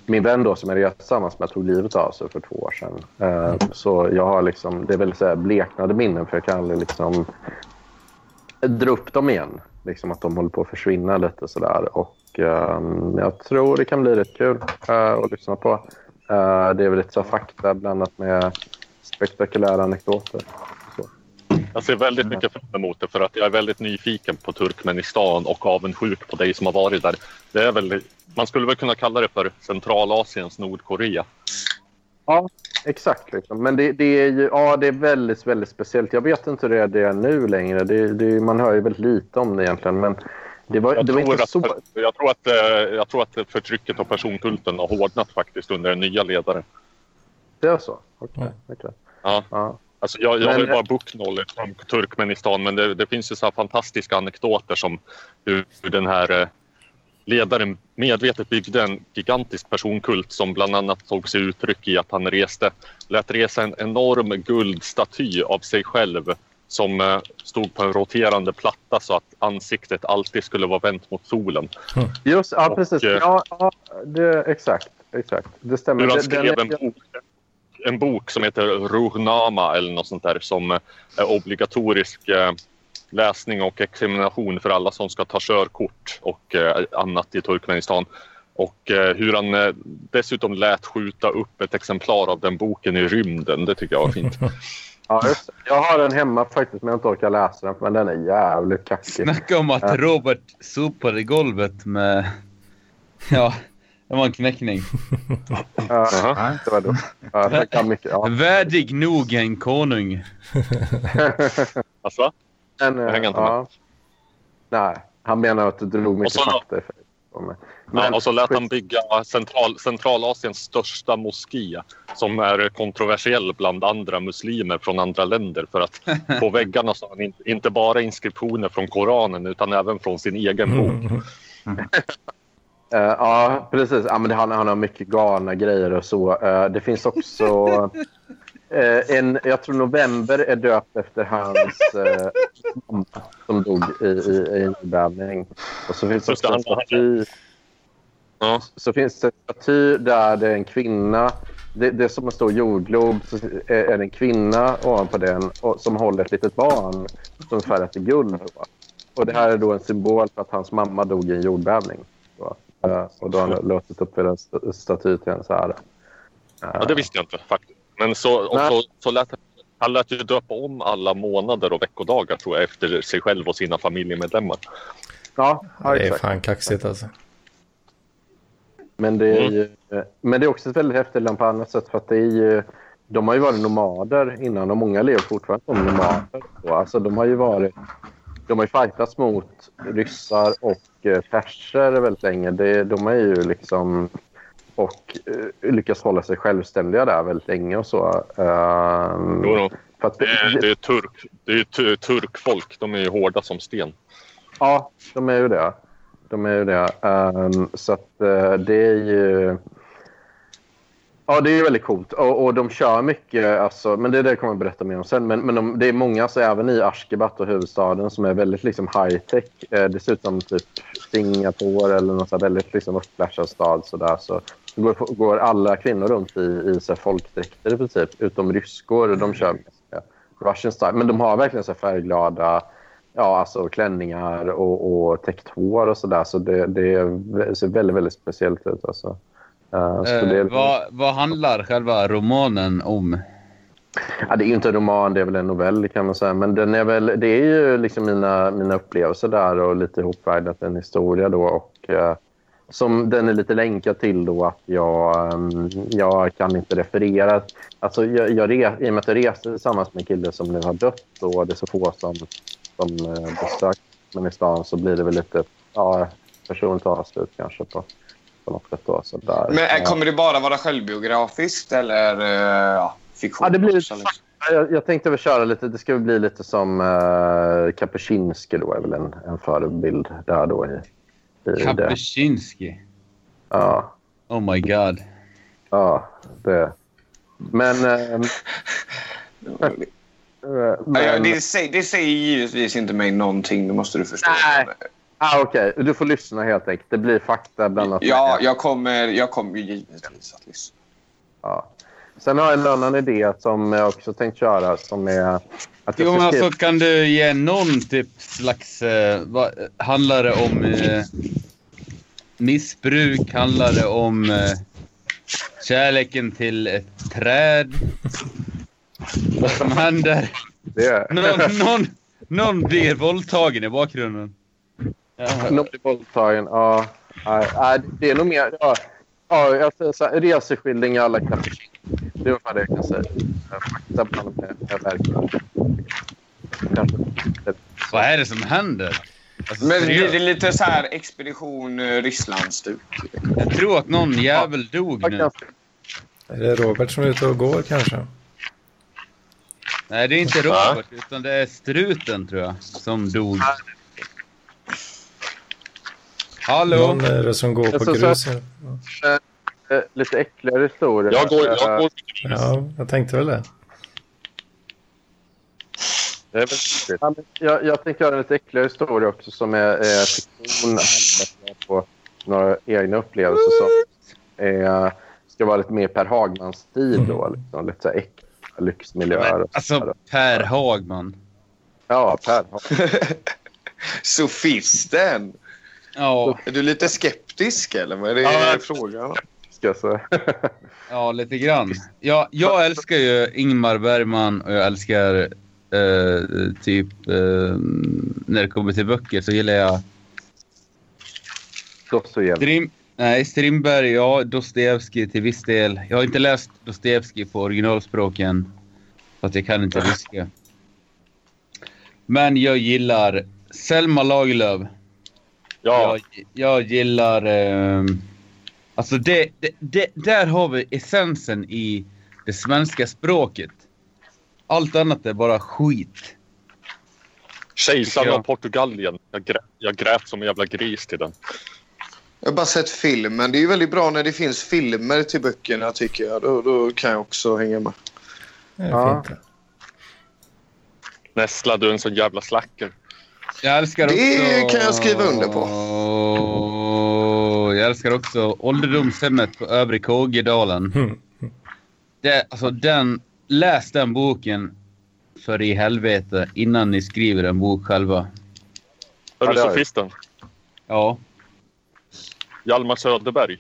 Speaker 8: min vän då som jag reste tillsammans med tog livet av sig för två år sedan. Eh, så jag har liksom, det är väl så här bleknade minnen för jag kan aldrig liksom dra upp dem igen. Liksom att de håller på att försvinna lite sådär. Och ehm, jag tror det kan bli rätt kul eh, att lyssna på. Eh, det är väl lite så här fakta blandat med spektakulära anekdoter.
Speaker 4: Jag ser väldigt
Speaker 8: Mm.
Speaker 4: mycket fram emot det för att jag är väldigt nyfiken på Turkmenistan och avundsjuk på dig som har varit där. Det är väl, man skulle väl kunna kalla det för Centralasiens Nordkorea.
Speaker 8: Exakt. Liksom. Men det, det är ju ja, det är väldigt, väldigt speciellt. Jag vet inte hur det är, det är nu längre. Det, det, man hör ju väldigt lite om det egentligen. Men det var,
Speaker 4: Jag,
Speaker 8: det var
Speaker 4: tror,
Speaker 8: inte
Speaker 4: att,
Speaker 8: så...
Speaker 4: jag, tror, att, eh, jag tror att förtrycket och personkulten har hårdnat faktiskt under den nya ledaren.
Speaker 8: Det är så? Okej. okej.
Speaker 4: Ja.
Speaker 8: Ja.
Speaker 4: Alltså jag, jag har ju
Speaker 8: Men-
Speaker 4: bara book knowledge om Turkmenistan men det, det finns ju så här fantastiska anekdoter som hur hur den här eh, ledaren medvetet byggde en gigantisk personkult som bland annat tog sig uttryck i att han reste, lät resa en enorm guldstaty av sig själv som eh, stod på en roterande platta så att ansiktet alltid skulle vara vänt mot solen.
Speaker 8: Mm. Just, ja,
Speaker 4: Och,
Speaker 8: precis.
Speaker 4: eh,
Speaker 8: Ja, ja, det, exakt, exakt. Det stämmer.
Speaker 4: Hur han
Speaker 8: Det-
Speaker 4: skrev
Speaker 8: den-
Speaker 4: en bok, en bok som heter Ruhnama eller något sånt där som eh, är obligatorisk eh, läsning och examination för alla som ska ta körkort och eh, annat i Turkmenistan. Och eh, hur han eh, dessutom lät skjuta upp ett exemplar av den boken i rymden. Det tycker jag var fint.
Speaker 8: Ja, just, det. jag har den hemma faktiskt, men jag har inte orkat läsa den. Men den är jävligt kackig.
Speaker 3: Snacka om att
Speaker 8: Ja.
Speaker 3: Robert sopade golvet med... Ja, det var en knäckning.
Speaker 8: Ja,
Speaker 4: Jaha.
Speaker 8: det var dumt. Ja, det kan mycket. Ja.
Speaker 3: Värdig nog en konung.
Speaker 4: Alltså,
Speaker 8: Men, eh,
Speaker 4: Jag hänger inte
Speaker 8: ja. Nej, han menar att du drog mycket
Speaker 4: Och så-
Speaker 8: fakta i fejk på mig.
Speaker 4: ja, och så lät han bygga central, Centralasiens största moské som är kontroversiell bland andra muslimer från andra länder för att på väggarna så har han in, inte bara inskriptioner från Koranen utan även från sin egen bok.
Speaker 8: Eh, ja, precis. Ja, men det, han, han har mycket galna grejer och så. Eh, det finns också... eh, en, jag tror november är döpt efter hans eh, mamma som dog i, i, i en jordbävning. Och så finns det
Speaker 4: Just det,
Speaker 8: också en
Speaker 4: han- han-
Speaker 8: staty.
Speaker 4: Ja.
Speaker 8: Så finns det en staty där det är en kvinna. Det, det är som en stor jordglob. Så är, är det en kvinna ovanpå den och, som håller ett litet barn som är färgat i guld. Då. Och det här är då en symbol för att hans mamma dog i en jordbävning. Då. Eh, och då har han låtit upp en st- staty till hennes ära.
Speaker 4: Ja, det visste jag inte faktiskt. Men så, och
Speaker 8: Nej.
Speaker 4: så, så lät han Han lät ju döpa om alla månader och veckodagar tror jag efter sig själv och sina familjemedlemmar.
Speaker 8: Ja, ja
Speaker 2: Det är
Speaker 8: exakt.
Speaker 2: fan kaxigt alltså.
Speaker 8: Men det
Speaker 4: Mm.
Speaker 8: är, ju, men det är också ett väldigt häftigt land på annat sätt. För att det är ju, de har ju varit nomader innan och många lever fortfarande som nomader. Så, Alltså, de har ju varit... De har ju fightats mot ryssar och eh, perser väldigt länge. Det, de är ju liksom... Och eh, lyckas hålla sig självständiga där väldigt länge och så. Ehm,
Speaker 4: Jo, då.
Speaker 8: för att
Speaker 4: Det, är-
Speaker 8: det,
Speaker 4: det är turk. Det är ju tu- turkfolk. De är ju hårda som sten.
Speaker 8: Ja, de är ju det. De är ju det. Ehm, så att eh, det är ju... Ja, det är ju väldigt coolt. Och, och de kör mycket, alltså, men det är det jag kommer att berätta mer om sen. Men, men de, det är många, så även i Ashgabat och huvudstaden, som är väldigt liksom, high-tech. Eh, det ser ut som typ Singapore eller någon så här väldigt liksom, uppflashad stad. Så där. Så, då går, går alla kvinnor runt i, i så här, folkdräkter i princip, utom ryskor. De kör
Speaker 3: Mm.
Speaker 8: med Russian style. Men de har verkligen så här, färgglada ja, alltså, klänningar och, och täckt hår och så där. Så det, det ser väldigt, väldigt speciellt ut. Alltså. Eh, så det
Speaker 3: Eh,
Speaker 8: är-
Speaker 3: vad, vad handlar själva romanen om?
Speaker 8: Ja, det är ju inte en roman, det är väl en novell kan man säga. Men den är väl, det är ju liksom mina, mina upplevelser där och lite ihopvärdat en historia då. Och, eh, som den är lite länkad till då att jag, ehm, jag kan inte referera. Alltså, jag, jag re, I och med att jag reste tillsammans med en kille som nu har dött och det är så få som, som eh, besökt men i stan så blir det väl lite ja, personligt avslut kanske på, på något sätt. Då, så där.
Speaker 1: Men
Speaker 8: Ja.
Speaker 1: eh, kommer det bara vara självbiografiskt eller eh, ja, fiktion?
Speaker 8: Ja, det blir
Speaker 1: också, liksom?
Speaker 8: Jag, jag tänkte väl köra lite, det ska väl bli lite som uh, Kapuscinski då är väl en, en förebild där då i, i det.
Speaker 3: Kapuscinski.
Speaker 8: Ja,
Speaker 3: Oh my god.
Speaker 8: ja, det. Men... ehm, eh,
Speaker 1: Ja, ja,
Speaker 8: men
Speaker 1: det, säger, det säger givetvis inte mig någonting, det måste du förstå.
Speaker 8: Nej. ah, Okej, du får lyssna helt enkelt. Det blir fakta bland annat.
Speaker 1: Ja, jag kommer, jag kommer ju givetvis att lyssna.
Speaker 8: Ja. Sen har jag en annan idé som jag också tänkt köra som är... Att jag
Speaker 3: Jo,
Speaker 8: ska
Speaker 3: men
Speaker 8: skriva-
Speaker 3: alltså, kan du ge någon typ slags... Eh, vad, handlar det om eh, missbruk? Handlar det om eh, kärleken till ett träd? Vad som händer?
Speaker 8: det.
Speaker 3: Någon, någon, någon blir våldtagen i bakgrunden. Ja.
Speaker 8: Någon blir våldtagen. Ja. Nej, nej, det är nog mer... Ja, ja, jag säger så här, reseskildring i alla kapitler. Det är ungefär det jag kan säga. Fakta bland de här verken. Kanske.
Speaker 3: Vad är det som händer? Alltså,
Speaker 1: Men blir
Speaker 3: seriöst,
Speaker 1: det lite så här expedition eh, Ryssland-stuk?
Speaker 3: jag tror att någon jävel dog nu.
Speaker 2: Är det Robert som är ute och går kanske?
Speaker 3: Nej, det är inte Robert, utan det är struten tror jag, som dog. Hallå?
Speaker 2: Någon är det som går
Speaker 8: Jag
Speaker 2: på
Speaker 8: sa Alltså, så
Speaker 2: grus. här.
Speaker 8: Eh, Lite äckligare historier. Eh,
Speaker 4: Jag går, jag går
Speaker 2: Ja, jag tänkte väl det.
Speaker 4: Det är väl riktigt.
Speaker 8: Ja, men Jag, jag tänker göra en lite äckligare historia också som är eh, fiktion. handlar på några egna upplevelser som eh, ska vara lite mer Per Hagman-stil. Då, liksom, lite så här äckliga lyxmiljöer. och så där.
Speaker 3: Alltså, Per Hagman.
Speaker 8: Ja, Per Hagman.
Speaker 1: Sofisten!
Speaker 3: Ja,
Speaker 1: Är du lite skeptisk eller vad är det
Speaker 8: Ja, men-
Speaker 1: frågan om?
Speaker 8: ska jag säga.
Speaker 3: ja lite grann. Ja, jag älskar ju Ingmar Bergman och jag älskar eh, typ eh, när det kommer till böcker så gillar jag
Speaker 8: Dostojevskij.
Speaker 3: Strim, nej, Strindberg, ja. Dostojevskij till viss del. Jag har inte läst Dostojevskij på originalspråken. För att jag kan inte ryska. Men jag gillar Selma Lagerlöf.
Speaker 4: Ja,
Speaker 3: Jag, jag gillar... ehm, alltså, det, det, det, där har vi essensen i det svenska språket. Allt annat är bara skit.
Speaker 4: Kejsaren
Speaker 3: Ja.
Speaker 4: av Portugalien. Jag grät, jag grät som en jävla gris till den.
Speaker 1: Jag har bara sett filmen. Det är ju väldigt bra när det finns filmer till böckerna tycker jag. Då, då kan jag också hänga med.
Speaker 2: Det är
Speaker 8: Ja.
Speaker 2: fint.
Speaker 4: Nästla, du är en sån jävla slacker.
Speaker 3: Jag älskar också...
Speaker 1: Det kan jag skriva under på.
Speaker 3: Jag älskar också ålderdomshemmet på Övre Kågedalen.
Speaker 4: Hmm.
Speaker 2: Mm.
Speaker 3: Det, alltså den, läs den boken för i helvete innan ni skriver en bok själva.
Speaker 4: Hör
Speaker 8: Ja,
Speaker 4: du
Speaker 8: det har jag.
Speaker 4: sofisten?
Speaker 3: Ja.
Speaker 4: Hjalmar Söderberg.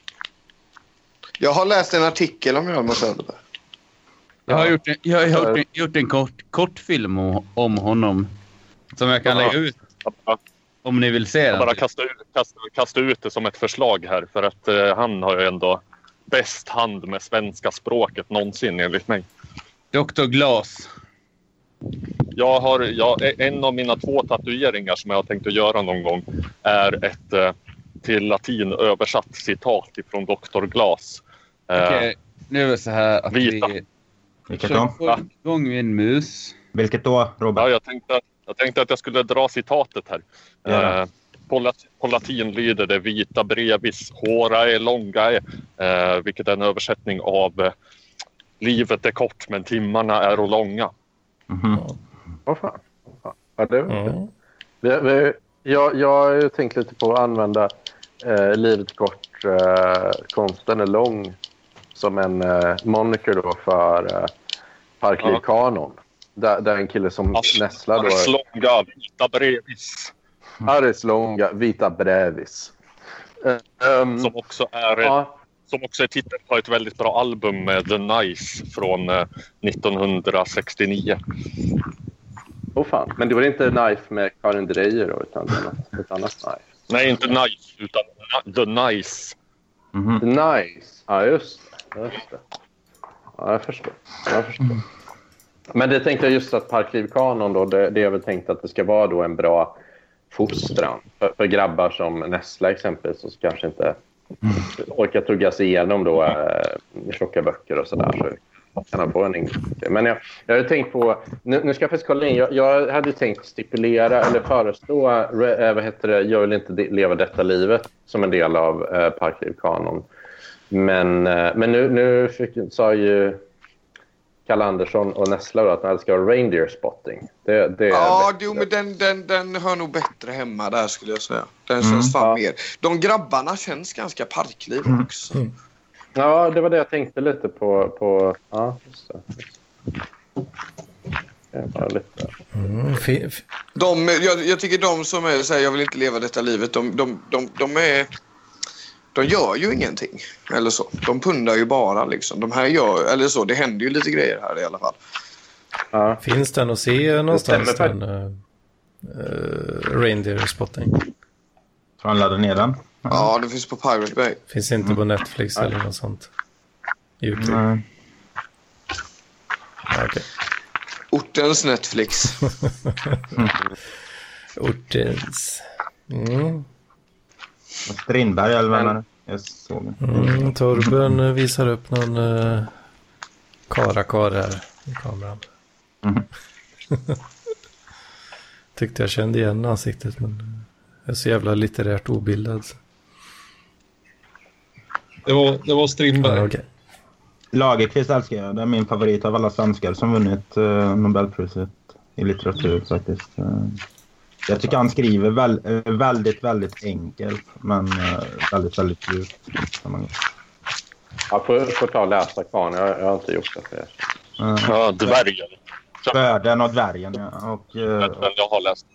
Speaker 1: Jag har läst en artikel om Hjalmar Söderberg.
Speaker 3: Jag har gjort en, jag har gjort en, gjort en kort, kortfilm o- om honom. Som jag kan
Speaker 4: Ja.
Speaker 3: lägga ut om ni vill se
Speaker 4: Jag
Speaker 3: den.
Speaker 4: bara kasta ut, kasta, kasta ut det som ett förslag här för att eh, han har ju ändå bäst hand med svenska språket någonsin enligt mig.
Speaker 3: Dr. Glas.
Speaker 4: Jag har, jag, e- en av mina två tatueringar som jag har tänkt att göra någon gång är ett eh, till latin översatt citat ifrån Dr. Glas. Eh,
Speaker 3: Okej, nu är det så här att
Speaker 4: Vita.
Speaker 3: vi...
Speaker 5: Vilket
Speaker 3: Kör
Speaker 5: då?
Speaker 3: på igång med en mus.
Speaker 5: Vilket då, Robert?
Speaker 4: Ja, jag, tänkte, att- jag tänkte att jag skulle dra citatet här.
Speaker 5: Ja.
Speaker 4: Eh, på, lat- på latin lyder det vita brevis horae longae, eh, vilket är en översättning av eh, livet är kort men timmarna är och långa.
Speaker 5: Mhm.
Speaker 8: Vad fan? Ja, det var
Speaker 2: Ja.
Speaker 8: Vi, vi, jag, jag har ju tänkt lite på att använda eh, livet kort, eh, konsten är lång som en eh, moniker då för eh, Parkliv
Speaker 4: Ja.
Speaker 8: Kanon. Där, där en kille som
Speaker 4: Ars-
Speaker 8: nästlar
Speaker 4: Ars
Speaker 8: då
Speaker 4: longa, Alltså, vita brevis,
Speaker 8: Aris Longa, Vita Brevis. Eh, ehm,
Speaker 4: som också är eh,
Speaker 8: ja,
Speaker 4: som också är titeln på ett väldigt bra album med The Nice från eh, 1969.
Speaker 8: åh fan. Men det var inte Knife med Karin Dreyer då, utan det var något- ett annat Knife.
Speaker 4: Nej, inte Nice, utan The Nice.
Speaker 5: Mhm.
Speaker 8: Nice. Ja, just det. Just det. Ja, jag förstår. Jag förstår.
Speaker 3: Mm.
Speaker 8: Men det tänkte jag just att Parklivkanon då, det, det är väl tänkt att det ska vara då en bra fostran för, för grabbar som Nessla exempelvis som kanske inte
Speaker 3: Mm.
Speaker 8: orkar tugga sig igenom då, eh, tjocka böcker och sådär. Så kan han få en inblick. Men jag, jag har ju tänkt på, nu, nu ska jag faktiskt kolla in, jag, jag hade ju tänkt stipulera eller föreslå, re, eh, vad heter det, jag vill inte de- leva detta livet som en del av eh, Parklivkanon. Men, eh, men nu, nu fick, sa ju Kalle Andersson och Nessla då att när det ska vara reindeer spotting. Det, det är
Speaker 1: Ja,
Speaker 8: bättre.
Speaker 1: jo, men den, den, den hör nog bättre hemma där skulle jag säga. Den
Speaker 5: Mm.
Speaker 1: känns fan
Speaker 8: Ja.
Speaker 1: mer. De grabbarna känns ganska parkliv också.
Speaker 8: Ja, det var det jag tänkte lite på. på ja, just det. Jag bara lite.
Speaker 2: Mm, fi- fi-
Speaker 1: De, jag, jag tycker de som är så här, jag vill inte leva detta livet, de, de, de, de är... De gör ju ingenting. Eller så. De pundar ju bara liksom. De här gör, eller så, det händer ju lite grejer här i alla fall.
Speaker 8: Ja.
Speaker 2: finns den att se någonstans?
Speaker 8: stämmer
Speaker 2: Den, uh, Reindeer Spotting.
Speaker 5: Så han laddade ner den?
Speaker 1: Ja, det finns på Pirate Bay.
Speaker 2: Finns inte
Speaker 8: Mm.
Speaker 2: på Netflix eller något sånt? YouTube?
Speaker 5: Nej.
Speaker 2: Ja, okej.
Speaker 1: Ortens Netflix.
Speaker 2: Ortens. Mm.
Speaker 5: Och Strindberg eller vad menar du? Jag såg den.
Speaker 2: Mm, Torben eh, visar upp någon uh, karakar här i kameran.
Speaker 5: Mhm.
Speaker 2: Tyckte jag kände igen ansiktet men eh, jag är så jävla litterärt obildad. så-
Speaker 9: Det var, det var Strindberg.
Speaker 2: Ja, okej.
Speaker 5: Lagerkvist älskar jag. Det är min favorit av alla svenskar som vunnit eh, Nobelpriset i litteratur faktiskt. Eh, jag tycker han skriver väl, eh, väldigt, väldigt enkelt men eh, väldigt, väldigt djupt.
Speaker 8: Jag får, får ta och läsa kvar. Jag, jag har inte gjort det för er.
Speaker 5: Eh,
Speaker 4: Ja, dvärgen.
Speaker 5: Börden och dvärgen ja. Och, eh,
Speaker 4: Den jag har läst.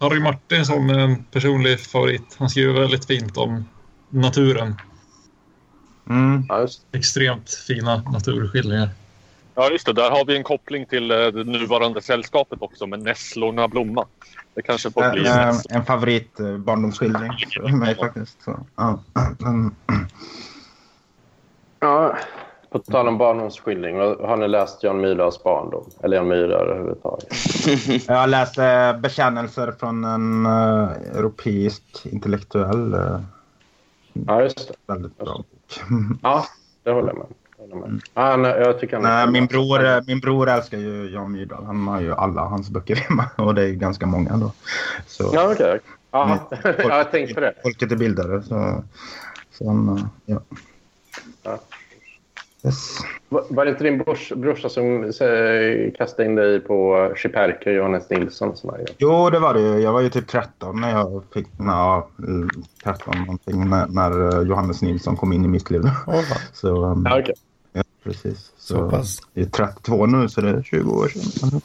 Speaker 9: Harry Martinsson är en personlig favorit. Han skriver väldigt fint om naturen.
Speaker 5: mm,
Speaker 8: Ja, just
Speaker 9: Extremt fina naturskildringar.
Speaker 4: Ja, just det. Där har vi en koppling till eh, det nuvarande sällskapet också med Nässlorna blomma. Det kanske får bli
Speaker 5: en, eh,
Speaker 4: nästa.
Speaker 5: en favorit eh, barndomsskildring för mig faktiskt. Så, ja. Mm.
Speaker 8: Ja, på tal om barndomsskildring, vad- har ni läst Jan Myrdals barndom? Eller Jan Myrdal överhuvudtaget?
Speaker 5: Jag läste bekännelser från en eh, europeisk intellektuell. eh,
Speaker 8: Ja, just det.
Speaker 5: väldigt bra bok.
Speaker 8: Ja, det håller jag med om. Det håller jag med om. Ja, nej, jag tycker han är-
Speaker 5: Nej, min, bror, eh, min bror älskar ju Jan Myrdal. Han har ju alla hans böcker hemma och det är ju ganska många då. Så,
Speaker 8: Ja, okej. Ja,
Speaker 5: Mm.
Speaker 8: ja, jag tänkte på det.
Speaker 5: Folket är bildare. Så, så han, eh, ja.
Speaker 8: Ja.
Speaker 5: Yes.
Speaker 8: Var var det inte din brors, brorsa som eh, kastade in dig på Chiperka, Johannes Nilsson? och såna här grejer?
Speaker 5: Jo, det var det ju. Jag var ju typ 13 när jag fick... Ja, mm, 13 någonting när, när eh, Johannes Nilsson kom in i mitt liv.
Speaker 2: Åh, fan.
Speaker 5: Så, um,
Speaker 8: Ja, okej.
Speaker 5: ja, precis. Så,
Speaker 2: Så pass.
Speaker 5: Det är 32 nu, så det är 20 år sedan.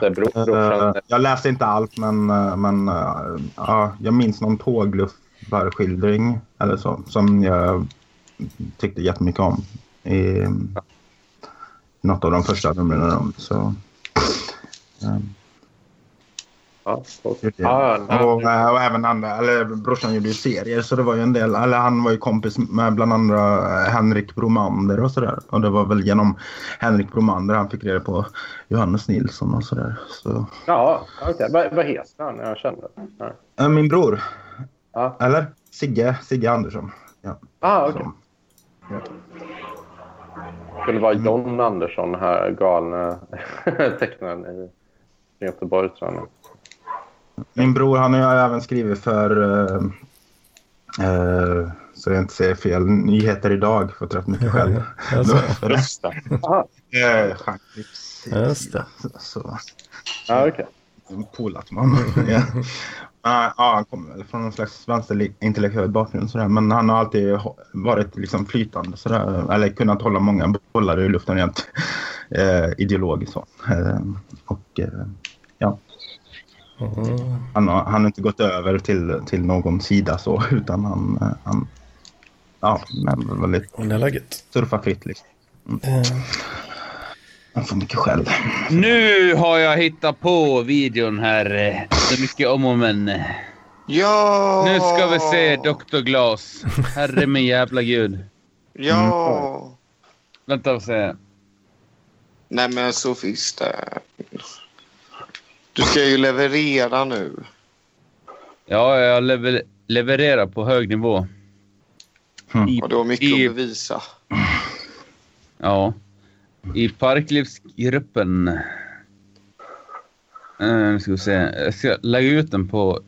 Speaker 8: Det är bro, brorsan.
Speaker 5: Eh, jag läste inte allt, men, eh, men eh, ja, jag minns någon tågluffarskildring eller så, som jag tyckte jättemycket om. i något av de första numren. de- Så, ehm,
Speaker 8: Ja, och,
Speaker 5: gjorde jag.
Speaker 8: ja, ja,
Speaker 5: och, eh, och även andra, eller brorsan gjorde ju serier så det var ju en del, eller han var ju kompis med bland andra eh, Henrik Bromander och sådär. Och det var väl genom Henrik Bromander han fick reda på Johannes Nilsson och sådär. Så,
Speaker 8: ja, okej. Vad, vad heter han? Jag kände. Ja.
Speaker 5: eh, min bror,
Speaker 8: Ja.
Speaker 5: eller Sigge, Sigge Andersson. Ja,
Speaker 8: Ah, okej.
Speaker 5: som-
Speaker 8: Det skulle vara John Andersson, här galne tecknaren i Göteborg, tror jag.
Speaker 5: Min bror han har ju även skrivit för, eh, eh, så jag inte säger fel, Nyheter Idag. Fått rätt mycket själv.
Speaker 2: Alltså,
Speaker 4: Just det.
Speaker 8: Aha.
Speaker 5: Eh, Stjärnklips.
Speaker 2: Just det.
Speaker 5: Så,
Speaker 8: Ja, okej.
Speaker 5: polat man. ja. Men, ja, han kommer väl från någon slags vänsterintellektuell bakgrund sådär. Men han har alltid hå- varit liksom flytande sådär. Eller kunnat hålla många bollar i luften rent eh, ideologiskt. Så. Eh, och eh,
Speaker 2: Mm.
Speaker 5: han, har, han har inte gått över till, till någon sida så utan han, eh, han ja, men väldigt
Speaker 2: Men det är läget.
Speaker 5: surfa fritt liksom.
Speaker 2: Eh,
Speaker 5: Han får mycket skäll.
Speaker 3: Nu har jag hittat på videon här. eh, Så mycket om och men.
Speaker 1: Ja!
Speaker 3: Nu ska vi se Dr. Glas. Herre min jävla gud.
Speaker 1: Ja!
Speaker 3: Vänta och se.
Speaker 1: Nej, men så finns det. Du ska ju leverera nu.
Speaker 3: Ja, jag lever levererar på hög nivå.
Speaker 1: Och du har mycket
Speaker 3: I-
Speaker 1: att bevisa.
Speaker 3: Ja. I Parklivsgruppen. Eh, Nu ska vi se. Jag ska lägga ut den på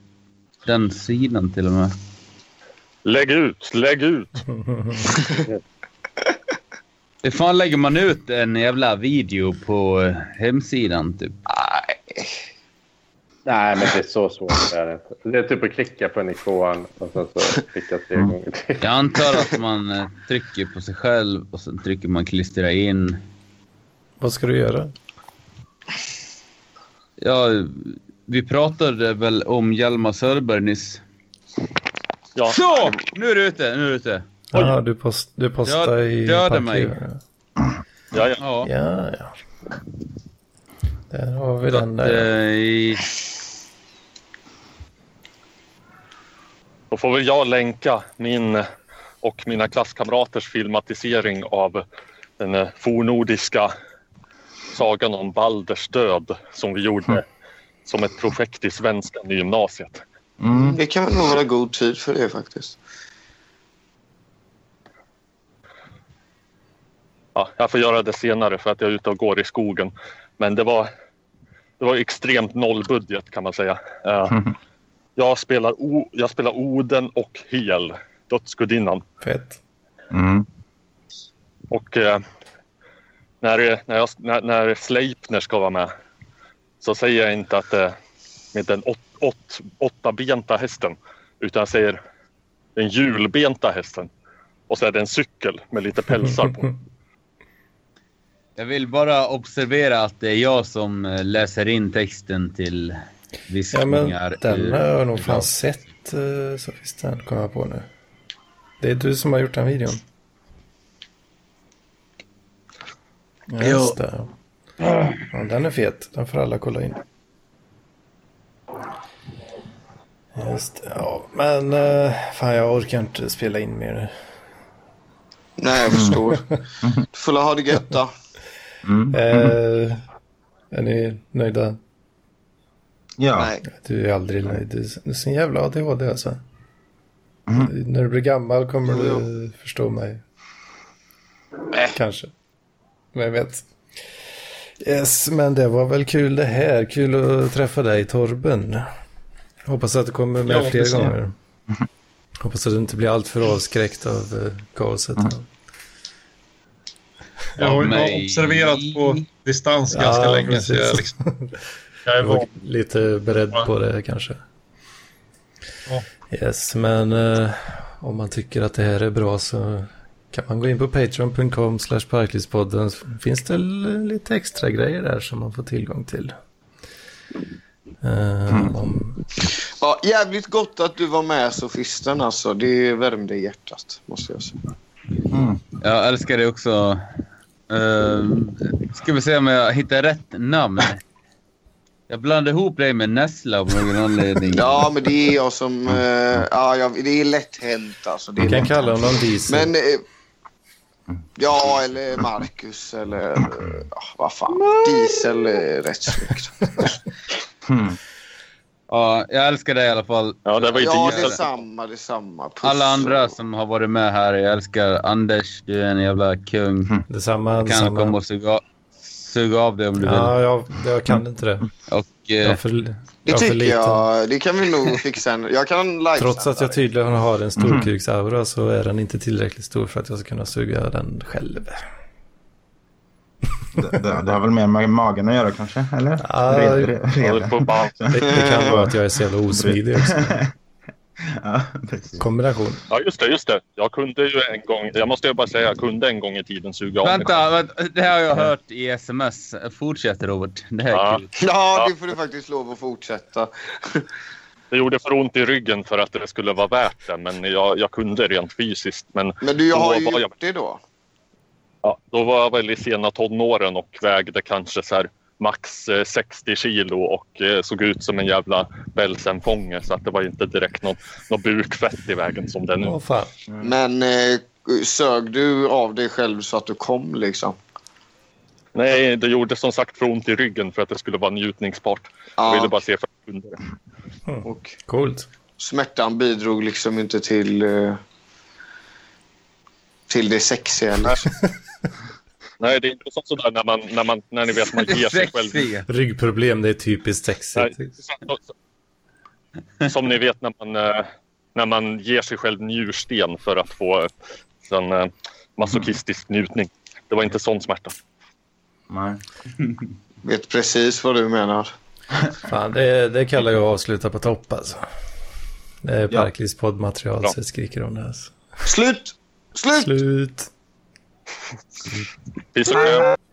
Speaker 3: den sidan till och med.
Speaker 4: Lägg ut, lägg ut.
Speaker 3: Hur fan lägger man ut en jävla video på eh, hemsidan typ?
Speaker 8: Nej, men det är så svårt. Det är, det inte. det är typ att klicka på en ikon och sen så klicka tre gånger till.
Speaker 3: Jag antar att man eh, trycker på sig själv och sen trycker man klistra in.
Speaker 2: vad ska du göra?
Speaker 3: Ja, vi pratade väl om Hjalmar Söderberg nyss.
Speaker 4: Ja.
Speaker 3: Så! Nu är du ute, nu är du ute.
Speaker 2: Jaha, du, post, du postar
Speaker 3: Död-
Speaker 2: i...
Speaker 3: döda
Speaker 2: parkering.
Speaker 3: mig.
Speaker 4: Ja, ja.
Speaker 3: Ja.
Speaker 2: Ja, ja. Där har vi
Speaker 3: Så
Speaker 2: den
Speaker 3: att,
Speaker 2: där.
Speaker 3: eh, i-
Speaker 4: Då får väl jag länka min och mina klasskamraters filmatisering av den eh, fornordiska sagan om Balders död som vi gjorde som ett projekt i svenska i gymnasiet.
Speaker 5: Mm.
Speaker 1: Det kan väl nog vara god tid för det faktiskt.
Speaker 4: Ja, jag får göra det senare för att jag är ute och går i skogen. Men det var, det var extremt nollbudget kan man säga. Eh, Jag spelar, o, jag spelar Oden och Hel, dödsgudinnan.
Speaker 2: Fett.
Speaker 5: Mm.
Speaker 4: Och eh, när, det- när, jag, när, när Sleipner ska vara med så säger jag inte att eh, med den åt, åt, åttabenta hästen utan jag säger den hjulbenta hästen. Och så är det en cykel med lite pälsar på.
Speaker 3: jag vill bara observera att det är jag som eh, läser in texten till
Speaker 2: Ja, men
Speaker 3: viskningar.
Speaker 2: den
Speaker 3: ur-
Speaker 2: har jag nog
Speaker 3: ur-
Speaker 2: fan sett, eh, så finns den, kommer jag på nu. Det är du som har gjort den videon. Ja, Just det. Ja, den är fet. Den får alla kolla in. Just det. Ja, men eh, fan jag orkar inte spela in mer nu.
Speaker 1: Nej, jag förstår. Du får ha det gött då. Mm.
Speaker 2: Eh, är ni nöjda?
Speaker 5: Ja.
Speaker 1: Nej.
Speaker 2: Du är aldrig nöjd. Du är så jävla ADHD alltså. När du blir gammal kommer
Speaker 1: Jo, jo.
Speaker 2: du förstå mig. Kanske. Vem vet. Yes, men det var väl kul det här. Kul att träffa dig Torben. Hoppas att du kommer med
Speaker 5: Ja,
Speaker 2: fler
Speaker 5: precis.
Speaker 2: gånger. Hoppas att du inte blir alltför avskräckt av eh, kaoset. här.
Speaker 9: Jag har, jag har
Speaker 3: Nej.
Speaker 9: observerat på distans ganska
Speaker 2: Ja,
Speaker 9: länge. Så jag,
Speaker 2: precis.
Speaker 9: liksom, jag är
Speaker 2: Jag var
Speaker 9: van.
Speaker 2: lite beredd
Speaker 9: Ja.
Speaker 2: på det kanske.
Speaker 9: Ja.
Speaker 2: Yes, men eh, om man tycker att det här är bra så kan man gå in på patreon.com slash parklivspodden. Finns det l- lite extra grejer där som man får tillgång till. Eh, om,
Speaker 1: Ja, jävligt gott att du var med sofisten alltså. Det värmde hjärtat måste jag säga.
Speaker 5: Mm.
Speaker 3: Jag älskar det också. Uh, ska vi se om jag hittar rätt namn. Jag blandade ihop dig med Nessla av någon anledning.
Speaker 1: Ja, men det är jag som... eh, ja, jag, det är lätt hänt alltså. Det är
Speaker 2: Vi kan
Speaker 1: lätt
Speaker 2: kalla
Speaker 1: hänt.
Speaker 2: honom Diesel.
Speaker 1: Men... eh, ja, eller Marcus eller... eh, ja, vad fan. Diesel är rätt snyggt.
Speaker 3: Ja, jag älskar dig i alla fall.
Speaker 4: Ja, det var ju
Speaker 1: Ja,
Speaker 4: diesel.
Speaker 1: det är samma. Det är samma. Puss.
Speaker 3: Alla andra som har varit med här, jag älskar Anders. Du är en jävla kung.
Speaker 4: Mm.
Speaker 2: Detsamma.
Speaker 3: Du kan komma
Speaker 2: detsamma.
Speaker 3: och suga, av- suga av dig om du vill.
Speaker 2: Ja, jag, jag kan inte det.
Speaker 3: Och,
Speaker 2: Jag är
Speaker 3: eh,
Speaker 2: för,
Speaker 1: Det
Speaker 2: jag är för
Speaker 1: tycker
Speaker 2: liten.
Speaker 1: jag. Det kan vi nog fixa. En, jag kan live
Speaker 2: Trots att jag tydligen har en storkuksaura så är den inte tillräckligt stor för att jag ska kunna suga den själv.
Speaker 5: Det, det, det har väl mer med magen att göra kanske? Eller? Re-
Speaker 2: Ah,
Speaker 5: re-
Speaker 4: Ja, det
Speaker 5: rede.
Speaker 4: får bara-
Speaker 2: Det, det kan vara att jag är så jävla osmidig också.
Speaker 5: Ja, precis.
Speaker 2: Kombination.
Speaker 4: Ja, just det, just det. Jag kunde ju en gång, jag måste ju bara säga, jag kunde en gång i tiden suga av mig
Speaker 3: vänta, vänta, det här har jag hört i sms. Fortsätt Robert. Det här är
Speaker 4: Ja.
Speaker 3: kul.
Speaker 1: Ja, det får du faktiskt lov att fortsätta.
Speaker 4: Det gjorde för ont i ryggen för att det skulle vara värt det, men jag, jag kunde rent fysiskt. Men
Speaker 1: Men du, jag
Speaker 4: då
Speaker 1: har ju
Speaker 4: var jag,
Speaker 1: gjort det då.
Speaker 4: ja, då var jag väl i sena tonåren och vägde kanske så här max eh, 60 kilo och eh, såg ut som en jävla Belsenfånge så att det var ju inte direkt något, något bukfett i vägen som det är nu.
Speaker 2: Åh fan.
Speaker 1: Men eh, sög du av dig själv så att du kom liksom?
Speaker 4: Nej, det gjorde som sagt för ont i ryggen för att det skulle vara njutningsbart. Jag
Speaker 1: Ja.
Speaker 4: ville bara se för att jag kunde det. Mm.
Speaker 1: Och
Speaker 2: Coolt.
Speaker 1: smärtan bidrog liksom inte till, eh, till det sexiga. Liksom.
Speaker 4: Nej, det är inte som sådär när, man, när, man, när ni vet man ger sig själv
Speaker 3: Sexy.
Speaker 2: Ryggproblem, det är typiskt sexigt.
Speaker 4: Nej, så- så- Som ni vet när man, eh, när man ger sig själv njursten för att få eh, en eh, masochistisk njutning. Det var inte sån smärta.
Speaker 5: Nej.
Speaker 1: Vet precis vad du menar.
Speaker 2: Fan, det, det kallar jag att avsluta på topp alltså. Det är
Speaker 5: Ja.
Speaker 2: Parklis poddmaterial
Speaker 4: Bra.
Speaker 2: så det skriker om det. Alltså.
Speaker 1: Slut! Slut!
Speaker 2: Slut.
Speaker 4: Piss och kram.